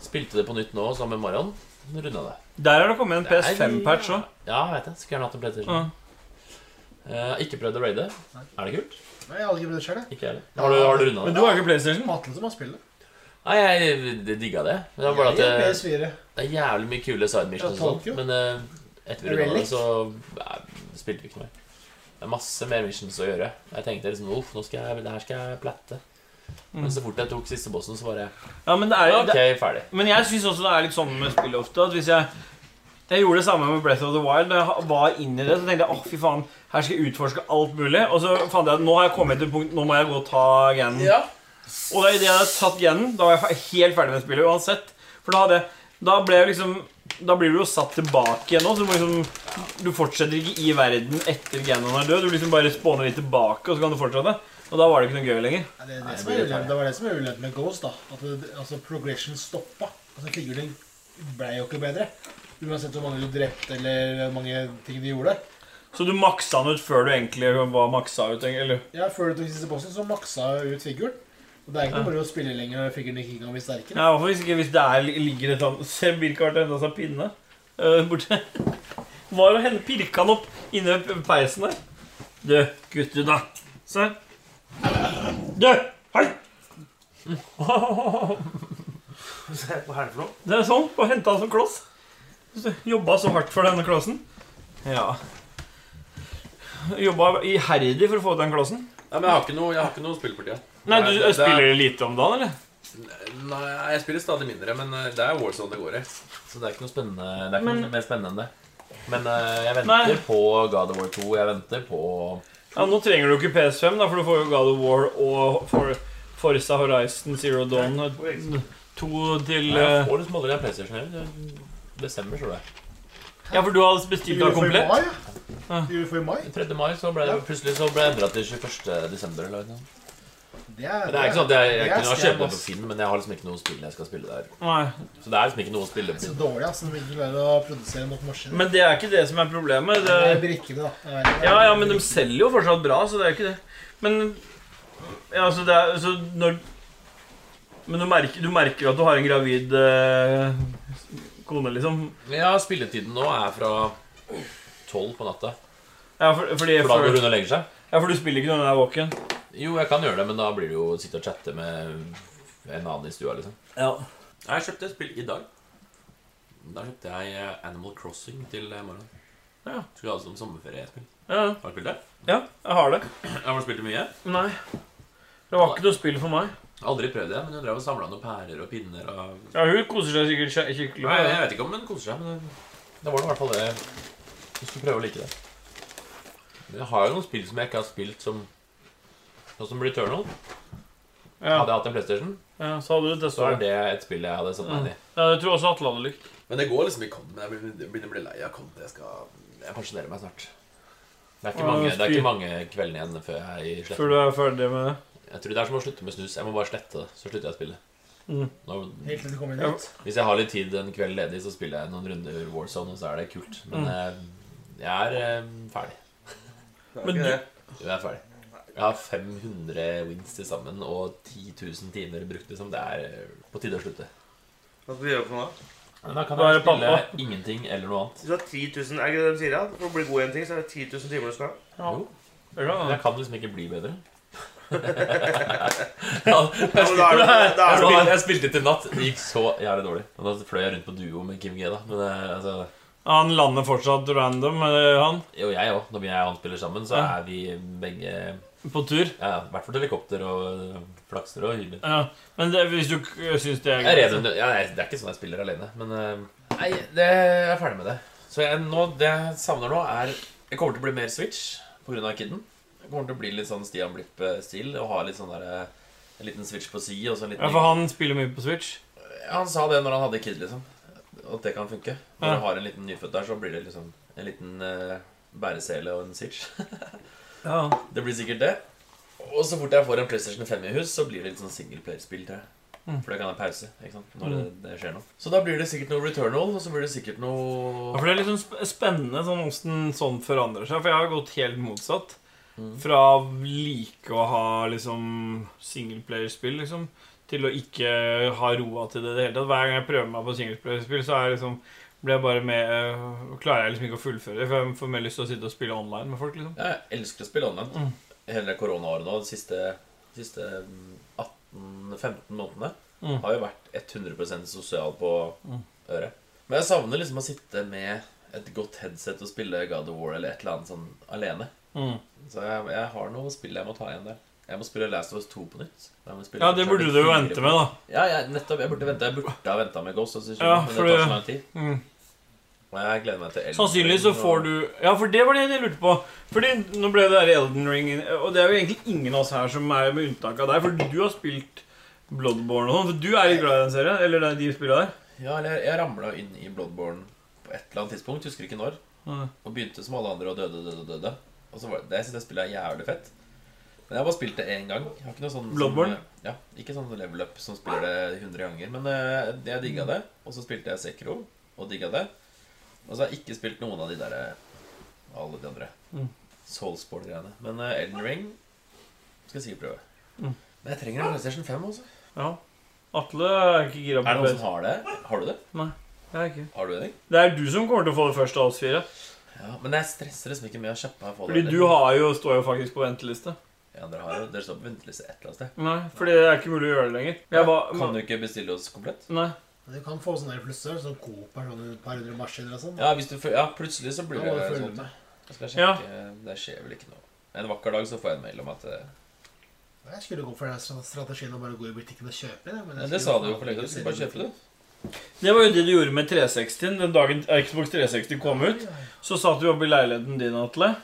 [SPEAKER 3] Spilte det på nytt nå samme morgen. Runda det.
[SPEAKER 8] Der har det kommet en PS5-patch òg.
[SPEAKER 3] Ja, jeg vet det. Skulle gjerne hatt en PlayStation. Eh, ikke prøvd å raide. Er det kult?
[SPEAKER 10] Nei, jeg har aldri prøvd det selv, jeg.
[SPEAKER 3] Ikke jeg heller. Har du, har du runda det?
[SPEAKER 8] Men du har ikke PlayStation.
[SPEAKER 10] Atle som har spilt det.
[SPEAKER 3] Nei, jeg d- digga det. Men det var bare at
[SPEAKER 10] Jeg er
[SPEAKER 3] det,
[SPEAKER 10] PS4.
[SPEAKER 3] det er jævlig mye kule side missions og
[SPEAKER 10] Ja, Tokyo.
[SPEAKER 3] sånt. Men eh, etter vi runda det,
[SPEAKER 10] Relic.
[SPEAKER 3] så nei, spilte vi ikke noe mer. Det er masse mer missions å gjøre. Jeg tenkte liksom uff, nå skal jeg, det her skal jeg platte. Men så fort jeg tok siste bossen, så var jeg
[SPEAKER 8] Ja, men, det er, jo-
[SPEAKER 3] OK, ferdig.
[SPEAKER 8] det, men jeg syns også det er litt sånn med spill ofte at hvis jeg jeg gjorde det samme med Breath of the Wild. Da jeg ha- var inne i det, så tenkte jeg åh, fy faen, her skal jeg utforske alt mulig. Og så fant jeg at nå har jeg kommet til punkt, nå må jeg gå og ta Ganon. Og da idet jeg hadde tatt Ganon, da var jeg fe- helt ferdig med spillet uansett. For da hadde jeg Da ble jeg liksom Da blir du jo satt tilbake igjen nå, så du må liksom Du fortsetter ikke i verden etter Ganon er død. Du liksom bare spåner litt tilbake, og så kan du fortsette. Og da var det ikke noe gøy lenger.
[SPEAKER 10] Nei, Det, er det, som er ulempe, det var det som var ulempen med Ghost. da At det, altså progression stoppa. Altså Figuren ble jo ikke bedre. Uansett hvor mange du drepte eller hvor mange ting de gjorde.
[SPEAKER 8] Så du maksa den ut før du egentlig var maksa ut? Eller?
[SPEAKER 10] Ja, Før du tok siste bossen, så maksa jeg ut figuren. Og det er ikke noe bare å spille lenger når figuren ikke kan bli sterkere.
[SPEAKER 8] Ja, i hvert fall hvis, ikke, hvis det er, ligger et sånt Se, Birk har vært og hentet seg pinne øh, borte. Var jo henne pirka han opp inni p- peisen der. Du, gutter, da. Se. Du! Hei!
[SPEAKER 4] Hva er det for noe?
[SPEAKER 8] Det er sånn. Og henta han som kloss. Så Jobba så hardt for denne klossen. Ja. Jobba iherdig for å få den klossen.
[SPEAKER 7] Nei, men jeg har ikke noe, jeg har ikke noe spill for tida.
[SPEAKER 8] Nei,
[SPEAKER 7] Nei,
[SPEAKER 8] du
[SPEAKER 7] det- det er-
[SPEAKER 8] spiller lite om dagen, eller?
[SPEAKER 7] Nei, jeg spiller stadig mindre, men eh, det er Warzone det går i.
[SPEAKER 3] Så det er ikke noe spennende Det er ikke
[SPEAKER 8] Men-
[SPEAKER 3] noe mer spennende enn det. Men eh, jeg venter
[SPEAKER 8] Nei.
[SPEAKER 3] på God of War 2. Jeg venter på
[SPEAKER 8] Ja, Nå trenger du ikke PS5, da, for du får jo God of War og For Forza Horizon Zero Dawn eh, to til
[SPEAKER 3] Nei, Jeg
[SPEAKER 8] eh,
[SPEAKER 3] får liksom aldri en PlayStation heller. Det Desember, tror jeg.
[SPEAKER 8] Ja, for du har bestilt deg
[SPEAKER 10] for i
[SPEAKER 8] komplett?
[SPEAKER 10] mai, ja. Det gjorde vi for i mai.
[SPEAKER 3] 3. mai så ble det plutselig så ble det endra til 21. desember. Eller noe. sånt.
[SPEAKER 10] Det er,
[SPEAKER 3] Men det er ikke sånn at jeg, jeg
[SPEAKER 10] det er
[SPEAKER 3] kunne ha
[SPEAKER 10] stjerne,
[SPEAKER 3] kjøpt meg på
[SPEAKER 10] ass.
[SPEAKER 3] Finn, men jeg har liksom ikke noe spill jeg skal spille der.
[SPEAKER 8] Nei.
[SPEAKER 3] Så det er liksom ikke noe å spille
[SPEAKER 10] Så
[SPEAKER 3] på.
[SPEAKER 10] dårlig altså, når vi ikke klarer å produsere nok maskiner.
[SPEAKER 8] Men det er ikke det som er problemet.
[SPEAKER 10] Det er
[SPEAKER 8] Det,
[SPEAKER 10] brikkene, da. Det er-
[SPEAKER 8] ja, ja, men de selger jo fortsatt bra, så det er ikke det. Men ja, altså, det er, så når Men du merker, du merker at du har en gravid eh, kone, liksom.
[SPEAKER 3] Ja, spilletiden nå er fra 12 på natta.
[SPEAKER 8] Ja, for, fordi,
[SPEAKER 3] For da går hun og legger seg.
[SPEAKER 8] ja, for du spiller ikke når hun er våken.
[SPEAKER 3] Jo, jeg kan gjøre det, men da blir det jo å sitte og chatte med en annen i stua, liksom.
[SPEAKER 8] Ja.
[SPEAKER 3] Jeg kjøpte et spill i dag. Da kjøpte jeg eh, Animal Crossing til eh, morgenen.
[SPEAKER 8] Ja.
[SPEAKER 3] Skulle ha det som sommerferiespill.
[SPEAKER 8] ja.
[SPEAKER 3] Har du spilt det?
[SPEAKER 8] Ja, jeg har det.
[SPEAKER 3] Har du spilt det mye?
[SPEAKER 8] Nei. Det var ikke noe spill for meg.
[SPEAKER 3] Aldri prøvd det, men hun drev og samla noen pærer og pinner og
[SPEAKER 8] Ja, Hun koser seg sikkert skje- skikkelig.
[SPEAKER 3] Nei,
[SPEAKER 8] med
[SPEAKER 3] Jeg
[SPEAKER 8] det.
[SPEAKER 3] vet ikke om hun koser seg, men det det var nå i hvert fall det Hvis du prøver å like det. Men jeg har jo noen spill som jeg ikke har spilt som Sånn som Returnal.
[SPEAKER 8] Ja.
[SPEAKER 3] Hadde jeg hatt en PlayStation,
[SPEAKER 8] Ja, så hadde du
[SPEAKER 3] så
[SPEAKER 8] testa
[SPEAKER 3] er
[SPEAKER 8] det.
[SPEAKER 3] det et spill jeg hadde satt meg inn i.
[SPEAKER 8] Ja, det tror jeg også Atle hadde likt.
[SPEAKER 7] Mm. Men det går liksom i kont. Men jeg begynner- jeg begynner å bli lei av kont. Jeg skal
[SPEAKER 3] Jeg pensjonerer meg snart. Det er ikke
[SPEAKER 8] Ja,
[SPEAKER 3] mange, det er
[SPEAKER 8] fy.
[SPEAKER 3] ikke mange kveldene igjen før jeg sletter.
[SPEAKER 8] Før du er ferdig med det.
[SPEAKER 3] Jeg tror det er som å slutte med snus. Jeg må bare slette det. Så slutter jeg å spille.
[SPEAKER 8] Mm.
[SPEAKER 3] Nå,
[SPEAKER 10] Helt til det kommer
[SPEAKER 8] Ja.
[SPEAKER 10] inn hit.
[SPEAKER 3] hvis jeg har litt tid en kveld ledig, så spiller jeg noen runder Warzone, og så er det kult.
[SPEAKER 8] Mm.
[SPEAKER 3] Men eh, jeg er eh, ferdig.
[SPEAKER 8] Men
[SPEAKER 4] ikke
[SPEAKER 8] du-
[SPEAKER 4] det.
[SPEAKER 3] Jo, Jeg er ferdig. Jeg har 500 wins til sammen og 10 000 timer brukt. Liksom. Det er eh, på tide å slutte.
[SPEAKER 4] Hva skal vi gjøre for noe? da?
[SPEAKER 3] Men da kan
[SPEAKER 8] Da er
[SPEAKER 3] jeg
[SPEAKER 8] det
[SPEAKER 3] spille
[SPEAKER 8] pappa.
[SPEAKER 3] ingenting eller noe annet.
[SPEAKER 4] Hvis du har 10 000, er det ikke det de sier? Ja? For å bli god i en ting, så er det 10 000 timer du skal ha.
[SPEAKER 3] Jo,
[SPEAKER 8] Det kan
[SPEAKER 3] men
[SPEAKER 8] hende.
[SPEAKER 3] jeg kan liksom ikke bli bedre.
[SPEAKER 4] Ja, men da er det- da
[SPEAKER 3] Jeg
[SPEAKER 4] er det-
[SPEAKER 3] spilte, jeg spilte til natt. Det gikk så jævlig dårlig. Og da fløy jeg rundt på duo med Kim G, da. Men eh, altså
[SPEAKER 8] Han lander fortsatt random, eh, han.
[SPEAKER 3] Jo, jeg òg. Når vi og han spiller sammen, så
[SPEAKER 8] Ja.
[SPEAKER 3] er vi begge
[SPEAKER 8] På tur.
[SPEAKER 3] ja, I hvert fall helikopter og eh, flakser og hyler.
[SPEAKER 8] Ja. Men det, hvis du k- syns det er
[SPEAKER 3] Jeg er redd, under- ja, jeg- det er ikke sånn jeg spiller alene, men eh, Nei, det, jeg er ferdig med det. Så jeg, nå, det jeg savner nå, er Jeg kommer til å bli mer Switch pga. kidden. Jeg kommer til å bli litt sånn Stian Blipp-stil og ha litt sånn der, eh, en liten Switch på si og så en liten
[SPEAKER 8] Ja, for han spiller mye på Switch.
[SPEAKER 3] Ja, Han
[SPEAKER 7] Eh,
[SPEAKER 3] sa det når han hadde kid, liksom. At det kan funke. Når
[SPEAKER 8] Ja.
[SPEAKER 3] du har en liten nyfødt der, så blir det liksom en liten eh,
[SPEAKER 7] bæresele og en Switch.
[SPEAKER 8] Ja.
[SPEAKER 7] Det blir sikkert det. Og så fort jeg får en PlayStation 5 i hus, så blir det litt sånn singleplayerspill, tror jeg. For det kan være pause ikke sant? når det, det skjer noe. Så da blir det sikkert noe Returnal, og så blir det sikkert
[SPEAKER 8] Ja,
[SPEAKER 7] noe
[SPEAKER 8] for Det er litt sånn sp- spennende sånn hvordan sånn forandrer seg. For jeg har gått helt motsatt. Fra å like å ha liksom singleplayerspill liksom, til å ikke ha roa til det i det hele tatt. Hver gang jeg prøver meg på singleplayerspill, så er jeg liksom blir jeg bare med øh, Klarer jeg liksom ikke å fullføre det. For jeg får mer lyst til å sitte og spille online med folk. liksom
[SPEAKER 7] Ja, jeg elsker å spille online.
[SPEAKER 8] Mm.
[SPEAKER 7] Hele koronaåret nå, de siste, siste 18-15 månedene,
[SPEAKER 8] Mm.
[SPEAKER 7] har jo vært 100 sosial på øret. Men jeg savner liksom å sitte med et godt headset og spille God of War eller et eller annet sånn alene.
[SPEAKER 8] Mm.
[SPEAKER 7] Så jeg, jeg har noe spill jeg må ta igjen der. Jeg må spille Last of Us 2 på nytt. Jeg må spille
[SPEAKER 8] Ja, det
[SPEAKER 7] Uncharted
[SPEAKER 8] burde du jo
[SPEAKER 7] 4
[SPEAKER 8] vente
[SPEAKER 7] på
[SPEAKER 8] med, da.
[SPEAKER 7] Ja, jeg, nettopp. Jeg burde vente Jeg burde ha venta med Ghost. Altså,
[SPEAKER 8] Ja,
[SPEAKER 7] men
[SPEAKER 8] for
[SPEAKER 7] det tar
[SPEAKER 8] det-
[SPEAKER 7] så lang tid.
[SPEAKER 8] Mm.
[SPEAKER 7] Og jeg gleder meg til Elden
[SPEAKER 8] Sannsynligvis så
[SPEAKER 7] Ring,
[SPEAKER 8] får
[SPEAKER 7] og-
[SPEAKER 8] du Ja, for det var det jeg lurte på. Fordi nå ble det der Elden Ring Og det er jo egentlig ingen av oss her som er med unntak av deg, for du har spilt Bloodborne og sånn. For du er litt glad i den serien? Eller det er de spillene der?
[SPEAKER 7] Ja, eller jeg, jeg ramla inn i Bloodborne på et eller annet tidspunkt. Husker ikke når.
[SPEAKER 8] Nei.
[SPEAKER 7] Og begynte som alle andre og døde, døde, døde. Og så var det, Jeg synes det spillet er jævlig fett. Men jeg har bare spilt det én gang. Jeg har ikke noe sånn
[SPEAKER 8] Bloodborne?
[SPEAKER 7] Sånn, ja, ikke sånn level up som spiller det 100 ganger. Men eh, jeg digga det. Og så spilte jeg Sekro og digga det. Og så har jeg ikke spilt noen av de der eh, Alle de andre
[SPEAKER 8] Mm.
[SPEAKER 7] Soulsport-greiene. Men eh, Elden Ring skal jeg sikkert prøve.
[SPEAKER 8] Mm.
[SPEAKER 7] Men jeg trenger en PlayStation 5 også.
[SPEAKER 8] Ja. Atle er ikke gira
[SPEAKER 7] Er det
[SPEAKER 8] på
[SPEAKER 7] noen som
[SPEAKER 8] det.
[SPEAKER 7] har det? Har du det?
[SPEAKER 8] Jeg er ikke.
[SPEAKER 7] Har du det?
[SPEAKER 8] Det er du som kommer til å få det først av oss fire.
[SPEAKER 7] Ja, men jeg stresser liksom ikke med å kjappe her.
[SPEAKER 8] Fordi du har jo, står jo faktisk på venteliste.
[SPEAKER 7] Ja, dere har jo Dere står på venteliste et eller annet sted.
[SPEAKER 8] Nei, fordi det er ikke mulig å gjøre det lenger. Jeg
[SPEAKER 7] Kan
[SPEAKER 8] var,
[SPEAKER 7] du ikke bestille oss komplett?
[SPEAKER 8] nei.
[SPEAKER 10] Men Du kan få sånne der plusser, sånn Coop er sånn et par hundre maskiner og sånn.
[SPEAKER 7] Ja, hvis du føl- ja, plutselig så blir
[SPEAKER 10] Da
[SPEAKER 7] det
[SPEAKER 10] må du følge
[SPEAKER 7] sånn.
[SPEAKER 10] med.
[SPEAKER 7] Jeg skal
[SPEAKER 8] Ja.
[SPEAKER 7] sjekke. Det skjer vel ikke noe. En vakker dag så får jeg en mail om at eh,
[SPEAKER 10] Jeg skulle gå for den stra- strategien å bare gå i butikken og kjøpe. det, Men
[SPEAKER 7] ja,
[SPEAKER 10] jeg
[SPEAKER 7] Det
[SPEAKER 10] skulle
[SPEAKER 7] sa du
[SPEAKER 10] faen
[SPEAKER 7] jo for lenge siden.
[SPEAKER 10] ikke
[SPEAKER 7] Du skulle bare
[SPEAKER 10] se
[SPEAKER 7] kjøpe det.
[SPEAKER 8] Det var jo det du gjorde med 360-en den dagen Xbox 360 kom ut. Så satt du oppe i leiligheten din, Atle.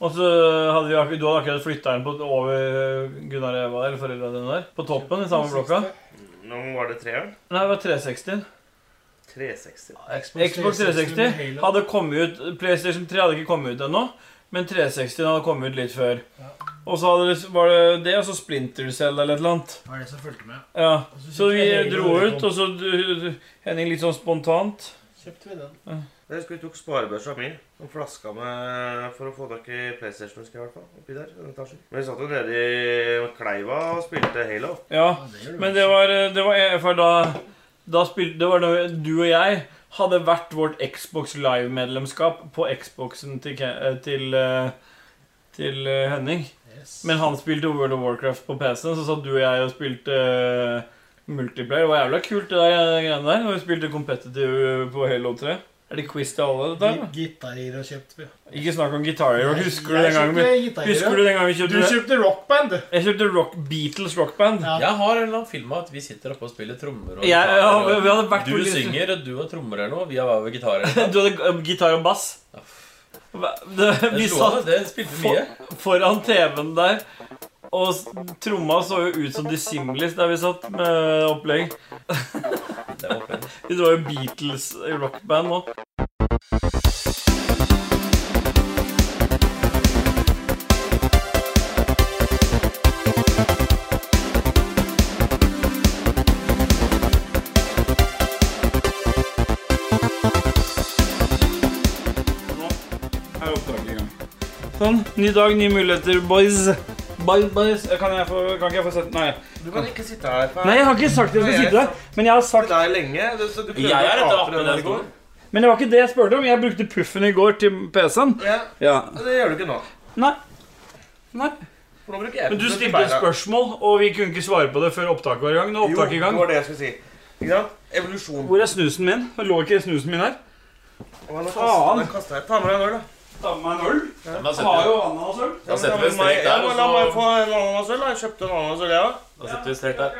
[SPEAKER 8] Og så hadde vi, akkur- du hadde akkurat flytta den på, over Gunnar og Eva, eller foreldrene dine der. På toppen i samme blokka.
[SPEAKER 4] Nå var det treeren.
[SPEAKER 8] Nei, det var 360.
[SPEAKER 4] 360.
[SPEAKER 8] Xbox 360
[SPEAKER 10] med Halo.
[SPEAKER 8] hadde kommet ut PlayStation 3 hadde ikke kommet ut ennå, men 360 hadde kommet ut litt før. Og så hadde det, var det det, og så Splinter Cell eller et eller annet.
[SPEAKER 10] Det var det som fulgte med.
[SPEAKER 8] Ja.
[SPEAKER 10] Og
[SPEAKER 8] Så vi
[SPEAKER 10] kjøpte jeg
[SPEAKER 8] dro
[SPEAKER 10] Halo
[SPEAKER 8] ut, og så du- Henning litt sånn spontant.
[SPEAKER 10] Kjøpte vi den.
[SPEAKER 4] Jeg husker vi tok sparebørsa mi og flaska med for å få tak i PlayStation. husker jeg i hvert fall, oppi der, i den etasjen. Men vi satt jo nede i kleiva og spilte Halo.
[SPEAKER 8] Ja.
[SPEAKER 10] Ja, det gjør du
[SPEAKER 8] Men
[SPEAKER 10] vel.
[SPEAKER 8] det var, eh, det var for da, da spil, Det var da du og jeg hadde hvert vårt Xbox Live-medlemskap på Xboxen til, Ke- eh, til, eh, til eh, Henning.
[SPEAKER 10] Yes.
[SPEAKER 8] Men han spilte World of Warcraft på PC-en, så satt du og jeg og spilte eh, multiplayer. Det var jævla kult, det der eh, greiene der. Når vi spilte competitive eh, på Halo 3. Er det quiz til alle, dette? her,
[SPEAKER 10] Gi- Gitarer og kjøpte vi.
[SPEAKER 8] da? Ikke snakk om gitarer. Husker du
[SPEAKER 10] Jeg
[SPEAKER 8] den gangen vi,
[SPEAKER 10] kjøpte gitarer,
[SPEAKER 8] husker du den gangen vi
[SPEAKER 10] ja. Du
[SPEAKER 8] kjøpte
[SPEAKER 10] kjøpte rockband.
[SPEAKER 8] Jeg kjøpte rock, Beatles rockband.
[SPEAKER 10] Ja.
[SPEAKER 7] Jeg har en eller annen film av at vi sitter oppe og spiller trommer og
[SPEAKER 8] Jeg, ja, vi
[SPEAKER 7] gitarer.
[SPEAKER 8] vi hadde
[SPEAKER 7] og
[SPEAKER 8] vært
[SPEAKER 7] Du
[SPEAKER 8] på-
[SPEAKER 7] synger, og du har trommer eller noe. Vi har vært
[SPEAKER 8] *laughs*
[SPEAKER 7] gitarer.
[SPEAKER 8] Du hadde eh, gitar og bass. Hva- Det, vi
[SPEAKER 7] Det slo
[SPEAKER 8] satt
[SPEAKER 7] av, det spilte vi mye.
[SPEAKER 8] foran TV-en der, og s- tromma så jo ut som The Simlies der vi satt med opplegg.
[SPEAKER 7] Det var fett.
[SPEAKER 8] *laughs* Det var jo Beatles i rockband nå. Sånn. Ny dag, nye muligheter, boys. Boys, boys. Eh, Kan, jeg få, kan ikke jeg få sette Nei.
[SPEAKER 4] Du kan ikke sitte her for
[SPEAKER 8] Nei, jeg har ikke sagt at jeg skal sitte der. Men jeg har sagt
[SPEAKER 4] Det er lenge. Du, så du prøver
[SPEAKER 7] Jeg er
[SPEAKER 4] å
[SPEAKER 7] etter
[SPEAKER 4] kapre
[SPEAKER 7] appen
[SPEAKER 4] den
[SPEAKER 7] den
[SPEAKER 4] går.
[SPEAKER 8] Men det var ikke det jeg spurte om. Jeg brukte puffen i går til PC-en.
[SPEAKER 4] Ja,
[SPEAKER 8] Ja.
[SPEAKER 4] Det gjør du ikke nå.
[SPEAKER 8] Nei. Nei.
[SPEAKER 4] For nå bruker jeg
[SPEAKER 8] Men du
[SPEAKER 4] den til
[SPEAKER 8] stilte et
[SPEAKER 4] beina.
[SPEAKER 8] spørsmål, og vi kunne ikke svare på det før opptaket var i gang. Nå er
[SPEAKER 4] Jo,
[SPEAKER 8] opptaket i gang.
[SPEAKER 4] det var det jeg skulle si. Ikke sant? Evolusjon.
[SPEAKER 8] Hvor er snusen min? Lå ikke snusen min her?
[SPEAKER 4] Å, nå kastet-
[SPEAKER 8] faen.
[SPEAKER 4] nå kastet jeg. Ta med deg en øl, da.
[SPEAKER 8] Ta med meg en øl.
[SPEAKER 7] Men da setter vi-
[SPEAKER 8] jo ananas øl.
[SPEAKER 7] da setter vi en
[SPEAKER 4] Ja,
[SPEAKER 7] strek der,
[SPEAKER 4] men
[SPEAKER 7] og
[SPEAKER 4] La meg
[SPEAKER 7] så
[SPEAKER 4] få en ananasøl. da. Jeg kjøpte en ananasøl, jeg òg.
[SPEAKER 7] Da setter vi en strek der.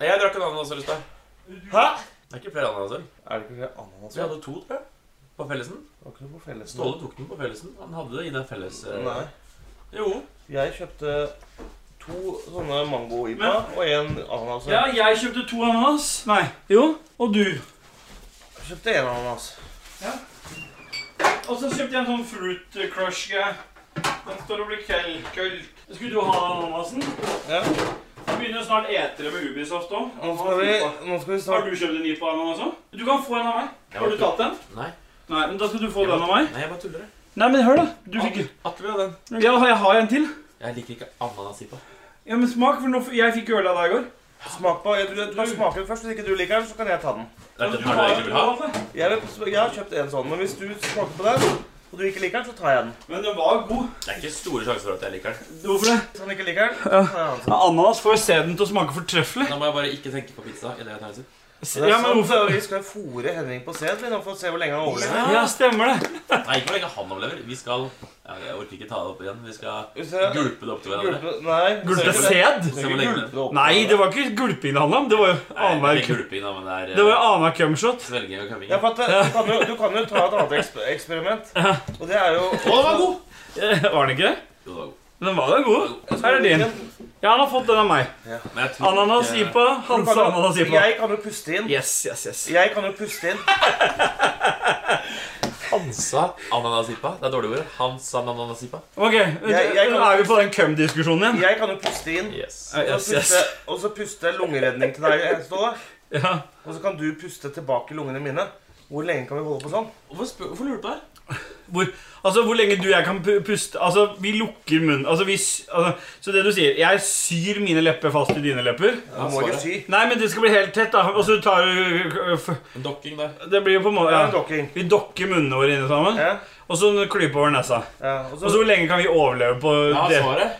[SPEAKER 7] Jeg drakk en ananasøl i stad.
[SPEAKER 4] Hæ?
[SPEAKER 7] Det er ikke flere ananasøl.
[SPEAKER 4] Er det ikke det ananas?
[SPEAKER 7] Vi hadde to, tror jeg. På fellesen.
[SPEAKER 4] Var ikke noe på felles nå?
[SPEAKER 7] Ståle tok den på fellesen. Han hadde det i den felles... eh,
[SPEAKER 4] Nei.
[SPEAKER 7] Jo.
[SPEAKER 4] Jeg kjøpte to sånne mango-ipa
[SPEAKER 8] Men-
[SPEAKER 4] og en ananas.
[SPEAKER 8] Ja, jeg kjøpte to ananas. Nei. Jo. Og du.
[SPEAKER 4] Jeg kjøpte en ananas.
[SPEAKER 8] Og så kjøpte jeg en sånn Fruit Crush-greie. Den står og blir køll, køll. Skulle du ha den, Hansen?
[SPEAKER 9] Ja.
[SPEAKER 8] Så begynner jo snart etere med Ubisoft òg.
[SPEAKER 9] Nå skal vi, nå skal vi
[SPEAKER 8] Har
[SPEAKER 9] snart
[SPEAKER 8] du kjøpt en ny på den også? Du kan få en av meg.
[SPEAKER 7] Jeg
[SPEAKER 8] Har du
[SPEAKER 7] bare-
[SPEAKER 8] tatt den?
[SPEAKER 7] Nei.
[SPEAKER 8] Nei, men Da skal du få den av meg.
[SPEAKER 7] Nei, jeg bare tuller. jeg.
[SPEAKER 8] Nei, men hør, da. Du fikk
[SPEAKER 7] Atle- Atle vil ha den.
[SPEAKER 8] Ja, jeg har en til.
[SPEAKER 7] Jeg liker ikke ananasippa.
[SPEAKER 8] Ja, men smak, for nå, jeg fikk øl av deg i går.
[SPEAKER 9] smake på Du, du kan smake den først. Hvis ikke du liker den, så kan jeg ta den.
[SPEAKER 7] Det er
[SPEAKER 8] men
[SPEAKER 7] den
[SPEAKER 8] du
[SPEAKER 7] du
[SPEAKER 8] har-
[SPEAKER 7] egentlig vil ha.
[SPEAKER 9] Jeg, vil, jeg har kjøpt en sånn, men hvis du smaker på den, og du ikke liker den, så tar jeg den.
[SPEAKER 8] Men den var god.
[SPEAKER 7] Det er ikke store sjanser for at jeg liker den.
[SPEAKER 8] Hvorfor det?
[SPEAKER 9] Hvis han ikke liker den, så tar jeg den.
[SPEAKER 8] Ja, Ananas får jo sæden til å smake fortreffelig.
[SPEAKER 7] Da må jeg bare ikke tenke på pizza. i det jeg tar en sipp.
[SPEAKER 9] Det er
[SPEAKER 8] Ja, men
[SPEAKER 9] sant,
[SPEAKER 8] hvorfor?
[SPEAKER 9] Vi skal fôre Henning på sæd vi nå, for å se hvor lenge han overlever.
[SPEAKER 8] Ja, stemmer det.
[SPEAKER 7] Nei, ikke hvor lenge han overlever. Vi skal ja, Jeg orker ikke ta det opp igjen. Vi skal
[SPEAKER 9] Hvis jeg-
[SPEAKER 7] gulpe det opp til hverandre.
[SPEAKER 9] Gulpe Nei. ser du
[SPEAKER 8] Gulpe
[SPEAKER 9] det?
[SPEAKER 8] sæd?
[SPEAKER 7] Se hvor lenge
[SPEAKER 9] Gulpe det opp.
[SPEAKER 8] Nei, det var ikke gulping det handla om. Det var jo
[SPEAKER 7] Nei, det er
[SPEAKER 8] annenhver
[SPEAKER 7] ikke
[SPEAKER 8] cum-
[SPEAKER 7] gulping, da, men det er eh,
[SPEAKER 8] Det var jo annenhver cumshot.
[SPEAKER 7] svelging og
[SPEAKER 9] Ja,
[SPEAKER 7] kamming.
[SPEAKER 9] for at det, du, kan jo, du kan jo ta et annet eksper eksperiment. Og det er jo
[SPEAKER 8] Eh, Var den ikke det?
[SPEAKER 7] Jo, det var god.
[SPEAKER 8] Men Den var jo god. Her er din. Ja, han har fått den av meg.
[SPEAKER 7] Men jeg tror
[SPEAKER 8] Ananas
[SPEAKER 7] ikke-
[SPEAKER 8] ipa.
[SPEAKER 9] Du kan
[SPEAKER 8] Hanse
[SPEAKER 9] jo-
[SPEAKER 8] ananas ipa.
[SPEAKER 9] Jeg kan jo puste inn.
[SPEAKER 8] Yes, yes, yes.
[SPEAKER 9] Jeg kan jo puste inn.
[SPEAKER 7] Hansa ananasippa. Det er dårlig ord. Hansa ananasippa.
[SPEAKER 8] Ok,
[SPEAKER 9] jeg kan-
[SPEAKER 8] er vi på den cum-diskusjonen igjen?
[SPEAKER 9] Jeg kan jo puste inn.
[SPEAKER 7] Yes.
[SPEAKER 8] Eh,
[SPEAKER 9] Og
[SPEAKER 8] Yes,
[SPEAKER 9] så
[SPEAKER 8] yes.
[SPEAKER 9] puste, og så puste lungeredning til deg, Ståle.
[SPEAKER 8] Ja.
[SPEAKER 9] Og så kan du puste tilbake i lungene mine. Hvor lenge kan vi holde på sånn?
[SPEAKER 7] Hvorfor, spør, hvorfor lurer du på det? her?
[SPEAKER 8] Hvor, altså, hvor lenge du og jeg kan pu- puste Altså, vi lukker munnen altså, vi, sy- altså, Så det du sier Jeg syr mine lepper fast i dine lepper
[SPEAKER 9] Du må ikke
[SPEAKER 7] svaret.
[SPEAKER 9] sy.
[SPEAKER 8] Nei, men det skal bli helt tett da Og så tar du
[SPEAKER 7] En dokking der.
[SPEAKER 8] Det blir jo på en måte
[SPEAKER 9] Ja,
[SPEAKER 8] ja.
[SPEAKER 9] en dokking.
[SPEAKER 8] Vi dokker munnene våre inne sammen
[SPEAKER 9] Ja,
[SPEAKER 8] Og så klyper over nesa
[SPEAKER 9] ja. Og
[SPEAKER 8] Og
[SPEAKER 9] så
[SPEAKER 8] så hvor lenge kan vi overleve på
[SPEAKER 7] Ja,
[SPEAKER 8] det
[SPEAKER 7] svaret.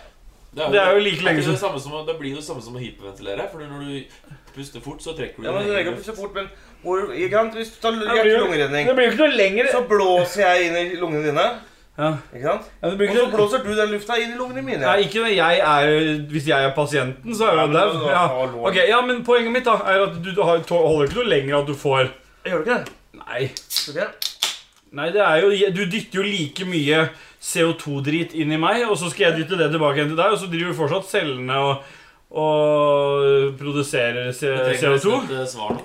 [SPEAKER 8] Det er jo like lenge
[SPEAKER 7] som
[SPEAKER 8] som-
[SPEAKER 7] det, samme som å- det blir jo det samme som å hyperventilere. For når du puster fort, så trekker du
[SPEAKER 9] ja, men
[SPEAKER 7] din
[SPEAKER 9] Du
[SPEAKER 7] egen
[SPEAKER 9] legger opp
[SPEAKER 7] luft.
[SPEAKER 9] så fort, men hvor, ikke sant? Hvis du tar
[SPEAKER 8] blir jo-
[SPEAKER 9] hjerte-lungeredning,
[SPEAKER 8] Det blir jo ikke noe lenger
[SPEAKER 9] så blåser jeg inn i lungene dine.
[SPEAKER 8] Ja.
[SPEAKER 9] Ikke sant?
[SPEAKER 8] Ja, det blir
[SPEAKER 9] Og
[SPEAKER 8] ikke
[SPEAKER 9] så
[SPEAKER 8] noe
[SPEAKER 9] blåser du den lufta inn i lungene mine.
[SPEAKER 8] Nei, ikke når jeg er Hvis jeg er pasienten, så er
[SPEAKER 9] Ja,
[SPEAKER 8] jeg
[SPEAKER 9] men
[SPEAKER 8] jo
[SPEAKER 9] da-
[SPEAKER 8] dau.
[SPEAKER 9] da-
[SPEAKER 8] Ja.
[SPEAKER 9] hallo.
[SPEAKER 8] Ok, ja, men poenget mitt da er at du har, holder ikke noe lenger at du får
[SPEAKER 9] Gjør du ikke det?
[SPEAKER 8] Nei
[SPEAKER 9] Tror ikke det?
[SPEAKER 8] Nei, det er jo, du dytter jo like mye CO2-drit inn i meg, og så skal jeg dytte det tilbake igjen til deg, og så driver vi fortsatt cellene og, og produserer
[SPEAKER 7] Du
[SPEAKER 8] C-
[SPEAKER 7] trenger
[SPEAKER 8] CO2.
[SPEAKER 7] nesten et eh, svar nå.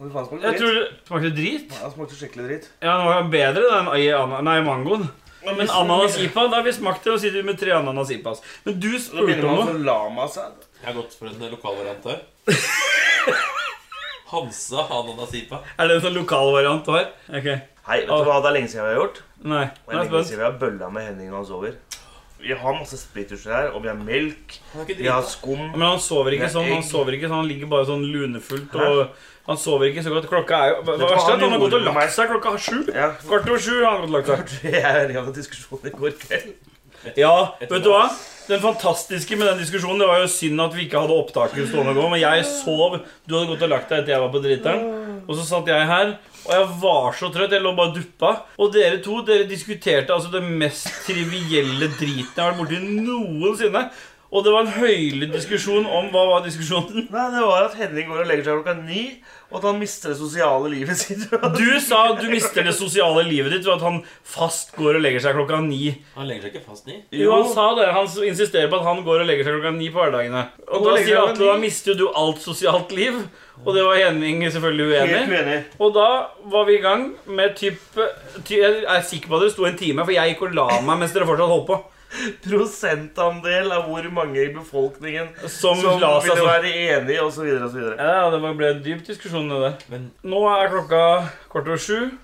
[SPEAKER 9] Hvor faen smakte
[SPEAKER 8] Jeg
[SPEAKER 9] det
[SPEAKER 8] tror
[SPEAKER 9] dritt?
[SPEAKER 8] det smakte drit.
[SPEAKER 9] Ja, det smakte skikkelig dritt.
[SPEAKER 8] Ja, den var bedre den i ana- nei, mangoen. Men ananas ipa, da har vi smakt det, og sitter vi med tre ananas ipas. Men du
[SPEAKER 9] Så
[SPEAKER 8] spurte
[SPEAKER 9] begynner
[SPEAKER 8] om
[SPEAKER 9] man
[SPEAKER 8] noe.
[SPEAKER 9] å lama seg.
[SPEAKER 7] Jeg har gått for en eh, lokal variant *laughs* her. Hansa ananasipa.
[SPEAKER 8] Er det en sånn lokal variant du har? Ok,
[SPEAKER 9] Hei, vet du hva? Det er lenge siden vi har gjort.
[SPEAKER 8] Ah. nei.
[SPEAKER 9] Og
[SPEAKER 8] Nå
[SPEAKER 9] jeg
[SPEAKER 8] er jeg
[SPEAKER 9] lenge
[SPEAKER 8] spent.
[SPEAKER 9] siden vi har bølla med Henning når han sover. Vi har masse splitters her, og vi har melk,
[SPEAKER 7] Han er ikke
[SPEAKER 9] vi har
[SPEAKER 7] drita.
[SPEAKER 9] skum.
[SPEAKER 8] Men han sover ikke sånn, han sover ikke sånn, han ligger bare sånn lunefullt, og han sover ikke så godt. Klokka er jo, det
[SPEAKER 9] hva
[SPEAKER 8] verste er
[SPEAKER 9] han
[SPEAKER 8] at han har gått og
[SPEAKER 9] gjorde med meg?
[SPEAKER 8] lagt seg klokka sju.
[SPEAKER 9] Ja,
[SPEAKER 8] Kvart over sju har han gått lagt seg.
[SPEAKER 9] jeg er enig i den diskusjonen i går kveld.
[SPEAKER 8] Ja, vet du hva? Den fantastiske med den diskusjonen Det var jo synd at vi ikke hadde opptaket stående gå. Men jeg sov. Du hadde gått og lagt deg etter jeg var på driteren. Og så satt jeg her, og jeg var så trøtt. Jeg lå bare og duppa. Og dere to dere diskuterte altså det mest trivielle driten jeg har vært borti noensinne. Og det var en høylytt diskusjon om Hva var diskusjonen?
[SPEAKER 9] Nei, det var at Henning går og legger seg klokka ni, og at han mister det sosiale livet sitt. *laughs*
[SPEAKER 8] Du sa at du mister det sosiale livet ditt ved at han fast går og legger seg klokka ni.
[SPEAKER 7] Han legger seg ikke fast ni.
[SPEAKER 8] Jo, han sa det. Han s- insisterer på at han går og legger seg klokka ni på hverdagene. Og,
[SPEAKER 9] Og da
[SPEAKER 8] da
[SPEAKER 9] legger
[SPEAKER 8] sier
[SPEAKER 9] han
[SPEAKER 8] Atle da
[SPEAKER 9] ni.
[SPEAKER 8] mister jo du alt sosialt liv. Og det var Henning selvfølgelig
[SPEAKER 9] Helt
[SPEAKER 8] uenig i.
[SPEAKER 9] uenig.
[SPEAKER 8] Og da var vi i gang med typ, ty, Jeg er sikker på at det sto en time, for jeg gikk og la meg mens dere fortsatt holdt på.
[SPEAKER 9] Prosentandel av hvor mange i befolkningen
[SPEAKER 8] Som,
[SPEAKER 9] som
[SPEAKER 8] la seg
[SPEAKER 9] ville
[SPEAKER 8] sånn.
[SPEAKER 9] være enig, osv. osv.
[SPEAKER 8] Ja, det var- ble en dyp diskusjon, det der.
[SPEAKER 7] Men
[SPEAKER 8] Nå er klokka kvart over sju.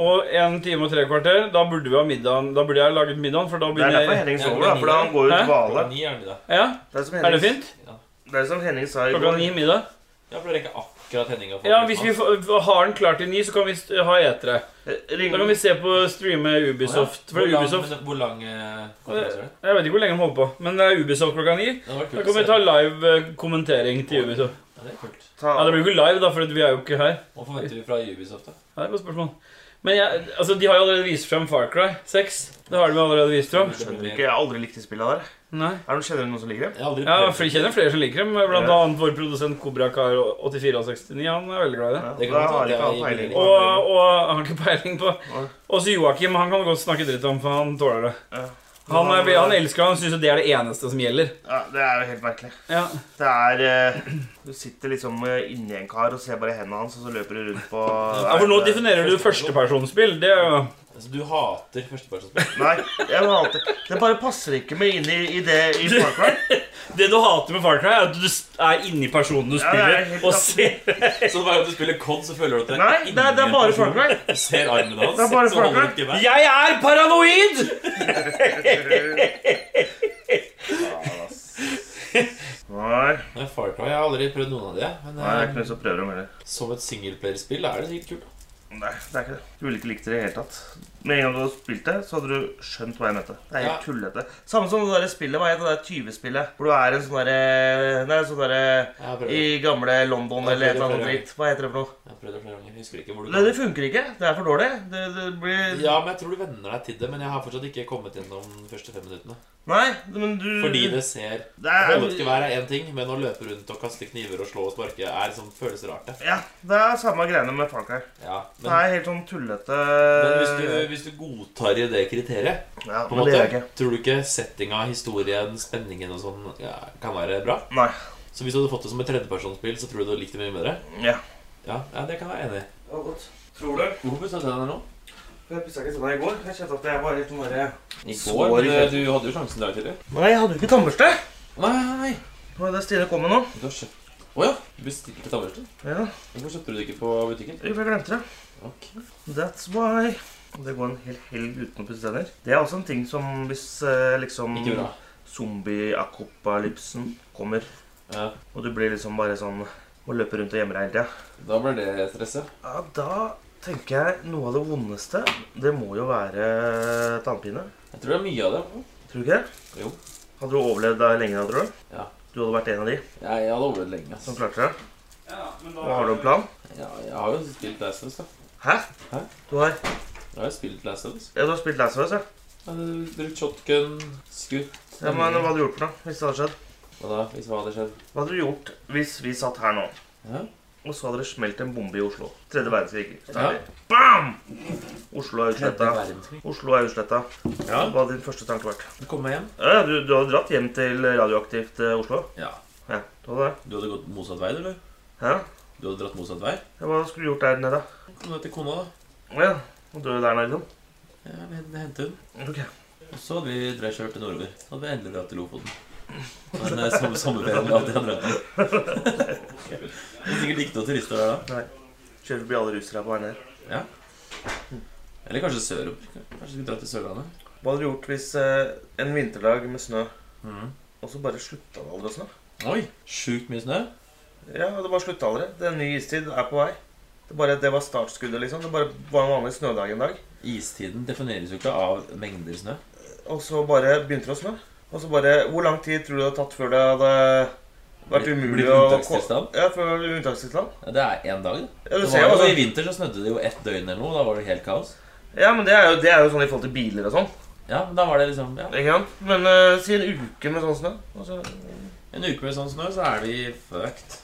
[SPEAKER 8] Og en time og tre kvarter. Da burde vi ha middagen. Da burde jeg laget middagen, for da
[SPEAKER 9] Det er
[SPEAKER 8] begynner
[SPEAKER 9] derfor
[SPEAKER 8] jeg
[SPEAKER 9] Henning
[SPEAKER 7] Ja,
[SPEAKER 9] sover, da, for da han går ut
[SPEAKER 8] Hæ?
[SPEAKER 9] i dvale.
[SPEAKER 7] klokka ni er den i dag.
[SPEAKER 8] Ja,
[SPEAKER 9] Det er som
[SPEAKER 8] Er det
[SPEAKER 9] Henning,
[SPEAKER 8] fint?
[SPEAKER 9] det er som Henning sa i
[SPEAKER 8] Klokka
[SPEAKER 9] går.
[SPEAKER 8] ni middag?
[SPEAKER 7] Ja, for det er ikke akkurat Henning har fått
[SPEAKER 8] Ja,
[SPEAKER 7] ut
[SPEAKER 8] hvis
[SPEAKER 7] nå.
[SPEAKER 8] vi får- har den klar til ni, så kan vi st- ha etere. Da kan vi
[SPEAKER 9] Ring
[SPEAKER 8] se på streame Ubisoft. For
[SPEAKER 7] Hvor lang-
[SPEAKER 8] Ubisoft
[SPEAKER 7] men Hvor lang eh, konferanse er det?
[SPEAKER 8] Jeg vet ikke hvor lenge de holder på, men det er Ubisoft klokka ni.
[SPEAKER 7] Det hadde vært
[SPEAKER 8] Da
[SPEAKER 7] kult
[SPEAKER 8] kan
[SPEAKER 7] å
[SPEAKER 8] vi
[SPEAKER 7] se.
[SPEAKER 8] ta live eh, kommentering til Ubisoft.
[SPEAKER 7] Ja, det er kult.
[SPEAKER 9] ta
[SPEAKER 8] Ja, Det blir jo ikke live, da, for vi er jo ikke her.
[SPEAKER 7] Hva forventer vi fra Ubisoft, da?
[SPEAKER 8] Det er et godt spørsmål. Men jeg, altså, de har jo allerede vist frem Far Cry 6. Det har de allerede vist frem.
[SPEAKER 7] Det blir-
[SPEAKER 9] Jeg har aldri likt de spillene der.
[SPEAKER 8] Nei.
[SPEAKER 9] Er det noen kjenner du noen som liker dem?
[SPEAKER 7] Jeg har aldri
[SPEAKER 8] Ja,
[SPEAKER 7] prøvd
[SPEAKER 8] for Jeg kjenner flere som liker dem. Blant annet vår produsent Kobrakar8469. Han er veldig glad i det.
[SPEAKER 9] Ja,
[SPEAKER 7] Det kan
[SPEAKER 9] da
[SPEAKER 7] godt
[SPEAKER 9] har
[SPEAKER 7] være
[SPEAKER 9] de ikke
[SPEAKER 7] at
[SPEAKER 9] hatt
[SPEAKER 7] jeg
[SPEAKER 9] peiling.
[SPEAKER 8] Og, og har ikke peiling på
[SPEAKER 9] Nei.
[SPEAKER 8] Også Joakim han kan du godt snakke dritt om, for han tåler det.
[SPEAKER 9] Ja.
[SPEAKER 8] Han, er- han elsker det, han syns det er det eneste som gjelder.
[SPEAKER 4] Ja, det er jo helt merkelig.
[SPEAKER 8] Ja.
[SPEAKER 4] Det er eh, Du sitter liksom eh, inni en kar og ser bare hendene hans, og så løper du rundt på
[SPEAKER 8] Ja, for nå definerer du førstepersonsspill. Det er jo
[SPEAKER 7] Altså, du hater førstepersonsspill.
[SPEAKER 4] Nei, jeg må alltid Det bare passer ikke meg inn i, i det i Far Cry.
[SPEAKER 8] Det du hater med Far Cry, er at du er inni personen du
[SPEAKER 4] Ja, det er helt
[SPEAKER 8] spiller, og ser
[SPEAKER 7] Så hver gang du spiller COD, så føler du at det
[SPEAKER 4] Nei, det er, det er bare Far Cry.
[SPEAKER 7] Du ser armen hans,
[SPEAKER 4] Det er bare
[SPEAKER 7] så
[SPEAKER 4] Far
[SPEAKER 7] holder du
[SPEAKER 4] Cry.
[SPEAKER 7] ikke med.
[SPEAKER 8] Jeg er paranoid!
[SPEAKER 4] Nei,
[SPEAKER 7] Nei, Far Cry, Jeg har aldri prøvd noen av de. jeg.
[SPEAKER 4] nei, det er
[SPEAKER 7] Men
[SPEAKER 4] ikke noe som prøver dem heller.
[SPEAKER 7] eh, som et singleplayerspill er det sikkert kult. da.
[SPEAKER 4] Nei, det er ikke det. Du ville ikke likt det i det hele tatt. Med en gang du hadde spilt det, så hadde du skjønt hva jeg mente. Det er helt
[SPEAKER 7] Ja.
[SPEAKER 4] tullete. Samme som det der spillet, hva heter det der 20-spillet? Hvor du er en sånn derre Nei, sånn derre
[SPEAKER 7] Jeg har prøvd
[SPEAKER 4] I
[SPEAKER 7] det.
[SPEAKER 4] gamle London
[SPEAKER 7] Ja,
[SPEAKER 4] eller et
[SPEAKER 7] flere,
[SPEAKER 4] eller annet
[SPEAKER 7] flere.
[SPEAKER 4] dritt. Hva heter det for noe?
[SPEAKER 7] Jeg har prøvd det flere ganger. Jeg husker ikke hvor du
[SPEAKER 4] Nei, det funker ikke. Det er for dårlig. Det, det blir
[SPEAKER 7] Ja, men jeg tror du venner deg til det, men jeg har fortsatt ikke kommet gjennom de første fem minuttene.
[SPEAKER 4] Nei, men du
[SPEAKER 8] Mm.
[SPEAKER 7] Fordi det ser
[SPEAKER 4] det er,
[SPEAKER 7] Voldtevær er én ting, men å løpe rundt og kaste kniver og slå og sparke er sånn, føles rart. det.
[SPEAKER 4] Ja, det er samme greiene med Far Cry.
[SPEAKER 7] Ja,
[SPEAKER 4] Det
[SPEAKER 7] men,
[SPEAKER 4] er helt sånn tullete
[SPEAKER 7] men hvis, du, hvis du godtar i det kriteriet,
[SPEAKER 4] Ja,
[SPEAKER 7] på en
[SPEAKER 4] men det gjør jeg
[SPEAKER 7] måte,
[SPEAKER 4] ikke.
[SPEAKER 7] tror du ikke settinga, historien, spenningen og sånn ja, kan være bra?
[SPEAKER 4] Nei.
[SPEAKER 7] Så hvis du hadde fått det som et tredjepersonsspill, så tror du du hadde likt det mye bedre?
[SPEAKER 4] Ja.
[SPEAKER 7] Ja, ja det kan jeg være enig i.
[SPEAKER 9] Tror du?
[SPEAKER 7] Hvorfor pussa du tennene nå?
[SPEAKER 9] Jeg pussa ikke tenna i går. Jeg kjente at jeg var litt mer
[SPEAKER 7] I
[SPEAKER 4] Sår
[SPEAKER 7] går,
[SPEAKER 4] i
[SPEAKER 7] men eh, du hadde jo sjansen der tidligere.
[SPEAKER 4] Nei, jeg hadde jo ikke tannbørste.
[SPEAKER 7] Nei, nei, nei.
[SPEAKER 4] Det var det Stine kom med nå.
[SPEAKER 7] Du har kjøpt Å ja. Du bestilte tannbørste?
[SPEAKER 4] Ja,
[SPEAKER 7] Hvorfor kjøpte du det ikke på butikken?
[SPEAKER 4] jeg glemte det.
[SPEAKER 7] Ok.
[SPEAKER 4] That's why. Og Det går en hel helg uten å pusse tenner. Det er også en ting som hvis eh, liksom
[SPEAKER 7] Ikke bra.
[SPEAKER 4] zombie-akopalypsen kommer,
[SPEAKER 7] Ja.
[SPEAKER 4] og du blir liksom bare sånn Må løpe rundt og gjemme deg hele tida.
[SPEAKER 7] Da ble det stresset.
[SPEAKER 4] Ja, da tenker jeg noe av det vondeste, det må jo være tannpine.
[SPEAKER 7] Jeg tror det er mye av det.
[SPEAKER 4] Tror du ikke det?
[SPEAKER 7] Jo.
[SPEAKER 4] Hadde du overlevd deg lenge da, tror du?
[SPEAKER 7] Ja.
[SPEAKER 4] Du hadde vært en av de
[SPEAKER 7] Jeg, jeg hadde overlevd lenge. altså. ass.
[SPEAKER 4] som klarte det?
[SPEAKER 8] Ja, men
[SPEAKER 4] Og har du en plan?
[SPEAKER 7] Ja, jeg har jo spilt Last of Us, da.
[SPEAKER 4] Hæ?
[SPEAKER 7] Hæ?
[SPEAKER 4] Du har,
[SPEAKER 7] Jeg har jo spilt Last of Us.
[SPEAKER 4] ja, du har spilt Last of Us, ja.
[SPEAKER 7] Jeg hadde brukt shotgun, skutt
[SPEAKER 4] ja. Men hva hadde du gjort for noe hvis det hadde skjedd?
[SPEAKER 7] Hva da, hvis hva hadde skjedd?
[SPEAKER 4] Hva hadde du gjort hvis vi satt her nå,
[SPEAKER 7] Ja.
[SPEAKER 4] og så hadde det smelt en bombe i Oslo? Tredje verdenskrig.
[SPEAKER 7] Ja.
[SPEAKER 4] Bam! Oslo er
[SPEAKER 7] Tredje
[SPEAKER 4] utsletta.
[SPEAKER 7] verdenskrig.
[SPEAKER 4] Oslo er utsletta.
[SPEAKER 7] Ja.
[SPEAKER 4] Hva hadde din første tanke vært?
[SPEAKER 7] Du kom meg hjem.
[SPEAKER 4] Ja, ja, du, du hadde dratt hjem til radioaktivt eh, Oslo?
[SPEAKER 7] Ja.
[SPEAKER 4] Ja, du hadde det.
[SPEAKER 7] Du hadde gått motsatt vei, du, eller?
[SPEAKER 4] Ja.
[SPEAKER 7] Du hadde dratt motsatt vei?
[SPEAKER 4] ja, Hva skulle du gjort der nede?
[SPEAKER 7] Kom ned til kona, da.
[SPEAKER 4] Ja, og dø der nede, liksom?
[SPEAKER 7] Ja, vi hen- hentet hun.
[SPEAKER 4] Ok.
[SPEAKER 7] Og så hadde vi dreid kjørt til nordover. Så hadde vi endelig dratt til Lofoten. Men eh, samme sommerferien hadde jeg dratt til. Det er sikkert ikke noen turister der da.
[SPEAKER 4] Kjører forbi alle russere på vei ned.
[SPEAKER 7] Eller kanskje sørover. Kanskje vi drar til Sørlandet.
[SPEAKER 4] Hva hadde du gjort hvis eh, en vinterdag med snø,
[SPEAKER 7] Mhm.
[SPEAKER 4] og så bare slutta det aldri å snø?
[SPEAKER 7] Oi, sjukt mye snø.
[SPEAKER 4] Ja, og det bare slutta aldri. Det er en ny istid er på vei. Det, bare, det var startskuddet, liksom. Det bare var en vanlig snødag en dag.
[SPEAKER 7] Istiden defineres jo ikke av mengder snø.
[SPEAKER 4] Og så bare begynte det å snø. Og så bare Hvor lang tid tror du det hadde tatt før det hadde vært
[SPEAKER 7] Blitt-
[SPEAKER 4] umulig
[SPEAKER 7] blitt
[SPEAKER 4] å
[SPEAKER 7] unntakstilstand?
[SPEAKER 4] Ja, før det var unntakstilstand.
[SPEAKER 7] Ja, Det er én dag, da.
[SPEAKER 4] Ja, du
[SPEAKER 7] Det
[SPEAKER 4] ser
[SPEAKER 7] var
[SPEAKER 4] jo,
[SPEAKER 7] jo, I
[SPEAKER 4] altså.
[SPEAKER 7] vinter så snødde det jo ett døgn eller noe. Da var det helt kaos.
[SPEAKER 4] ja, men det er, jo, det er jo sånn i forhold til biler og sånn.
[SPEAKER 7] Ja, men da var det liksom ja.
[SPEAKER 4] Ikke sant? Men eh, si en uke med sånn snø. Og så,
[SPEAKER 7] En uke med sånn snø, så er vi fucked.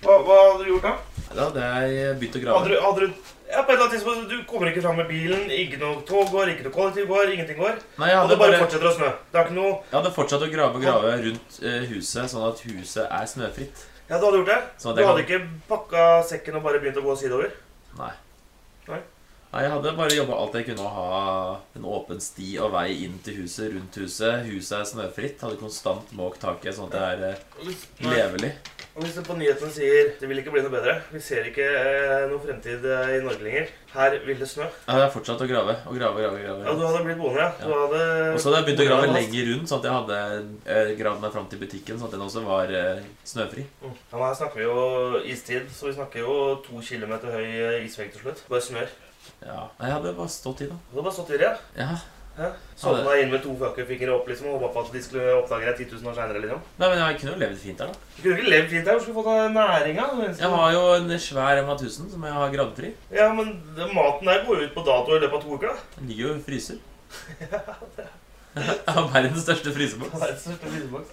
[SPEAKER 4] hva, hva hadde du gjort da?
[SPEAKER 7] Da hadde jeg begynt å
[SPEAKER 4] Hadde
[SPEAKER 7] grave.
[SPEAKER 4] du, hadde du ja, på et eller annet tidspunkt, Du kommer ikke fram med bilen. Ikke noe tog går, ikke noe kollektiv går, ingenting går.
[SPEAKER 7] Nei, jeg
[SPEAKER 4] Og
[SPEAKER 7] hadde,
[SPEAKER 4] det bare
[SPEAKER 7] bare,
[SPEAKER 4] fortsetter å snø. Det er ikke noe
[SPEAKER 7] jeg hadde fortsatt å grave og grave rundt eh, huset, sånn at huset er snøfritt.
[SPEAKER 4] Ja, du hadde gjort det?
[SPEAKER 7] Sånn at
[SPEAKER 4] Du
[SPEAKER 7] jeg
[SPEAKER 4] hadde
[SPEAKER 7] kan-
[SPEAKER 4] ikke pakka sekken og bare begynt å gå sideover?
[SPEAKER 7] Nei.
[SPEAKER 4] Nei.
[SPEAKER 7] Nei, Jeg hadde bare jobba alt jeg kunne å ha en åpen sti og vei inn til huset, rundt huset. Huset er snøfritt. Hadde konstant måkt taket, sånn at det er eh, levelig.
[SPEAKER 4] Og Hvis det på nyhetene sier det vil ikke bli noe bedre, vi ser ikke eh, noe fremtid eh, i Norge lenger, her vil det snø
[SPEAKER 7] Jeg hadde fortsatt å grave og grave. grave,
[SPEAKER 4] Ja,
[SPEAKER 7] grave.
[SPEAKER 4] du hadde blitt boende, ja. Du hadde
[SPEAKER 7] Og så hadde jeg begynt å grave lenger rundt, sånn at jeg hadde eh, gravd meg fram til butikken, sånn at den også var eh, snøfri.
[SPEAKER 4] Mm. Ja, men her snakker vi jo istid, så vi snakker jo to kilometer høy eh, isvegg til slutt. Bare snør.
[SPEAKER 7] Ja. Nei, jeg hadde bare stått i, da.
[SPEAKER 4] Du hadde bare stått i det, ja.
[SPEAKER 7] Ja.
[SPEAKER 4] Sovna inn med to fuckingfingre opp liksom, og håpa på at de skulle oppdage deg 10 000 år seinere. Liksom.
[SPEAKER 7] Nei, men jeg kunne jo levd fint her, da.
[SPEAKER 4] Du kunne ikke levd fint der. Hvor skulle du fått av næringa?
[SPEAKER 7] Jeg har jo en svær Emma 1000 som jeg har gravd fri.
[SPEAKER 4] Ja, men det- maten der går jo ut på dato i løpet av to uker, da.
[SPEAKER 7] Den ligger jo og fryser. Jeg har verdens største fryseboks.
[SPEAKER 4] Det er et stort fryseboks.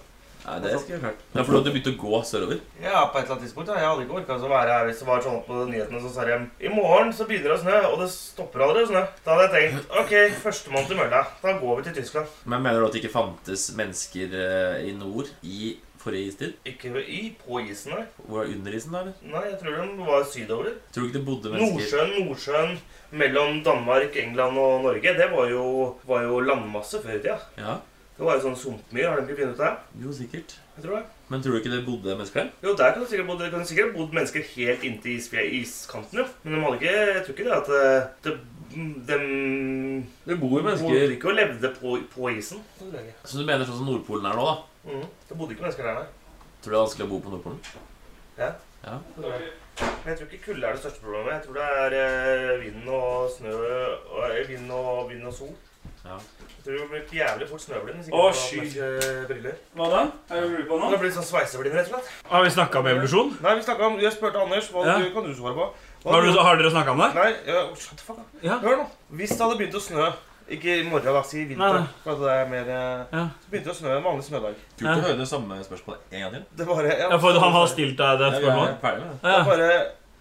[SPEAKER 7] Nei, det skulle jeg klart. Ja, for du hadde begynt å gå sørover?
[SPEAKER 9] Ja, på et eller annet tidspunkt. Ja. Jeg hadde ikke orka å være her hvis det var sånn at på nyhetene så sa de I morgen så begynner det å snø, og det stopper aldri å snø. Da hadde jeg tenkt OK, førstemann til mølla. Da går vi til Tyskland.
[SPEAKER 7] Men mener du at det ikke fantes mennesker eh, i nord i forrige istid?
[SPEAKER 9] Ikke i, på isen, nei.
[SPEAKER 7] Hvor er under isen, da? eller?
[SPEAKER 9] Nei, jeg tror de var sydover.
[SPEAKER 7] Tror du ikke det bodde mennesker
[SPEAKER 9] Nordsjøen, Nordsjøen mellom Danmark, England og Norge, det var jo, var jo landmasse før i tida.
[SPEAKER 7] Ja,
[SPEAKER 9] Det var jo sånn sumpmyr, har de ikke funnet ut det?
[SPEAKER 7] jo sikkert.
[SPEAKER 9] Jeg tror det.
[SPEAKER 7] Men tror du ikke det bodde mennesker der?
[SPEAKER 9] Jo, der kan det sikkert bodd, det kan sikkert bodd mennesker helt inntil isfje, iskanten, jo. Men de hadde ikke, jeg tror ikke det at eh, det,
[SPEAKER 4] mm,
[SPEAKER 9] de
[SPEAKER 7] Det bor
[SPEAKER 9] bodde ikke og levde på, på isen. så lenge.
[SPEAKER 7] Så du mener sånn som Nordpolen er nå, da?
[SPEAKER 9] Mhm.
[SPEAKER 4] Mm.
[SPEAKER 9] Det bodde ikke mennesker der, nei.
[SPEAKER 7] Tror du det er vanskelig å bo på Nordpolen?
[SPEAKER 9] Men jeg tror ikke kulde er det største problemet. Jeg tror det er eh, vind og snø og, eh, vind, og, vind og sol.
[SPEAKER 7] Ja.
[SPEAKER 9] Jeg tror du blir jævlig fort snøblind hvis
[SPEAKER 8] Å,
[SPEAKER 9] ikke
[SPEAKER 8] sky.
[SPEAKER 9] du har nok, eh, briller.
[SPEAKER 8] Hva da? Er det mulig på nå?
[SPEAKER 9] Det blir sånn sveiseblind, rett og slett.
[SPEAKER 8] Har vi snakka om evolusjon?
[SPEAKER 9] Nei, vi snakket om, jeg spurte Anders, hva
[SPEAKER 8] Ja.
[SPEAKER 9] du, kan du svare på? Hva
[SPEAKER 8] Har, du, har dere snakka om det?
[SPEAKER 9] Nei, ja, shut the fuck up.
[SPEAKER 8] Ja.
[SPEAKER 9] Hør nå. Hvis det hadde begynt å snø ikke i morgen, da, si i
[SPEAKER 8] Nei,
[SPEAKER 9] vinter.
[SPEAKER 8] nei.
[SPEAKER 9] For at det er mer, eh,
[SPEAKER 8] Ja.
[SPEAKER 9] Så begynte det å snø en vanlig snødag.
[SPEAKER 7] Kult å høre det samme spørsmålet en gang til.
[SPEAKER 9] Det bare, ja,
[SPEAKER 8] Ja, for han har stilt deg det
[SPEAKER 7] Jeg er
[SPEAKER 8] spørsmålet?
[SPEAKER 7] ferdig med det.
[SPEAKER 8] Ja.
[SPEAKER 9] Det bare,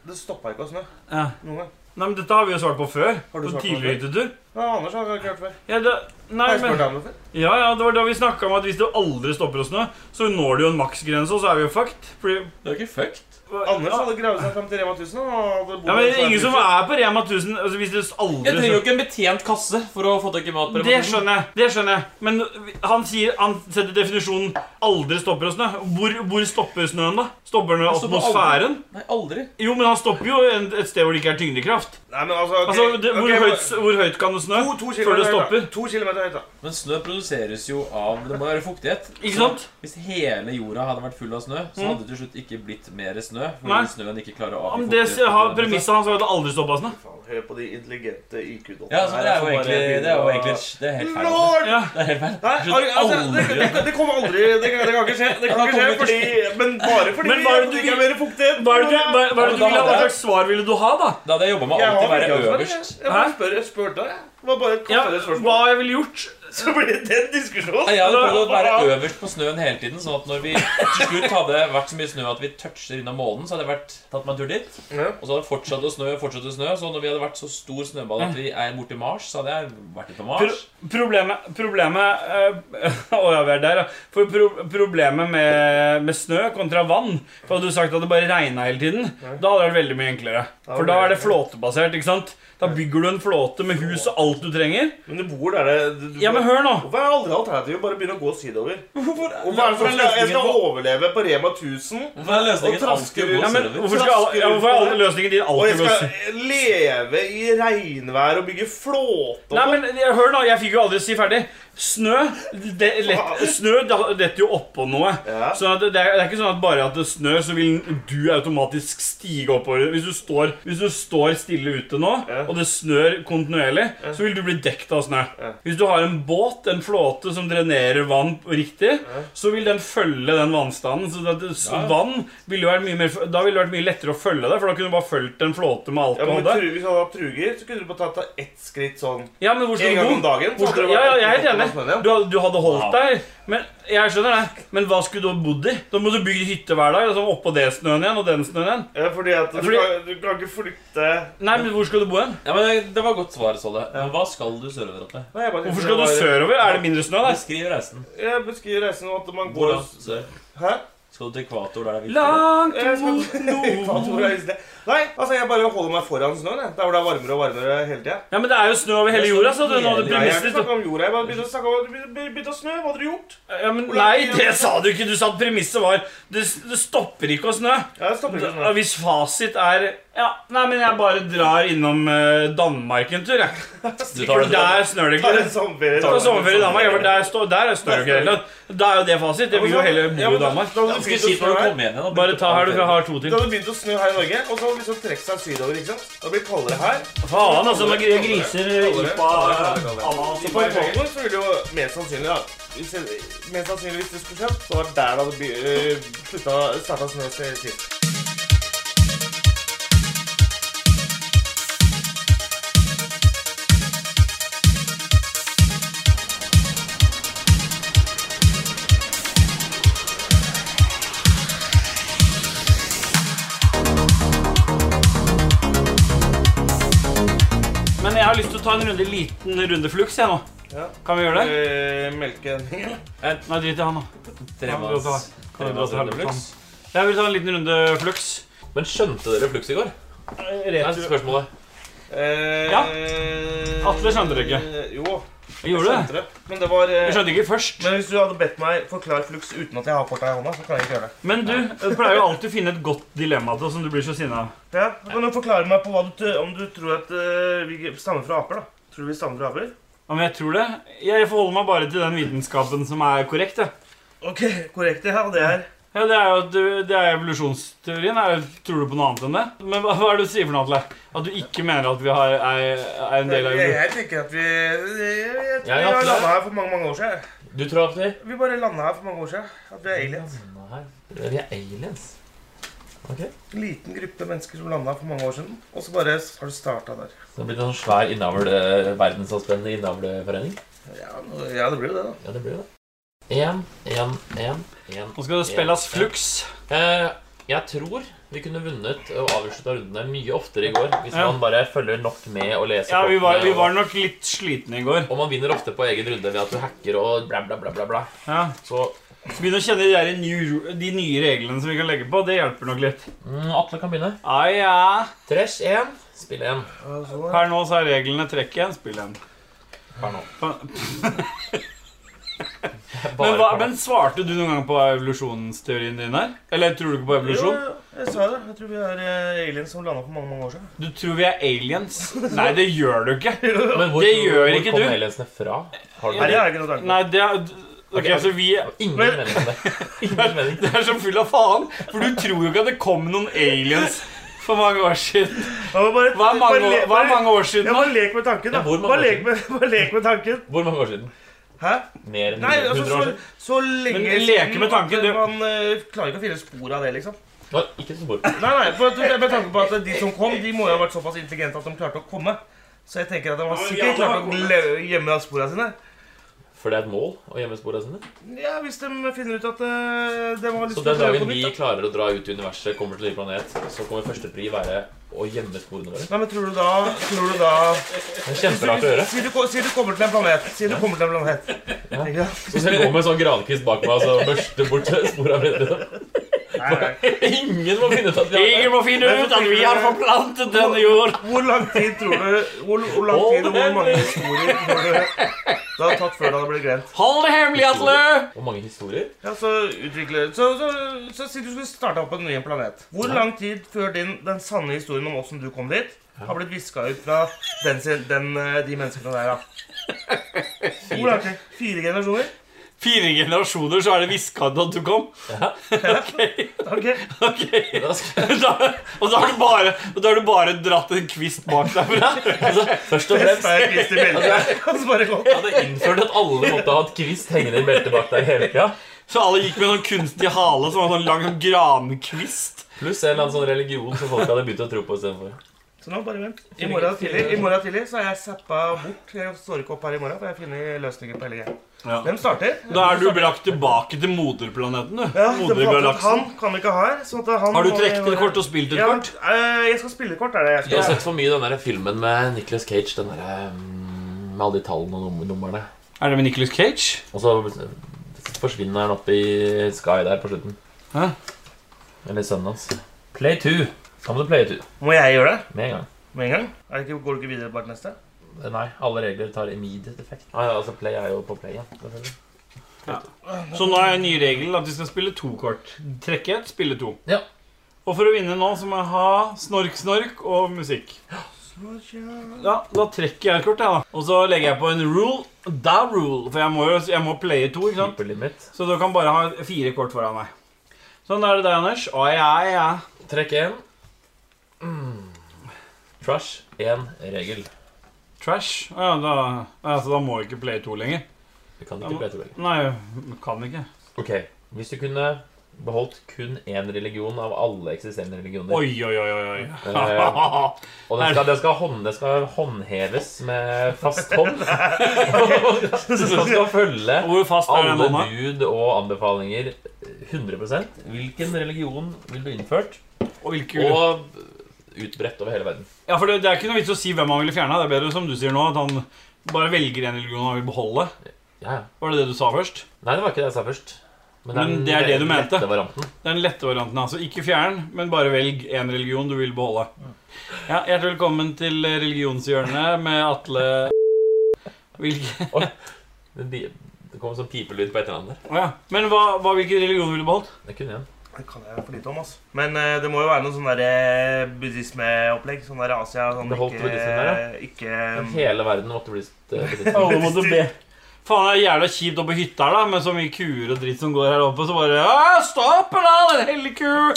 [SPEAKER 9] det stoppa ikke å snø
[SPEAKER 8] Ja.
[SPEAKER 9] noen gang.
[SPEAKER 8] Nei, men Dette har vi jo svart på før.
[SPEAKER 9] Har du
[SPEAKER 8] På
[SPEAKER 9] svart på
[SPEAKER 8] tidligere hyttetur.
[SPEAKER 9] Ja, Anders har ikke hørt før.
[SPEAKER 8] Ja, det, nei,
[SPEAKER 9] Har jeg
[SPEAKER 8] men,
[SPEAKER 9] spurt ham om det før?
[SPEAKER 8] ja, ja, det var da vi snakka om at hvis det aldri stopper å snø, så når du jo en maksgrense, og så er vi jo fucked. Fordi,
[SPEAKER 7] Det er jo ikke fucked.
[SPEAKER 9] Anders hadde gravd seg fram til Rema 1000. Og hadde bodd
[SPEAKER 8] ja, men
[SPEAKER 9] der svært
[SPEAKER 8] Ingen som
[SPEAKER 9] mye.
[SPEAKER 8] er på Rema 1000 altså, hvis det aldri snør.
[SPEAKER 7] ikke en betjent kasse for å få tak i mat.
[SPEAKER 8] Det skjønner jeg. det skjønner jeg Men han sier, han setter definisjonen 'aldri stopper å snø'. Hvor, hvor stopper snøen, da? Stopper den i
[SPEAKER 7] Den stopper aldri.
[SPEAKER 8] atmosfæren?
[SPEAKER 7] Nei, aldri.
[SPEAKER 8] Jo, men han stopper jo en, et sted hvor det ikke er tyngdekraft.
[SPEAKER 9] Nei, men altså, ok,
[SPEAKER 8] Altså, det, hvor,
[SPEAKER 9] ok,
[SPEAKER 8] høyt, hvor høyt kan det snø
[SPEAKER 9] To, to
[SPEAKER 8] før det
[SPEAKER 9] kilometer høyt, da.
[SPEAKER 8] stopper?
[SPEAKER 9] To kilometer høyt, da.
[SPEAKER 7] Men snø produseres jo av Det må være fuktighet.
[SPEAKER 8] Ikke sant?
[SPEAKER 7] Hvis hele jorda hadde vært full av snø, så hadde det til slutt ikke blitt mer snø. Fordi
[SPEAKER 8] Nei.
[SPEAKER 7] snøen ikke klarer å
[SPEAKER 8] Ja,
[SPEAKER 7] avgi
[SPEAKER 8] men det
[SPEAKER 7] fuktighet.
[SPEAKER 8] har Premisset hans var at det aldri stoppa snø.
[SPEAKER 9] Faen, hør på de intelligente IQ-dottene.
[SPEAKER 7] Ja, så det er jo egentlig Det er jo egentlig Det er helt feil.
[SPEAKER 9] Lord!
[SPEAKER 8] Ja.
[SPEAKER 7] Det er helt feil.
[SPEAKER 9] Nei,
[SPEAKER 7] Jeg skjønner
[SPEAKER 9] altså, det,
[SPEAKER 7] aldri.
[SPEAKER 9] det, det kommer aldri Det kan, det kan ikke skje. Det kan ikke skje fordi, men bare fordi
[SPEAKER 8] Men hva er det du
[SPEAKER 9] ikke er mer fuktighet.
[SPEAKER 8] Hva, er det du, hva, hva,
[SPEAKER 7] Ja, men
[SPEAKER 8] er det du
[SPEAKER 7] da
[SPEAKER 8] ville,
[SPEAKER 7] hadde
[SPEAKER 8] hva
[SPEAKER 7] jeg-
[SPEAKER 8] slags svar ville du ha, da?
[SPEAKER 7] Da hadde jeg jobba med å
[SPEAKER 9] Jeg har
[SPEAKER 7] alltid være
[SPEAKER 9] ikke
[SPEAKER 7] øverst.
[SPEAKER 9] ansvar, Jeg Jeg bare spør, jeg spør deg. Det var bare et
[SPEAKER 8] Ja,
[SPEAKER 9] kvarter
[SPEAKER 8] hva
[SPEAKER 9] spørsmål.
[SPEAKER 8] jeg ville gjort?
[SPEAKER 9] Så blir det den diskusjonen.
[SPEAKER 7] Nei, Jeg hadde prøvd å være
[SPEAKER 9] Ja.
[SPEAKER 7] øverst på snøen hele tiden, sånn at når vi til slutt hadde vært så mye snø at vi toucher innom månen, så hadde jeg vært, tatt meg en tur dit.
[SPEAKER 9] Ja.
[SPEAKER 7] Og så hadde det fortsatt å snø fortsatt å snø. Så når vi hadde vært så stor snøball at vi er borti Mars, så hadde jeg vært litt på Mars.
[SPEAKER 8] Pro problemet problemet eh, *laughs* å, ja, vi er der, ja. For pro problemet med, med snø kontra vann For Hadde du sagt at det bare regna hele tiden, da hadde det vært veldig mye enklere. For da er det flåtebasert. ikke sant? Da bygger du en flåte med hus og alt du trenger.
[SPEAKER 9] Men du bor der det du- du-
[SPEAKER 8] Ja, men hør nå!
[SPEAKER 9] Hvorfor er aldri alternativet å bare begynne å gå sydover?
[SPEAKER 7] *laughs* Hvorfor
[SPEAKER 9] Og hva er det som skal, jeg skal overleve på Rema 1000,
[SPEAKER 7] Hvorfor er
[SPEAKER 9] Og
[SPEAKER 7] løsningen alltid
[SPEAKER 9] trasker ut.
[SPEAKER 7] å gå
[SPEAKER 8] Ja, men
[SPEAKER 7] sørover?
[SPEAKER 8] Hvorfor skal alle, ja, hvorfor er alle løsningen din
[SPEAKER 9] og jeg
[SPEAKER 8] alltid løsning?
[SPEAKER 9] skal leve i regnvær og bygge flåte og
[SPEAKER 8] Nei, men jeg, Hør nå, jeg fikk jo aldri si ferdig. Snø det, lett, Snø da- detter jo oppå noe.
[SPEAKER 9] Ja.
[SPEAKER 8] Så at det, er, det er ikke sånn at bare at det snør, så vil du automatisk stige oppover. Hvis du står, hvis du står stille ute nå,
[SPEAKER 9] Ja.
[SPEAKER 8] og det snør kontinuerlig, så vil du bli dekt av snø.
[SPEAKER 9] Ja.
[SPEAKER 8] Hvis du har en båt, en flåte, som drenerer vann riktig, så vil den følge den vannstanden. Så det, det,
[SPEAKER 7] Ja.
[SPEAKER 8] vann ville jo vært mye mer, Da ville det vært mye lettere å følge det, for da kunne du bare fulgt en flåte med
[SPEAKER 9] Ja,
[SPEAKER 8] alt du
[SPEAKER 9] men
[SPEAKER 8] hadde.
[SPEAKER 9] tru- Hvis du hadde hatt truger, så kunne du bare tatt deg ett skritt sånn
[SPEAKER 8] Ja, men hvor
[SPEAKER 9] en
[SPEAKER 8] skal
[SPEAKER 9] gang
[SPEAKER 8] du bo?
[SPEAKER 9] om dagen.
[SPEAKER 8] Hvor
[SPEAKER 9] så hadde
[SPEAKER 8] skal,
[SPEAKER 9] det
[SPEAKER 8] ja, ja,
[SPEAKER 9] vært
[SPEAKER 8] jeg er helt
[SPEAKER 9] opp- opp- opp-
[SPEAKER 8] enig. Du, hadde- du hadde holdt deg. Men jeg skjønner det. Men hva skulle du ha bodd i? Da må du bygge hytte hver dag. Altså oppå det snøen igjen, og den snøen igjen.
[SPEAKER 9] Ja, fordi at du,
[SPEAKER 8] Fordi-
[SPEAKER 9] Kan, du kan ikke flytte
[SPEAKER 8] Nei, men hvor skal du bo hen?
[SPEAKER 7] Ja, men Det var godt svar, Solle. Men hva skal du sørover til?
[SPEAKER 9] Nei, jeg bare
[SPEAKER 8] Hvorfor skal du sørover? Er det mindre snø der?
[SPEAKER 7] Beskriv reisen.
[SPEAKER 9] Jeg beskriver reisen som at man går
[SPEAKER 7] Hvordan
[SPEAKER 9] *laughs*
[SPEAKER 7] sør?
[SPEAKER 9] Hæ?
[SPEAKER 7] Skal du til ekvator der det er viktig?
[SPEAKER 8] Langt
[SPEAKER 9] Jeg skal-
[SPEAKER 8] mot
[SPEAKER 9] Faen,
[SPEAKER 8] nord.
[SPEAKER 9] hvor er det? Nei, altså jeg bare holder meg foran snøen. jeg. Der hvor det er varmere og varmere hele tida.
[SPEAKER 8] Ja, men det er jo snø over hele jorda, sa du. Nå
[SPEAKER 9] Nei, jeg
[SPEAKER 8] hadde
[SPEAKER 9] har ikke
[SPEAKER 8] premisset ditt
[SPEAKER 9] snakket om jorda. Jeg bare begynte å snakke om at det begynte- begynte å snø. Hva hadde du gjort?
[SPEAKER 8] ja, men Nei, det sa du ikke. Du sa at premisset var det, det stopper ikke å snø.
[SPEAKER 9] Ja, det stopper ikke å
[SPEAKER 8] Da,
[SPEAKER 9] snø.
[SPEAKER 8] hvis fasit er Ja, nei, men jeg bare drar innom eh, Danmark en tur, jeg.
[SPEAKER 7] Du tar
[SPEAKER 8] For
[SPEAKER 7] det
[SPEAKER 8] der snør det
[SPEAKER 9] Ta
[SPEAKER 8] ikke.
[SPEAKER 9] en sommerferie.
[SPEAKER 8] Ta sommerferie i Danmark. ja, for Der, står- der er snør jo ikke heller. Da er jo det fasit. Det blir jo heller bo i Danmark.
[SPEAKER 9] Da hadde
[SPEAKER 7] Ganske
[SPEAKER 9] det begynt å
[SPEAKER 7] kjipt når
[SPEAKER 9] snø
[SPEAKER 7] du
[SPEAKER 9] her.
[SPEAKER 7] kommer igjen igjen. da.
[SPEAKER 8] Bare ta her, du har to
[SPEAKER 9] Det
[SPEAKER 8] til.
[SPEAKER 9] hadde begynt å snø her i Norge, og så hadde det liksom trukket seg sydover. ikke sant? Da blir det kaldere her.
[SPEAKER 8] Faen, altså. Når gr- griser ipa
[SPEAKER 9] Så på ekvator så ville jo mest sannsynlig da hvis, Mest sannsynlig hvis det skulle skjedd, så var det der det hadde by- øh, slutta- startet snø til tid.
[SPEAKER 8] Men jeg har lyst til å ta en runde, liten runde flux, jeg nå.
[SPEAKER 4] Ja.
[SPEAKER 8] Kan vi gjøre det?
[SPEAKER 4] Eh, melkehending, eller?
[SPEAKER 8] Nei, drit i han, da.
[SPEAKER 3] Tre
[SPEAKER 8] Ja, vi
[SPEAKER 3] manns-
[SPEAKER 8] går
[SPEAKER 3] tre
[SPEAKER 8] vi
[SPEAKER 3] manns
[SPEAKER 8] gå til
[SPEAKER 3] runde flux.
[SPEAKER 8] Jeg vil ta en liten runde flux.
[SPEAKER 3] Men skjønte dere flux i går? Det er spørsmålet.
[SPEAKER 4] Eh,
[SPEAKER 8] Ja. Atle skjønte det ikke.
[SPEAKER 4] eh, Jo,
[SPEAKER 8] Gjorde du det?
[SPEAKER 4] skjønte det. Men det var eh,
[SPEAKER 8] Jeg skjønte ikke først.
[SPEAKER 4] Men hvis du hadde bedt meg forklare flux uten at jeg har korta i hånda, så kan jeg ikke gjøre det.
[SPEAKER 8] Men du jeg pleier jo alltid å finne et godt dilemma til oss som du blir så sinna av.
[SPEAKER 4] Ja, da kan du forklare meg på hva du, t- om du tror at eh, vi stammer fra aper, da. Tror du vi stammer fra aper?
[SPEAKER 8] Ja, Men jeg tror det. Jeg forholder meg bare til den vitenskapen som er korrekt. jeg.
[SPEAKER 4] Ok, korrekt. Ja, det er
[SPEAKER 8] Ja, det er jo at du- det er evolusjonsteorien. Er, jo- tror du på noe annet enn det? Men hva, hva er det du sier for noe, Atle? At du ikke mener at vi har, er, er en del av
[SPEAKER 4] jeg,
[SPEAKER 8] evolusjonen?
[SPEAKER 4] jeg tenker at vi Jeg, jeg, jeg tror
[SPEAKER 3] Ja, ja,
[SPEAKER 4] vi har
[SPEAKER 3] Atle.
[SPEAKER 4] landa her for mange mange år siden.
[SPEAKER 3] Du tror at vi
[SPEAKER 4] Vi bare landa her for mange år siden. At vi er aliens.
[SPEAKER 3] Nei, Vi er aliens.
[SPEAKER 4] En liten gruppe mennesker som landa her for mange år siden. Og så bare har du starta der.
[SPEAKER 3] Så det blir en sånn svær innavle, verdensomspennende innavleforening.
[SPEAKER 4] Ja, nå- ja, det blir jo det, da.
[SPEAKER 3] Ja, det blir det. Én, én, én, én.
[SPEAKER 8] Nå skal det spilles flux.
[SPEAKER 3] Eh, jeg tror vi kunne vunnet og avslutta rundene mye oftere i går hvis
[SPEAKER 8] Ja.
[SPEAKER 3] man bare følger nok med og leser
[SPEAKER 8] Ja, vi var,
[SPEAKER 3] kortene,
[SPEAKER 8] vi
[SPEAKER 3] og-
[SPEAKER 8] var nok litt slitne i går.
[SPEAKER 3] Og man vinner ofte på egen runde ved at du hacker og bla, bla, bla, bla. bla.
[SPEAKER 8] Ja.
[SPEAKER 3] Så
[SPEAKER 8] Så begynn å kjenne de, der nye, de nye reglene som vi kan legge på. Det hjelper nok litt.
[SPEAKER 3] mm, Atle kan begynne.
[SPEAKER 8] Ah, ja.
[SPEAKER 3] Tresh 1, spill 1
[SPEAKER 8] Per nå så er reglene trekk igjen, spill igjen.
[SPEAKER 3] per nå.
[SPEAKER 8] Faen.
[SPEAKER 3] Bare
[SPEAKER 8] Men, hva,
[SPEAKER 3] per nå.
[SPEAKER 8] men svarte du noen gang på evolusjonsteorien din her? Eller tror du ikke på evolusjon?
[SPEAKER 4] Jo, jeg sa det. Jeg tror vi er eh, aliens som landa for mange mange år siden.
[SPEAKER 8] Du tror vi er aliens? Nei, det gjør du ikke.
[SPEAKER 3] Men hvor,
[SPEAKER 8] det gjør
[SPEAKER 3] hvor
[SPEAKER 8] ikke
[SPEAKER 3] kom
[SPEAKER 8] du.
[SPEAKER 3] aliensene fra? Har du
[SPEAKER 4] Nei, det har jeg ikke noe tanke på.
[SPEAKER 8] Nei, det er Ok, så vi er
[SPEAKER 3] Ingen
[SPEAKER 8] Men-
[SPEAKER 3] mening om det. *laughs* Ingen
[SPEAKER 8] *laughs*
[SPEAKER 3] mening.
[SPEAKER 8] Det er så full av faen, for du tror jo ikke at det kom noen aliens for mange år siden.
[SPEAKER 4] Ja, men bare-
[SPEAKER 8] Hva er mange,
[SPEAKER 4] bare le-
[SPEAKER 8] år- hva er mange år
[SPEAKER 4] Ja,
[SPEAKER 8] siden
[SPEAKER 4] bare
[SPEAKER 8] nå?
[SPEAKER 4] lek med tanken, da.
[SPEAKER 3] Ja, hvor mange år
[SPEAKER 4] bare, lek med, bare lek med tanken.
[SPEAKER 3] Hvor mange år siden?
[SPEAKER 4] Hæ?
[SPEAKER 3] Mer enn
[SPEAKER 4] Nei,
[SPEAKER 3] 100
[SPEAKER 4] altså,
[SPEAKER 3] år
[SPEAKER 4] så,
[SPEAKER 3] siden?
[SPEAKER 4] så lenge
[SPEAKER 8] Men leke med tanken,
[SPEAKER 4] at
[SPEAKER 8] det-
[SPEAKER 4] Man eh, klarer ikke å finne spor av det, liksom.
[SPEAKER 3] Nei, ikke så bort.
[SPEAKER 4] Nei, nei, for at- Med tanke på at de som kom, de må jo ha vært såpass intelligente at de klarte å komme. Så jeg tenker at de har sikkert klart å le- gjemme sporene sine.
[SPEAKER 3] For det er et mål å gjemme sporene sine.
[SPEAKER 4] Ja, Hvis de finner ut at eh, de har lyst
[SPEAKER 3] Så
[SPEAKER 4] til
[SPEAKER 3] den
[SPEAKER 4] å prøve
[SPEAKER 3] dagen
[SPEAKER 4] på
[SPEAKER 3] vi
[SPEAKER 4] nytt. da.
[SPEAKER 3] klarer å dra ut i universet, kommer til en ny planet, så kommer førstepri være å gjemme sporene våre.
[SPEAKER 4] Nei, men tror du da, tror du da
[SPEAKER 3] Det er kjemperart å gjøre.
[SPEAKER 4] si, du, ko- si du kommer til en planet. Si du kommer til en planet. Ikke sant?
[SPEAKER 3] Så skal jeg gå med en sånn grankvist bak meg og så børste
[SPEAKER 7] *laughs*
[SPEAKER 3] bort sporene mine. liksom.
[SPEAKER 4] Nei, nei.
[SPEAKER 3] Ingen må finne ut at vi har
[SPEAKER 8] Ingen må finne ut at vi har forplantet denne jord.
[SPEAKER 4] Hvor lang tid tror du Hvor, hvor lang tid og hvor mange historier tror du det har tatt før det hadde blitt glemt?
[SPEAKER 8] Hold det hemmelig, Atle!
[SPEAKER 3] *laughs* Hvor mange historier?
[SPEAKER 4] Ja, Så utvikler Så, så, så si du skulle starta opp på en ny planet. Hvor lang tid før din, den sanne historien om åssen du kom dit, har blitt viska ut fra den, sin- den, eh, de menneskene der,
[SPEAKER 8] *laughs*
[SPEAKER 4] da? Hvor lang tid? Fire generasjoner?
[SPEAKER 8] Fire generasjoner, så er det hviska at du kom. *laughs*
[SPEAKER 4] Ok.
[SPEAKER 8] Ok,
[SPEAKER 3] Da skal-
[SPEAKER 8] *laughs* da, Og da har du bare, og da har du bare dratt en kvist bak deg. for det.
[SPEAKER 3] Altså, først og fremst
[SPEAKER 4] Best er Christer Bjelke. Og så bare gå.
[SPEAKER 3] jeg hadde innført at alle måtte ha et kvist hengende i beltet bak der hele tida.
[SPEAKER 8] Så alle gikk med sånn kunstig hale som var sånn lang sånn grankvist.
[SPEAKER 3] Pluss en eller annen sånn religion som folk hadde begynt å tro på istedenfor.
[SPEAKER 4] Så nå, bare vent. I morgen tidlig, i morgen tidlig så er jeg zappa bort. Jeg står ikke opp her i morgen, for jeg finner løsninger på hele greia.
[SPEAKER 8] Ja.
[SPEAKER 4] Hvem starter?
[SPEAKER 8] Da er du brakt tilbake til moderplaneten, du.
[SPEAKER 4] Ja, det var at
[SPEAKER 8] Modergalaksen.
[SPEAKER 4] han kan vi ikke ha her. Sånn at han
[SPEAKER 8] Har du trukket et kort og spilt et
[SPEAKER 4] Ja,
[SPEAKER 8] kort?
[SPEAKER 4] eh, jeg skal spille kort. er det jeg
[SPEAKER 3] Jeg har
[SPEAKER 4] skal
[SPEAKER 3] sett for mye den der filmen med Nicolas Cage. Den der, mm, med alle de tallene og num- numrene.
[SPEAKER 8] Er det med Nicolas Cage?
[SPEAKER 3] Og så forsvinner han opp i Sky der på slutten.
[SPEAKER 8] Hæ?
[SPEAKER 3] Eller sønnen hans. Play two. Da må du play two
[SPEAKER 4] Må jeg gjøre det
[SPEAKER 3] med en gang.
[SPEAKER 4] med en gang? Er det ikke, går du ikke videre bare til neste?
[SPEAKER 3] Nei, alle regler tar immediate effect. Nei, altså Play er jo på play igjen. selvfølgelig.
[SPEAKER 8] Så nå er nye regelen at vi skal spille to kort. Trekke ett, spille to.
[SPEAKER 3] Ja.
[SPEAKER 8] Og for å vinne nå så må jeg ha snork, snork og musikk. Ja, Da trekker jeg et kort, jeg, da. Og så legger jeg på en rule. Da rule. For jeg må jo jeg må playe to, ikke sant?
[SPEAKER 3] Super limit.
[SPEAKER 8] Så du kan bare ha fire kort foran meg. Sånn da er det deg, Anders. Ai, ai, ai.
[SPEAKER 3] Trekk én. Mm. Trash én regel.
[SPEAKER 8] Trash. Å Ja, da, ja, så da må jeg ikke playe to lenger.
[SPEAKER 3] Du kan ikke play two lenger.
[SPEAKER 8] Nei, jeg kan ikke.
[SPEAKER 3] Ok, Hvis du kunne beholdt kun én religion av alle eksisterende religioner
[SPEAKER 8] Oi, oi, oi, oi. oi.
[SPEAKER 3] Eh, Og det skal, det, skal hånd, det skal håndheves med fast
[SPEAKER 8] *laughs*
[SPEAKER 3] hånd. *laughs* Så det skal følge
[SPEAKER 8] *laughs* Hvor fast er den
[SPEAKER 3] alle
[SPEAKER 8] hånda?
[SPEAKER 3] bud og anbefalinger eh, 100 Hvilken religion vil du innført?
[SPEAKER 8] Og hvilke
[SPEAKER 3] Og
[SPEAKER 7] utbredt over hele verden.
[SPEAKER 8] Ja, for det, det er ikke noe vits å si hvem han ville fjerna. Det er bedre som du sier nå, at han bare velger en religion han vil beholde.
[SPEAKER 7] Ja, ja.
[SPEAKER 8] Var det det du sa først?
[SPEAKER 7] Nei, det var ikke det jeg sa først.
[SPEAKER 8] Men det er det du mente.
[SPEAKER 7] Dette varianten.
[SPEAKER 8] Det er den lette varianten. altså Ikke fjern, men bare velg én religion du vil beholde. Ja, Hjertelig velkommen til religionshjørnet med Atle Hvilke
[SPEAKER 7] Det, bi- det kom sånn pipelyd på et eller annet der.
[SPEAKER 8] Å ja. Men hva, hva, hvilken religion ville du
[SPEAKER 9] *laughs*
[SPEAKER 8] beholdt?
[SPEAKER 7] Det kunne jeg.
[SPEAKER 9] Det kan jeg for lite om, altså. Men eh, det må jo være noe sånn der, eh, buddhismeopplegg. Sånn der Asia sånn
[SPEAKER 7] Beholdt
[SPEAKER 9] ikke,
[SPEAKER 7] buddhismen der,
[SPEAKER 9] ikke
[SPEAKER 8] Um,
[SPEAKER 7] Men hele verden måtte bli st- eh,
[SPEAKER 8] *laughs*
[SPEAKER 7] buddhist.
[SPEAKER 8] Alle måtte be. Faen, det er jævla kjipt oppe på hytta her, da, med så mye kuer og dritt som går her oppe, så bare «Å, Stopp, da, den hellige ku! Er,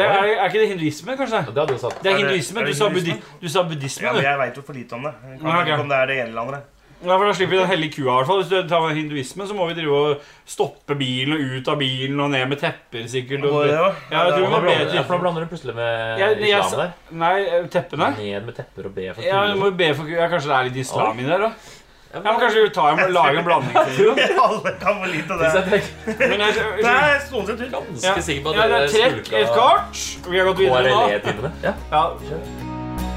[SPEAKER 8] det, er, er ikke det hinduisme, kanskje?
[SPEAKER 7] Og det hadde jo satt
[SPEAKER 8] Det
[SPEAKER 9] Er
[SPEAKER 8] er
[SPEAKER 9] det-
[SPEAKER 8] hinduisme.
[SPEAKER 9] er det
[SPEAKER 8] Du sa, buddi,
[SPEAKER 9] hinduisme?
[SPEAKER 8] du sa buddhisme,
[SPEAKER 9] Ja, men
[SPEAKER 8] du.
[SPEAKER 9] jeg veit jo for lite om det. Jeg kan
[SPEAKER 8] Ja,
[SPEAKER 9] ikke
[SPEAKER 8] ok.
[SPEAKER 9] om det er det ene eller andre.
[SPEAKER 8] Ja, for Da slipper vi den hellige kua. i hvert fall Hvis du tar hinduisme, så må vi drive og stoppe bilen og ut av bilen og ned med tepper, sikkert.
[SPEAKER 9] Hvor er
[SPEAKER 8] Og,
[SPEAKER 9] det, da?
[SPEAKER 8] ja, jeg tror vi
[SPEAKER 7] Da
[SPEAKER 8] må be
[SPEAKER 7] blander, ja, for da
[SPEAKER 8] til
[SPEAKER 7] blander du plutselig med
[SPEAKER 8] Jeg- jeg
[SPEAKER 7] islam
[SPEAKER 8] sa-
[SPEAKER 7] der.
[SPEAKER 8] Nei, eh, teppene?
[SPEAKER 7] Ned med tepper og be for
[SPEAKER 8] Ja, du
[SPEAKER 7] kuer.
[SPEAKER 8] må jo be for ku- ja, Kanskje det er litt islam i der, da?
[SPEAKER 7] Ja,
[SPEAKER 8] Ja, men
[SPEAKER 7] men-
[SPEAKER 8] Kanskje vi tar og lager en
[SPEAKER 4] *laughs*
[SPEAKER 8] blanding.
[SPEAKER 9] Alle kan for lite om
[SPEAKER 7] Hvis
[SPEAKER 9] det.
[SPEAKER 7] jeg tenker
[SPEAKER 8] Men jeg,
[SPEAKER 9] Det er noen sin tur.
[SPEAKER 8] ja.
[SPEAKER 7] ganske sikker på at
[SPEAKER 8] ja, det er trekk,
[SPEAKER 7] skulka
[SPEAKER 8] et kart. Vi har gått videre nå.
[SPEAKER 7] KRLE-timene. Ja.
[SPEAKER 8] Ja,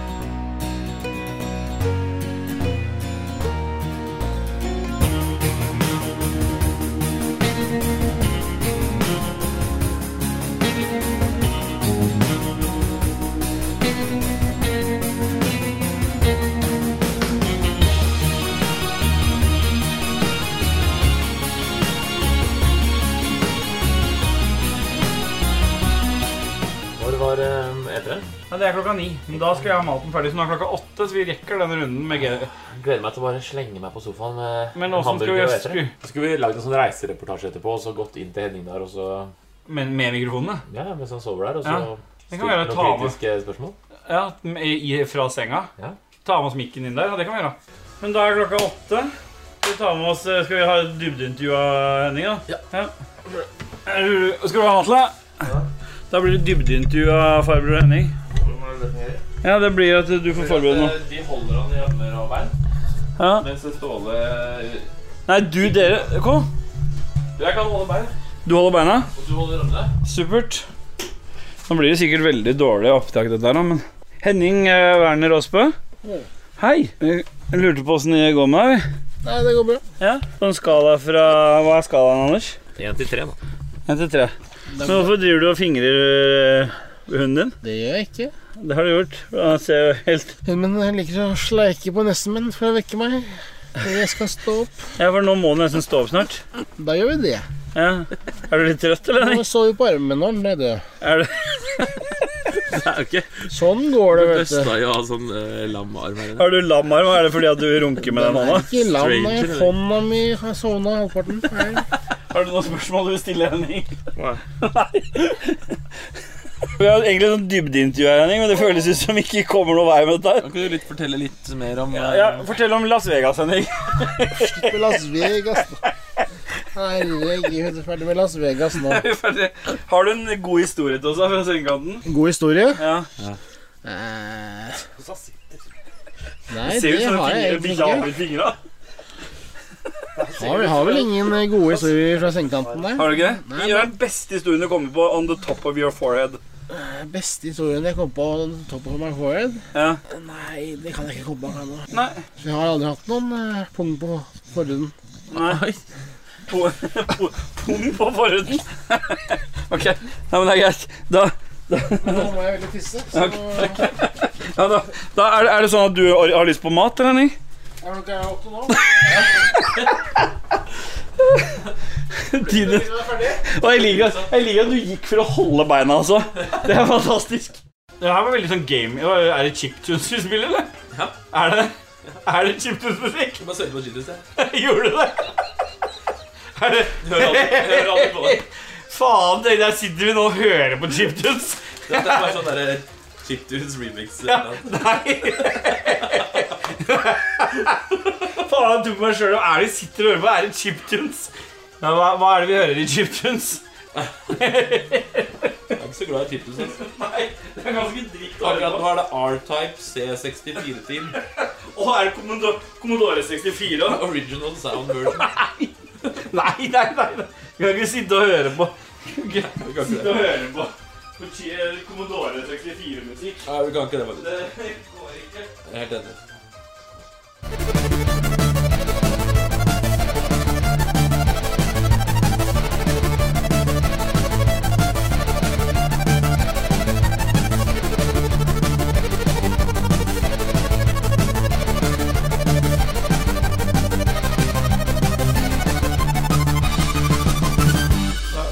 [SPEAKER 7] Når var eh, etere?
[SPEAKER 8] ja, Det er klokka ni. Men da skal jeg ha maten ferdig. Så nå er klokka åtte, så vi rekker denne runden med G.
[SPEAKER 7] Gleder meg til å bare slenge meg på sofaen med
[SPEAKER 8] Men
[SPEAKER 7] en
[SPEAKER 8] åssen skal
[SPEAKER 7] hamburger
[SPEAKER 8] vi
[SPEAKER 7] og
[SPEAKER 8] gjøre
[SPEAKER 7] etere. Så skulle vi lagd en sånn reisereportasje etterpå, og så gått inn til Henning der, og så
[SPEAKER 8] Men med mikrofonene?
[SPEAKER 7] Ja, mens han sover der, og
[SPEAKER 8] Ja.
[SPEAKER 7] så
[SPEAKER 8] Det
[SPEAKER 7] stilt
[SPEAKER 8] kan vi gjøre,
[SPEAKER 7] noen
[SPEAKER 8] ta med.
[SPEAKER 7] kritiske spørsmål.
[SPEAKER 8] Ja, i, i- fra senga.
[SPEAKER 7] Ja.
[SPEAKER 8] Ta med oss mikken inn der. Ja, det kan vi gjøre. Men da er klokka åtte. Skal vi, ta med oss, eh, skal vi ha et dybdeintervju av Henning, da? Ja. Er du- Skal du ha Matle? Da blir det dybdeintervju av farbror Henning. Ja, det blir at du får forberede noe.
[SPEAKER 7] Eh, De holder han i armer og bein,
[SPEAKER 8] Ja.
[SPEAKER 7] mens Ståle
[SPEAKER 8] Nei, du, dere Kom.
[SPEAKER 7] Jeg kan holde bein,
[SPEAKER 8] Du holder beina.
[SPEAKER 7] og du holder armene.
[SPEAKER 8] Supert. Nå blir det sikkert veldig dårlig opptak, dette her, nå, men Henning eh, Werner Aasbø. Hei. Jeg lurte på åssen det går med deg. vi.
[SPEAKER 10] Nei, det går bra.
[SPEAKER 8] Ja, på en skala fra Hva er skalaen, Anders?
[SPEAKER 7] Én til tre, da.
[SPEAKER 8] Én til tre. Men hvorfor driver du og fingrer øh, hunden din?
[SPEAKER 10] Det gjør jeg ikke.
[SPEAKER 8] Det har du gjort. Han ser jo helt
[SPEAKER 10] Men jeg liker å sleike på nesten min for å vekke meg. Når jeg skal stå opp.
[SPEAKER 8] Ja, for nå må du nesten stå opp snart.
[SPEAKER 10] Da gjør vi det.
[SPEAKER 8] Ja. Er du litt trøtt, eller?
[SPEAKER 10] Nå
[SPEAKER 8] Henning?
[SPEAKER 10] sover vi på armen når den er død.
[SPEAKER 8] Er
[SPEAKER 10] *laughs*
[SPEAKER 8] du...
[SPEAKER 7] Okay.
[SPEAKER 10] Sånn går det, vet du.
[SPEAKER 7] Østa jo ha sånn uh, lamarm her inne.
[SPEAKER 8] Har du lamarm? Er det fordi at du runker med den hånda?
[SPEAKER 10] Ikke lam, nei.
[SPEAKER 7] Stranger, eller?
[SPEAKER 10] Hånda mi har sovna halvparten. Nei.
[SPEAKER 8] Har du noen spørsmål du vil stille, Henning?
[SPEAKER 9] Nei.
[SPEAKER 8] Vi har egentlig sånn dybdeintervju her, Henning, men det føles ut som vi ikke kommer noen vei med dette. her.
[SPEAKER 7] Kan ikke du litt fortelle litt mer om
[SPEAKER 8] Ja, Fortell om Las Vegas, Henning.
[SPEAKER 10] Med Las Vegas, da. Herregud, ferdig med Las Vegas
[SPEAKER 8] *laughs*
[SPEAKER 10] nå.
[SPEAKER 8] Har du en god historie til oss da, fra sengekanten?
[SPEAKER 10] God historie.
[SPEAKER 8] Ja.
[SPEAKER 10] Eh,
[SPEAKER 8] Det
[SPEAKER 10] Nei,
[SPEAKER 8] ser
[SPEAKER 10] det
[SPEAKER 8] ut som
[SPEAKER 10] har jeg
[SPEAKER 8] en
[SPEAKER 10] egentlig
[SPEAKER 8] finger har
[SPEAKER 10] ikke.
[SPEAKER 8] ut fingra.
[SPEAKER 10] Har, vi har vel ingen eh, gode historier fra sengekanten der.
[SPEAKER 8] Har du ikke det?
[SPEAKER 10] Nei,
[SPEAKER 8] Gjør den beste historien du kommer på on the top of your forehead.
[SPEAKER 10] Beste historien jeg kom på top of my forehead?
[SPEAKER 8] Ja.
[SPEAKER 10] Nei, det kan jeg ikke komme på ennå.
[SPEAKER 8] Nei.
[SPEAKER 10] Jeg har aldri hatt noen eh, pung på forhuden.
[SPEAKER 8] Nei. *laughs* Po- po- Pung på forhuden. *laughs* ok. Nei, men det er greit. Da,
[SPEAKER 10] Men nå må jeg veldig tisse, så jeg
[SPEAKER 8] *laughs* ja, da, da er, det, er det sånn at du har har lyst på mat, eller? Henning?
[SPEAKER 10] er nok åtte nå.
[SPEAKER 8] Tiden. Og jeg liker, at- jeg liker at du gikk for å holde beina, altså. Det er fantastisk. Det her var veldig sånn game Er det chiptunes vi spiller, eller?
[SPEAKER 7] Ja.
[SPEAKER 8] Er det Er det chiptunes-musikk?
[SPEAKER 7] Bare sørg for chilies, jeg.
[SPEAKER 8] *laughs* Gjorde du det? Er det
[SPEAKER 7] Du hører alltid- jeg hører alltid på det.
[SPEAKER 8] Faen, det- der sitter vi nå og hører på chiptunes.
[SPEAKER 7] Det er bare sånn derre Chiptunes remix.
[SPEAKER 8] Ja, nei Faen, jeg tok meg sjøl og er det sitter og hører på? Er det chiptunes? Nei, hva, hva er det vi hører i chiptunes?
[SPEAKER 7] Jeg er ikke så glad i chiptunes. altså.
[SPEAKER 8] Nei, det er ganske dritt å høre
[SPEAKER 7] Akkurat
[SPEAKER 8] på.
[SPEAKER 7] nå er det R-Type C64-team.
[SPEAKER 8] Å, er det Commodore, Commodore 64 da?
[SPEAKER 7] Original sound version.
[SPEAKER 8] Nei, nei, nei, nei. Vi kan ikke sitte og høre på.
[SPEAKER 7] Vi kan ikke
[SPEAKER 8] Sitte
[SPEAKER 7] det.
[SPEAKER 8] og høre på Commodore 64-musikk.
[SPEAKER 7] Nei, vi kan ikke det, faktisk.
[SPEAKER 8] Det går ikke.
[SPEAKER 7] Jeg er helt enig.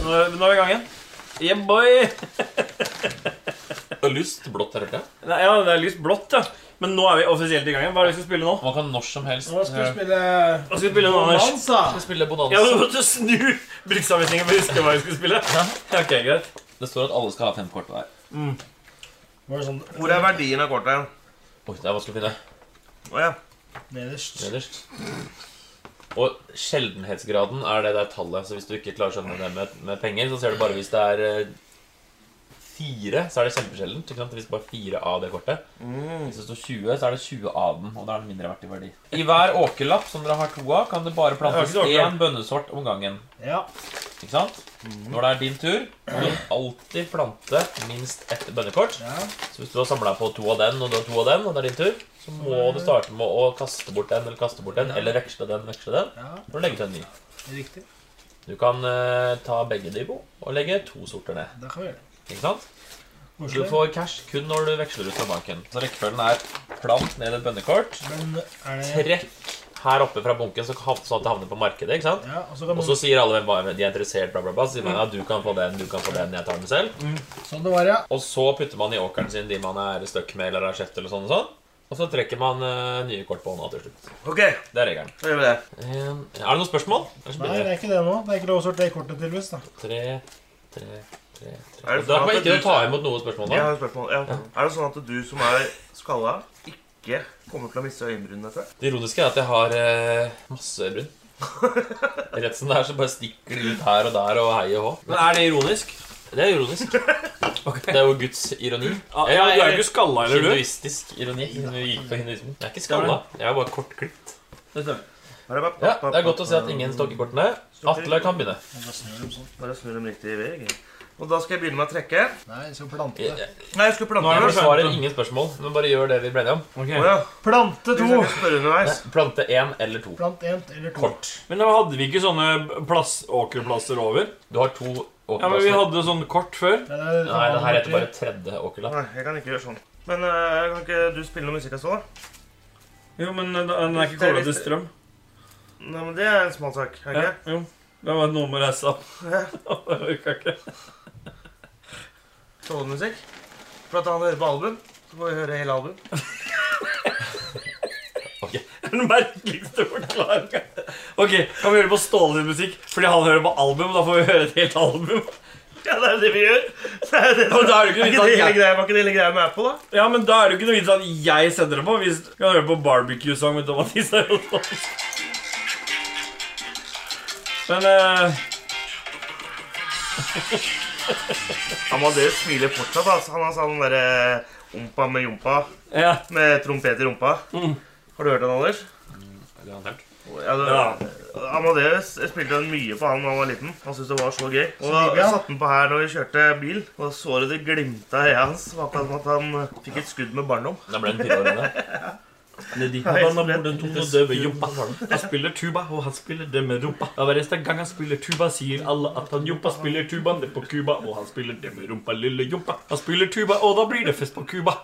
[SPEAKER 8] Nå, nå er vi i gang igjen. Yeah, boy!
[SPEAKER 7] Og lyst, blått hørte jeg.
[SPEAKER 8] Nei, ja, det er litt blått, ja. Men nå er vi offisielt i gang igjen. Hva er det vi skal spille nå?
[SPEAKER 7] Man kan når som helst
[SPEAKER 10] Nå skal vi
[SPEAKER 7] eh,
[SPEAKER 10] spille
[SPEAKER 8] Hva skal vi spille nå, Anders?
[SPEAKER 10] Bonanza.
[SPEAKER 7] spille
[SPEAKER 8] Ja, du
[SPEAKER 7] bonanza.
[SPEAKER 8] måtte snu bruksanvisningen for å huske hva vi skulle spille. Ok, greit.
[SPEAKER 7] Det står at alle skal ha fem kort hver.
[SPEAKER 8] Mm.
[SPEAKER 10] Var det sånn
[SPEAKER 4] Hvor er verdien av kortet?
[SPEAKER 7] Oi, det er vanskelig å finne.
[SPEAKER 4] Å ja.
[SPEAKER 10] nederst?
[SPEAKER 7] Nederst. Og sjeldenhetsgraden er det der tallet. Så hvis du ikke klarer å skjønne det med, med penger, så ser du bare hvis det er eh, fire, så er det kjempesjeldent. Ikke sant? Hvis det bare er fire av det kortet. Hvis det står 20, så er det 20 av den. Og da er den mindre verdt i verdi. I hver åkerlapp som dere har to av, kan det bare plantes
[SPEAKER 8] Jeg har ikke åkerlapp.
[SPEAKER 7] én bønnesort om gangen.
[SPEAKER 10] Ja.
[SPEAKER 7] Ikke sant? Når det er din tur, må du alltid plante minst ett bønnekort.
[SPEAKER 10] ja.
[SPEAKER 7] Så hvis du har samla på to av den, og du har to av den, og det er din tur, så må du starte med å kaste bort den, eller kaste bort den, eller veksle den, veksle den,
[SPEAKER 10] Ja,
[SPEAKER 7] og legge til en ny.
[SPEAKER 10] riktig.
[SPEAKER 7] Du kan eh, ta begge de i bo, og legge to sorter ned.
[SPEAKER 10] Da kan vi gjøre det.
[SPEAKER 7] Ikke sant? Du
[SPEAKER 10] Koselig.
[SPEAKER 7] får cash kun når du veksler ut fra banken. Så rekkefølgen er plant ned et bønnekort,
[SPEAKER 10] Men er det
[SPEAKER 7] trekk her oppe fra bunken så hav- sånn at det havner på markedet, ikke sant?
[SPEAKER 10] Ja, og så kan
[SPEAKER 7] Og
[SPEAKER 10] man
[SPEAKER 7] så sier alle hvem hva- de er interessert, bla, bla, bla. Så sier man ja, du kan få den, du kan få den, jeg tar den selv.
[SPEAKER 10] Sånn det var, ja.
[SPEAKER 7] Og så putter man i åkeren sin de man er stuck med eller har kjøpt eller sånn og sånn. Og så trekker man eh, nye kort på hånda til slutt.
[SPEAKER 4] Ok,
[SPEAKER 7] Det er regelen.
[SPEAKER 4] da gjør vi det.
[SPEAKER 7] En, er det noen spørsmål? Ellers
[SPEAKER 10] Nei, det
[SPEAKER 7] begynner jeg.
[SPEAKER 10] er ikke det nå. Det er ikke lov å sortere kortet, tydeligvis. da.
[SPEAKER 7] Tre, tre, tre, tre.
[SPEAKER 4] Er det sånn
[SPEAKER 7] Og Da kan
[SPEAKER 4] at
[SPEAKER 7] man ikke
[SPEAKER 4] du-
[SPEAKER 7] ta imot noen spørsmål
[SPEAKER 4] Jeg
[SPEAKER 7] da.
[SPEAKER 4] har et spørsmål. Ja. Er det sånn at du som er skalla, ikke kommer til å miste øyenbrynene etter det?
[SPEAKER 7] Det ironiske er at jeg har eh, masse brun. *laughs* Rett som det er, så bare stikker de ut her og der og hei og hå.
[SPEAKER 8] Men er det ironisk?
[SPEAKER 7] Det er *laughs* ironisk. Det er jo Guds ironi.
[SPEAKER 8] Ja, ja, du er jo ikke skalla, eller du?
[SPEAKER 7] Ah, Hinduistisk ironi. Hindu gikk på hinduismen. Jeg er ikke skalla. Jeg er bare kortklipt.
[SPEAKER 8] Det stemmer.
[SPEAKER 4] Bare, bare,
[SPEAKER 7] Ja, det er godt å se at ingen stokker kortene. Atle kan begynne.
[SPEAKER 4] Bare snur dem riktig vei. egentlig. Og da skal jeg begynne med å trekke.
[SPEAKER 10] Nei, vi skal plante det.
[SPEAKER 7] Jeg
[SPEAKER 4] Nei, jeg skulle
[SPEAKER 8] Nå
[SPEAKER 4] plante
[SPEAKER 8] er det
[SPEAKER 7] jeg
[SPEAKER 4] først.
[SPEAKER 7] besvarer ingen spørsmål, men bare gjør det vi ble enige om.
[SPEAKER 4] Å ja.
[SPEAKER 10] Plante
[SPEAKER 4] Hvis
[SPEAKER 10] to!
[SPEAKER 4] jeg kan spørre underveis.
[SPEAKER 7] Plante én eller to.
[SPEAKER 10] Plant én eller to.
[SPEAKER 7] Kort.
[SPEAKER 8] Men da hadde vi ikke sånne plass, åkerplasser over?
[SPEAKER 7] Du har to
[SPEAKER 8] Ja, men Vi
[SPEAKER 7] åkerplasser.
[SPEAKER 8] hadde sånn kort før.
[SPEAKER 10] Nei, det er det som
[SPEAKER 7] Nei,
[SPEAKER 10] var
[SPEAKER 7] det her heter
[SPEAKER 10] nummer
[SPEAKER 7] bare tredje åkerlapp.
[SPEAKER 4] Nei, jeg kan ikke gjøre sånn. Men øh, kan ikke du spille noe musikk også? da?
[SPEAKER 8] Jo, men den den er ikke kobla til strøm.
[SPEAKER 4] Nei, men det er en smal sak. er det
[SPEAKER 8] Ja,
[SPEAKER 4] ikke?
[SPEAKER 8] jo. Det var noe med reisa. *laughs* Det orka ikke.
[SPEAKER 4] Tålemusikk. For at han hører på album, så får vi høre hele album.
[SPEAKER 8] Den merkeligste forklaringa. Ok, kan vi høre på Ståle sin musikk? Fordi han hører på album, da får vi høre et helt album.
[SPEAKER 4] Ja, det er jo det vi gjør. Det er jo det som...
[SPEAKER 8] Ja, men da
[SPEAKER 4] Er
[SPEAKER 8] er det ikke
[SPEAKER 4] ikke det hele
[SPEAKER 8] noe vits at jeg,
[SPEAKER 4] greia, var ikke det hele greia med Apple, da?
[SPEAKER 8] ja, men da er det jo ikke noe vits at jeg sender det på. Hvis du kan høre på barbecue-sang med Thomas Isar og sånn. Men eh,
[SPEAKER 4] Amadeus smiler fortsatt. Altså. Han har sånn derre ompa med jompa
[SPEAKER 8] ja.
[SPEAKER 4] med trompet i rumpa. Har du hørt den, Anders? Ja, det, Amadeus jeg spilte den mye på han da han var liten. Han syntes det var så gøy. Og
[SPEAKER 10] digg, ja.
[SPEAKER 4] jeg satte den på her når vi kjørte bil, og så det det glimta i øyet hans. Det var akkurat som at han eh, fikk et skudd med barndom.
[SPEAKER 7] Da ble den
[SPEAKER 4] *laughs*
[SPEAKER 7] fire år inne.
[SPEAKER 8] Det er de han har den tunge døve jumpa. Han spiller tuba, og han spiller det med rumpa. Og hver eneste gang han spiller tuba, sier alle at han jumpa spiller tubaen det er på Cuba. Og han spiller det med rumpa, lille jumpa. Han spiller tuba, og da blir det fest på Cuba.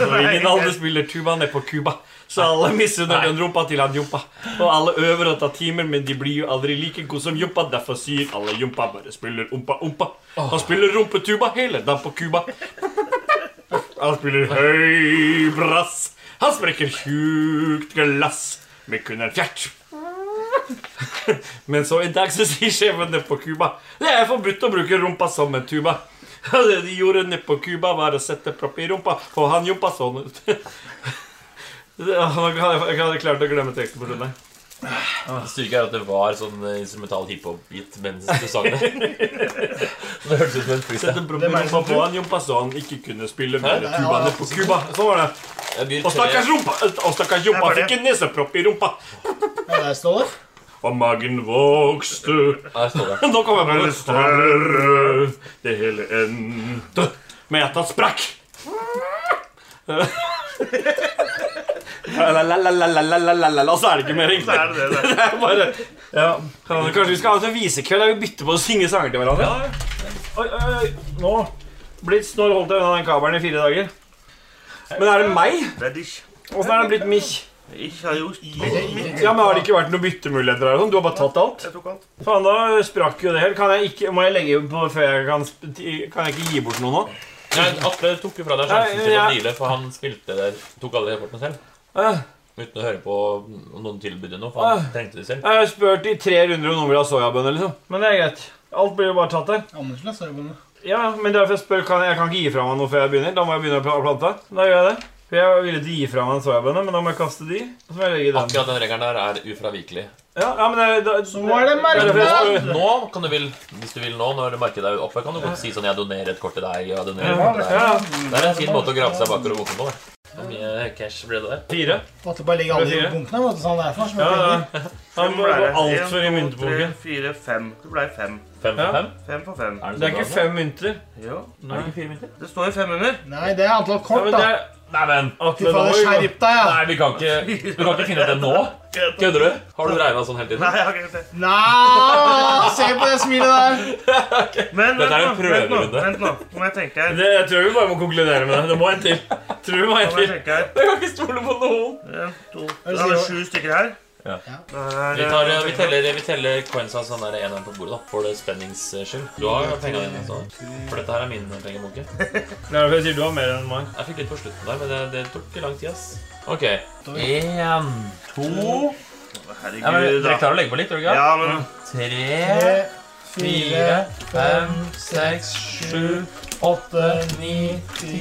[SPEAKER 8] Når ingen andre spiller tuba ned på Cuba, så alle misunner den rumpa til han jumpa. Og alle øver og tar timer, men de blir jo aldri like gode som jumpa. Derfor sier alle jumpa bare spiller umpa umpa. Han spiller rumpetuba hele dagen på Cuba. Han spiller høy brass. Han sprekker tjukt glass med kun en fjert. Men så en dag så sier sjefen nede på Cuba Det er forbudt å bruke rumpa som en tuba. *laughs* Og Det de gjorde nede på Cuba, var å sette propp i rumpa, og han jumpa sånn ut. *laughs* Jeg hadde klart å glemme teksten på grunn av det.
[SPEAKER 7] Det styrke er at det var sånn eh, instrumental hiphop-beat mens du sang
[SPEAKER 8] *laughs*
[SPEAKER 7] det. Så det hørtes ut som en freestyle.
[SPEAKER 8] Sette propp i rumpa på han jumpa så han ikke kunne spille mer tuba nede på Cuba. Sånn var det.
[SPEAKER 7] Jeg byr
[SPEAKER 8] Og stakkars
[SPEAKER 7] tre.
[SPEAKER 8] rumpa, og stakkars jumpa fikk en nesepropp i rumpa.
[SPEAKER 10] tre. Ja, der står det.
[SPEAKER 8] og magen vokste.
[SPEAKER 7] Der står det.
[SPEAKER 8] Nå kommer jeg på det større Det hele endte med at han sprakk. La-la-la-la-la-la-la-la-la Og så er det ikke mer riktig.
[SPEAKER 4] er det det.
[SPEAKER 8] Det er bare ja. Kan- Kanskje vi skal ha en sånn visekveld der vi bytter på å synge sanger til hverandre? Oi, oi, oi. Nå Blitz, nå holdt jeg unna den kabelen i fire dager. Men er det meg?
[SPEAKER 4] Det er dich.
[SPEAKER 8] Åssen er det blitt mich?
[SPEAKER 4] Ich har gjort
[SPEAKER 8] Ja, men Har det ikke vært noen byttemuligheter? her og sånn? Du har bare tatt alt?
[SPEAKER 4] Jeg tok alt.
[SPEAKER 8] Faen, da sprakk jo det helt. Kan jeg ikke, må jeg legge på før jeg kan sp- ti- Kan jeg ikke gi bort noe nå?
[SPEAKER 7] Nei, Atle tok jo fra deg sjansen
[SPEAKER 8] Nei,
[SPEAKER 7] til å
[SPEAKER 8] jeg-
[SPEAKER 7] deale, for han spilte der, tok alle de kortene selv.
[SPEAKER 8] Eh,
[SPEAKER 7] Uten å høre på om noen tilbydde noe, for han trengte det selv.
[SPEAKER 8] Jeg har spurt i tre runder om noen vil ha soyabønner, liksom. Men det er greit. Alt blir jo bare tatt her.
[SPEAKER 10] Anders la soyabønner.
[SPEAKER 8] Ja, men derfor jeg spør, kan jeg, jeg kan ikke gi fra meg noe før jeg begynner. Da må jeg begynne å pla- plante. Da gjør jeg det. For jeg ville ikke gi fra meg en soyabønne, men da må jeg kaste de. Og så må jeg legge den.
[SPEAKER 7] Akkurat den regelen der er ufravikelig.
[SPEAKER 8] Ja, ja, men det, da,
[SPEAKER 10] Så var det
[SPEAKER 8] Det er derfor jeg
[SPEAKER 10] merket!
[SPEAKER 8] spør-
[SPEAKER 7] eh, Nå kan du vil, Hvis du vil nå, når markedet er oppe, kan du godt si sånn 'Jeg donerer et kort til deg', og 'Jeg donerer et kort til
[SPEAKER 8] Ja,
[SPEAKER 7] deg'. Det er en fin måte å grave seg bakover og boken på. da. Hvor mye cash ble det der?
[SPEAKER 8] fire.
[SPEAKER 10] Måtte bare legge alle
[SPEAKER 8] Det er
[SPEAKER 10] i
[SPEAKER 8] fire.
[SPEAKER 10] bunkene. Måtte sånn derfor, som
[SPEAKER 8] Ja,
[SPEAKER 10] jeg
[SPEAKER 8] ja.
[SPEAKER 10] penger.
[SPEAKER 8] Han
[SPEAKER 4] ble
[SPEAKER 8] var
[SPEAKER 4] det. En,
[SPEAKER 8] altfor
[SPEAKER 4] to,
[SPEAKER 8] i
[SPEAKER 4] Tre,
[SPEAKER 8] myntboken.
[SPEAKER 4] fire, fem. Det ble fem.
[SPEAKER 7] Fem for
[SPEAKER 8] Ja.
[SPEAKER 7] fem?
[SPEAKER 4] Fem for fem.
[SPEAKER 7] Er
[SPEAKER 8] Det er
[SPEAKER 7] så
[SPEAKER 8] ikke
[SPEAKER 7] bra, da?
[SPEAKER 8] fem mynter.
[SPEAKER 4] Jo.
[SPEAKER 8] Nei.
[SPEAKER 7] Er det ikke fire mynter?
[SPEAKER 4] Det står jo fem under.
[SPEAKER 10] Nei, det er antall
[SPEAKER 8] Ja,
[SPEAKER 10] kort,
[SPEAKER 8] men det
[SPEAKER 10] da.
[SPEAKER 8] er... Nei, men
[SPEAKER 10] Fy
[SPEAKER 8] Atle, da
[SPEAKER 10] faen,
[SPEAKER 8] må vi
[SPEAKER 10] skjerp deg, ja.
[SPEAKER 7] Nei, vi kan ikke, vi kan ikke finne ut det nå. Kødder du? Har du regna sånn hele tiden?
[SPEAKER 4] Nei, jeg har ikke gjort det.
[SPEAKER 10] Nei, se på det smilet der.
[SPEAKER 4] Men
[SPEAKER 7] Dette er jo en
[SPEAKER 4] vent nå, vent nå,
[SPEAKER 7] prøverunde.
[SPEAKER 4] vent nå. Nå må jeg tenke her.
[SPEAKER 8] Det, jeg tror vi bare må konkludere med det. Det må en til. Tror vi må en
[SPEAKER 4] Nå må jeg
[SPEAKER 8] til.
[SPEAKER 4] tenke her.
[SPEAKER 7] Jeg kan ikke stole på noen.
[SPEAKER 4] En, to. Da er det sju stykker her.
[SPEAKER 7] Ja.
[SPEAKER 4] Da er
[SPEAKER 7] Vi,
[SPEAKER 4] det-
[SPEAKER 7] tar, eh, vi, teller, vi teller coinsa sånn der en og en på bordet, da. For det spennings skyld. Du har penga dine, så. For dette her er min pengebunke.
[SPEAKER 8] Det er derfor jeg sier du har mer enn meg.
[SPEAKER 7] Jeg fikk litt på slutten der, men det, det tok ikke lang tid, ass. Ok. Én, to ja, men,
[SPEAKER 4] Herregud,
[SPEAKER 7] Dere
[SPEAKER 4] da.
[SPEAKER 7] klarer å legge på litt, tror du ikke?
[SPEAKER 4] Ja, men
[SPEAKER 7] Tre,
[SPEAKER 10] Tre,
[SPEAKER 7] fire,
[SPEAKER 10] fire,
[SPEAKER 7] fem, seks, sju, åtte, ni, ti,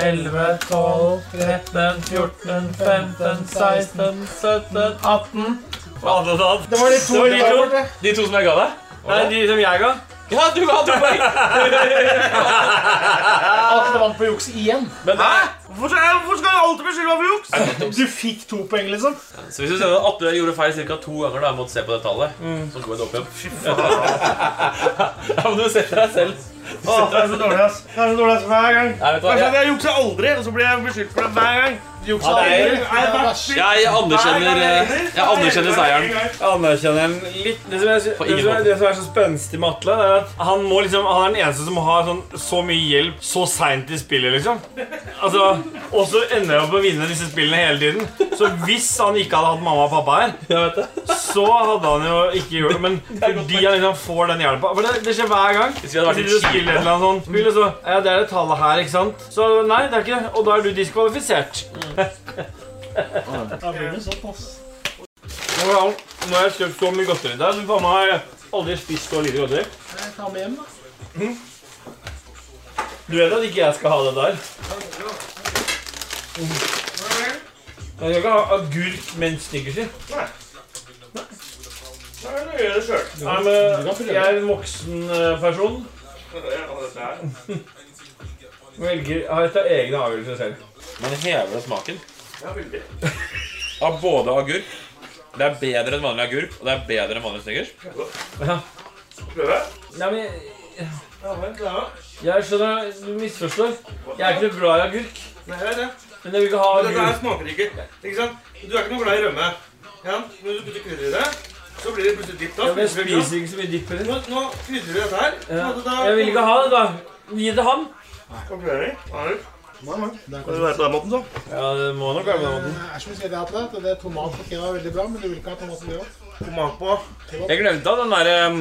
[SPEAKER 7] elleve, tolv, tretten, fjorten, femten, seksten, sytten, atten
[SPEAKER 10] Det var de to.
[SPEAKER 8] Det var de
[SPEAKER 10] det
[SPEAKER 8] to.
[SPEAKER 10] var borte.
[SPEAKER 7] De to som jeg ga deg?
[SPEAKER 8] Nei, de som jeg ga.
[SPEAKER 7] Ja, du ga to poeng!
[SPEAKER 10] Atle vant på juks igjen.
[SPEAKER 8] Men det er
[SPEAKER 4] Hvorfor skal jeg- hvorfor skal jeg alltid beskylde meg for juks?
[SPEAKER 10] Du fikk to poeng, liksom.
[SPEAKER 7] Så hvis du ser at Atle gjorde feil ca. to ganger da, mot se på det tallet,
[SPEAKER 8] Mm.
[SPEAKER 7] så går det opp igjen.
[SPEAKER 4] Fy faen.
[SPEAKER 7] *laughs* Ja, men du setter deg selv.
[SPEAKER 4] Åh, det er så dårlig, ass. Det er så dårlig ass hver gang.
[SPEAKER 7] Nei, vet du hva?
[SPEAKER 4] Kanskje
[SPEAKER 7] Jeg,
[SPEAKER 4] jeg jukser aldri, og så blir jeg beskyldt for det hver gang.
[SPEAKER 10] Juksa aldri.
[SPEAKER 4] det er
[SPEAKER 10] Det er
[SPEAKER 4] verst.
[SPEAKER 10] verst.
[SPEAKER 7] jeg anerkjenner, eh, jeg anerkjenner seieren.
[SPEAKER 8] Anerkjenner jeg den litt. Det som, jeg, sy-
[SPEAKER 7] eh, På
[SPEAKER 8] det,
[SPEAKER 7] ingen
[SPEAKER 8] som er,
[SPEAKER 7] måte.
[SPEAKER 8] det som er så spenstig med Atle, det er at han, må liksom, han er den eneste som har sånn, så mye hjelp så seint i spillet, liksom. Altså, Og så ender han opp med å vinne disse spillene hele tiden. Så hvis han ikke hadde hatt mamma og pappa her,
[SPEAKER 7] Jeg vet det.
[SPEAKER 8] så hadde han jo ikke gjort det.
[SPEAKER 7] *laughs*
[SPEAKER 8] Men fordi han liksom får den hjelpa For det, det skjer hver gang.
[SPEAKER 7] Hvis vi hadde vært
[SPEAKER 8] Sitter du og
[SPEAKER 7] litt
[SPEAKER 8] spiller et eller annet sånt spill, og så Ja, det er det tallet her, ikke sant? Så nei, det er ikke det. Og da er du diskvalifisert.
[SPEAKER 10] Da blir det sånn, ass.
[SPEAKER 8] *laughs* Nå har jeg- nå har jeg kjøpt så mye godteri der. Du faen meg har jeg aldri spist så lite godteri.
[SPEAKER 10] Jeg tar med hjem, da.
[SPEAKER 8] Du vet at ikke jeg skal ha det der? Jeg skal ikke ha agurk med en snickers i. Nei, men jeg er en voksen eh, person. Velger har jeg tatt egne avgjørelser selv.
[SPEAKER 7] Man hever smaken. Av både agurk Det er bedre enn vanlig agurk, og det er bedre enn vanlig snickers.
[SPEAKER 8] Nei, men jeg, jeg skjønner Du misforstår. Jeg er ikke noe glad i agurk.
[SPEAKER 9] Nei, jeg vet det.
[SPEAKER 8] Men jeg vil ikke ha
[SPEAKER 9] Men Dette her
[SPEAKER 8] agurk.
[SPEAKER 9] smaker ikke. Ikke sant? Du er ikke noe glad i rømme. Ja, men du putter krydder i det, så blir det plutselig dipp. da.
[SPEAKER 8] Ja, men Jeg spiser ikke så mye dipp heller.
[SPEAKER 9] Nå, nå krydrer du dette her.
[SPEAKER 8] Ja. Jeg vil ikke ha det, da. Gi det han.
[SPEAKER 4] Skal det være på den måten, så?
[SPEAKER 8] Ja, det må nok være på den måten.
[SPEAKER 10] Det er som du sier, det, Atle. at Det er tomat på kebab er veldig bra, men du vil ikke ha tomat på kebab.
[SPEAKER 4] Tomat på.
[SPEAKER 8] Jeg glemte at den der um,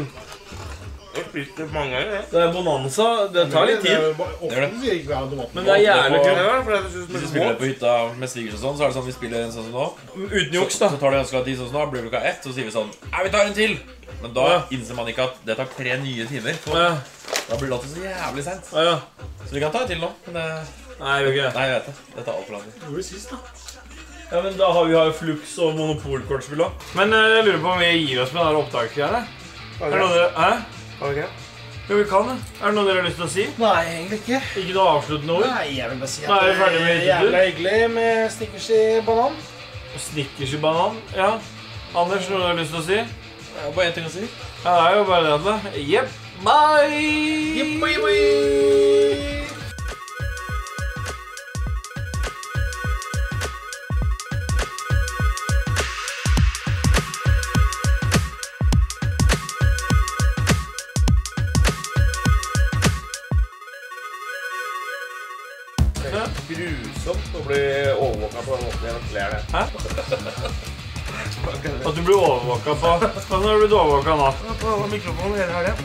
[SPEAKER 4] Jeg har spist det mange ganger, jeg.
[SPEAKER 8] det er bonanza Det tar litt tid.
[SPEAKER 10] Ofte sier ikke vi har tomat.
[SPEAKER 8] Men det er jævlig
[SPEAKER 7] Ofte
[SPEAKER 8] kult.
[SPEAKER 7] på-
[SPEAKER 4] Ja, for jeg synes det
[SPEAKER 7] Hvis vi
[SPEAKER 4] smaker
[SPEAKER 7] spiller
[SPEAKER 4] godt.
[SPEAKER 7] på hytta med snickers og sånn, så er det sånn vi spiller en sånn som nå.
[SPEAKER 8] Uten
[SPEAKER 7] Så,
[SPEAKER 8] juks, da.
[SPEAKER 7] så tar det ganske lang tid sånn som nå. Blir klokka ett, så sier vi sånn Nei, vi tar en til! Men da innser man ikke at det tar tre nye timer.
[SPEAKER 8] Å ja.
[SPEAKER 7] Da blir det alltid så jævlig seint.
[SPEAKER 8] Å ja.
[SPEAKER 7] Så vi kan ta en til nå. Men det,
[SPEAKER 8] Nei, jeg vil ikke det.
[SPEAKER 7] nei, jeg vet det. Det tar altfor lang tid.
[SPEAKER 10] Gjorde du sist, da?
[SPEAKER 8] Ja, men da har vi har jo Flux og monopolkortspill òg. Men eh, jeg lurer på om vi gir oss med det her opptaksgreiene. Er det noe dere Hæ?
[SPEAKER 4] Ok.
[SPEAKER 8] Jo, vi kan det. Er det noe dere har lyst til å si?
[SPEAKER 10] Nei, egentlig ikke.
[SPEAKER 8] Ikke noe avsluttende ord?
[SPEAKER 10] Nei, jeg vil bare si
[SPEAKER 8] Nå er vi
[SPEAKER 10] at
[SPEAKER 8] ferdig
[SPEAKER 10] det
[SPEAKER 8] med
[SPEAKER 10] er
[SPEAKER 8] hyttetur.
[SPEAKER 10] jævla hyggelig med snickers i banan.
[SPEAKER 8] Snickers i banan? Ja. Anders, noe du har lyst til å si?
[SPEAKER 7] Det er bare én ting å si.
[SPEAKER 11] Ja, det er jo bare det. at det- Jepp. Bye!
[SPEAKER 9] Grusomt å bli overvåka på den måten. Jeg ler det.
[SPEAKER 11] At du blir overvåka på Hvordan har du blitt overvåka nå?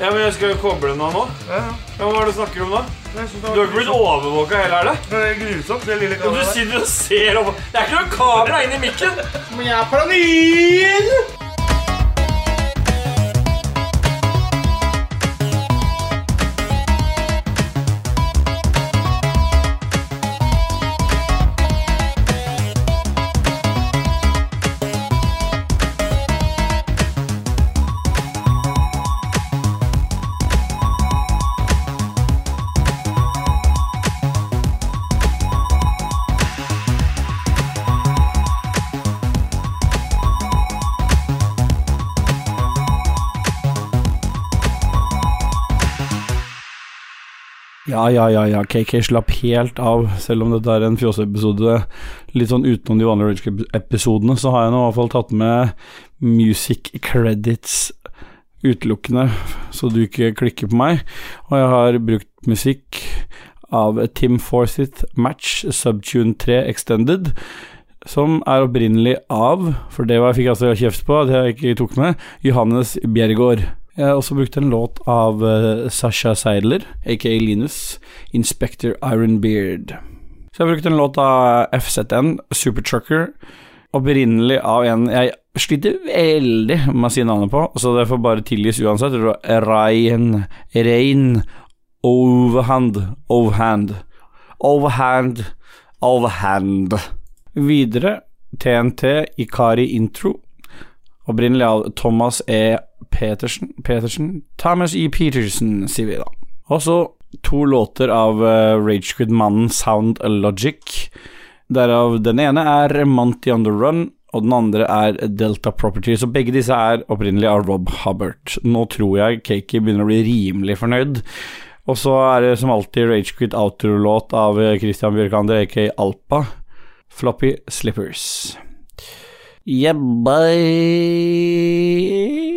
[SPEAKER 11] Ja, men jeg skal jo koble den av nå. Ja, Hva er det du snakker om da? Du har ikke blitt overvåka hele, er det?
[SPEAKER 9] Grusomt, det lille
[SPEAKER 11] Du sitter og ser over Det er ikke noe kamera inni mikken!
[SPEAKER 12] Men jeg er paranoid!
[SPEAKER 8] Ja, ja, ja, ja, KK slapp helt av, selv om dette er en fjoseepisode litt sånn utenom de vanlige Rage Club-episodene, så har jeg nå i hvert fall tatt med music credits utelukkende, så du ikke klikker på meg. Og jeg har brukt musikk av Tim Forsyth Match Subtune 3 Extended, som er opprinnelig av, for det var jeg fikk altså kjeft på at jeg ikke tok med, Johannes Bjerregaard. Jeg har også brukt en låt av eh, Sasha Seidler, aka Linus, Inspector Ironbeard. Så jeg har brukt en låt av FZN, Supertrucker, opprinnelig av en jeg sliter veldig med å si navnet på, så det får bare tilgis uansett. Det var Ryan Rein Overhand Overhand Overhand Overhand. Videre TNT Ikari Intro, opprinnelig av Thomas E. Petersen, Petersen Thomas E. Petersen, sier vi da. Og så to låter av eh, Rage Ragequid-mannen Sound Logic. Derav den ene er Monty on the Run, og den andre er Delta Property. Så begge disse er opprinnelig av Rob Hubbard. Nå tror jeg Cakey begynner å bli rimelig fornøyd. Og så er det som alltid Ragequid outro-låt av eh, Christian Bjørkander, aka Alpa. Floppy Slippers. Yeah, bye.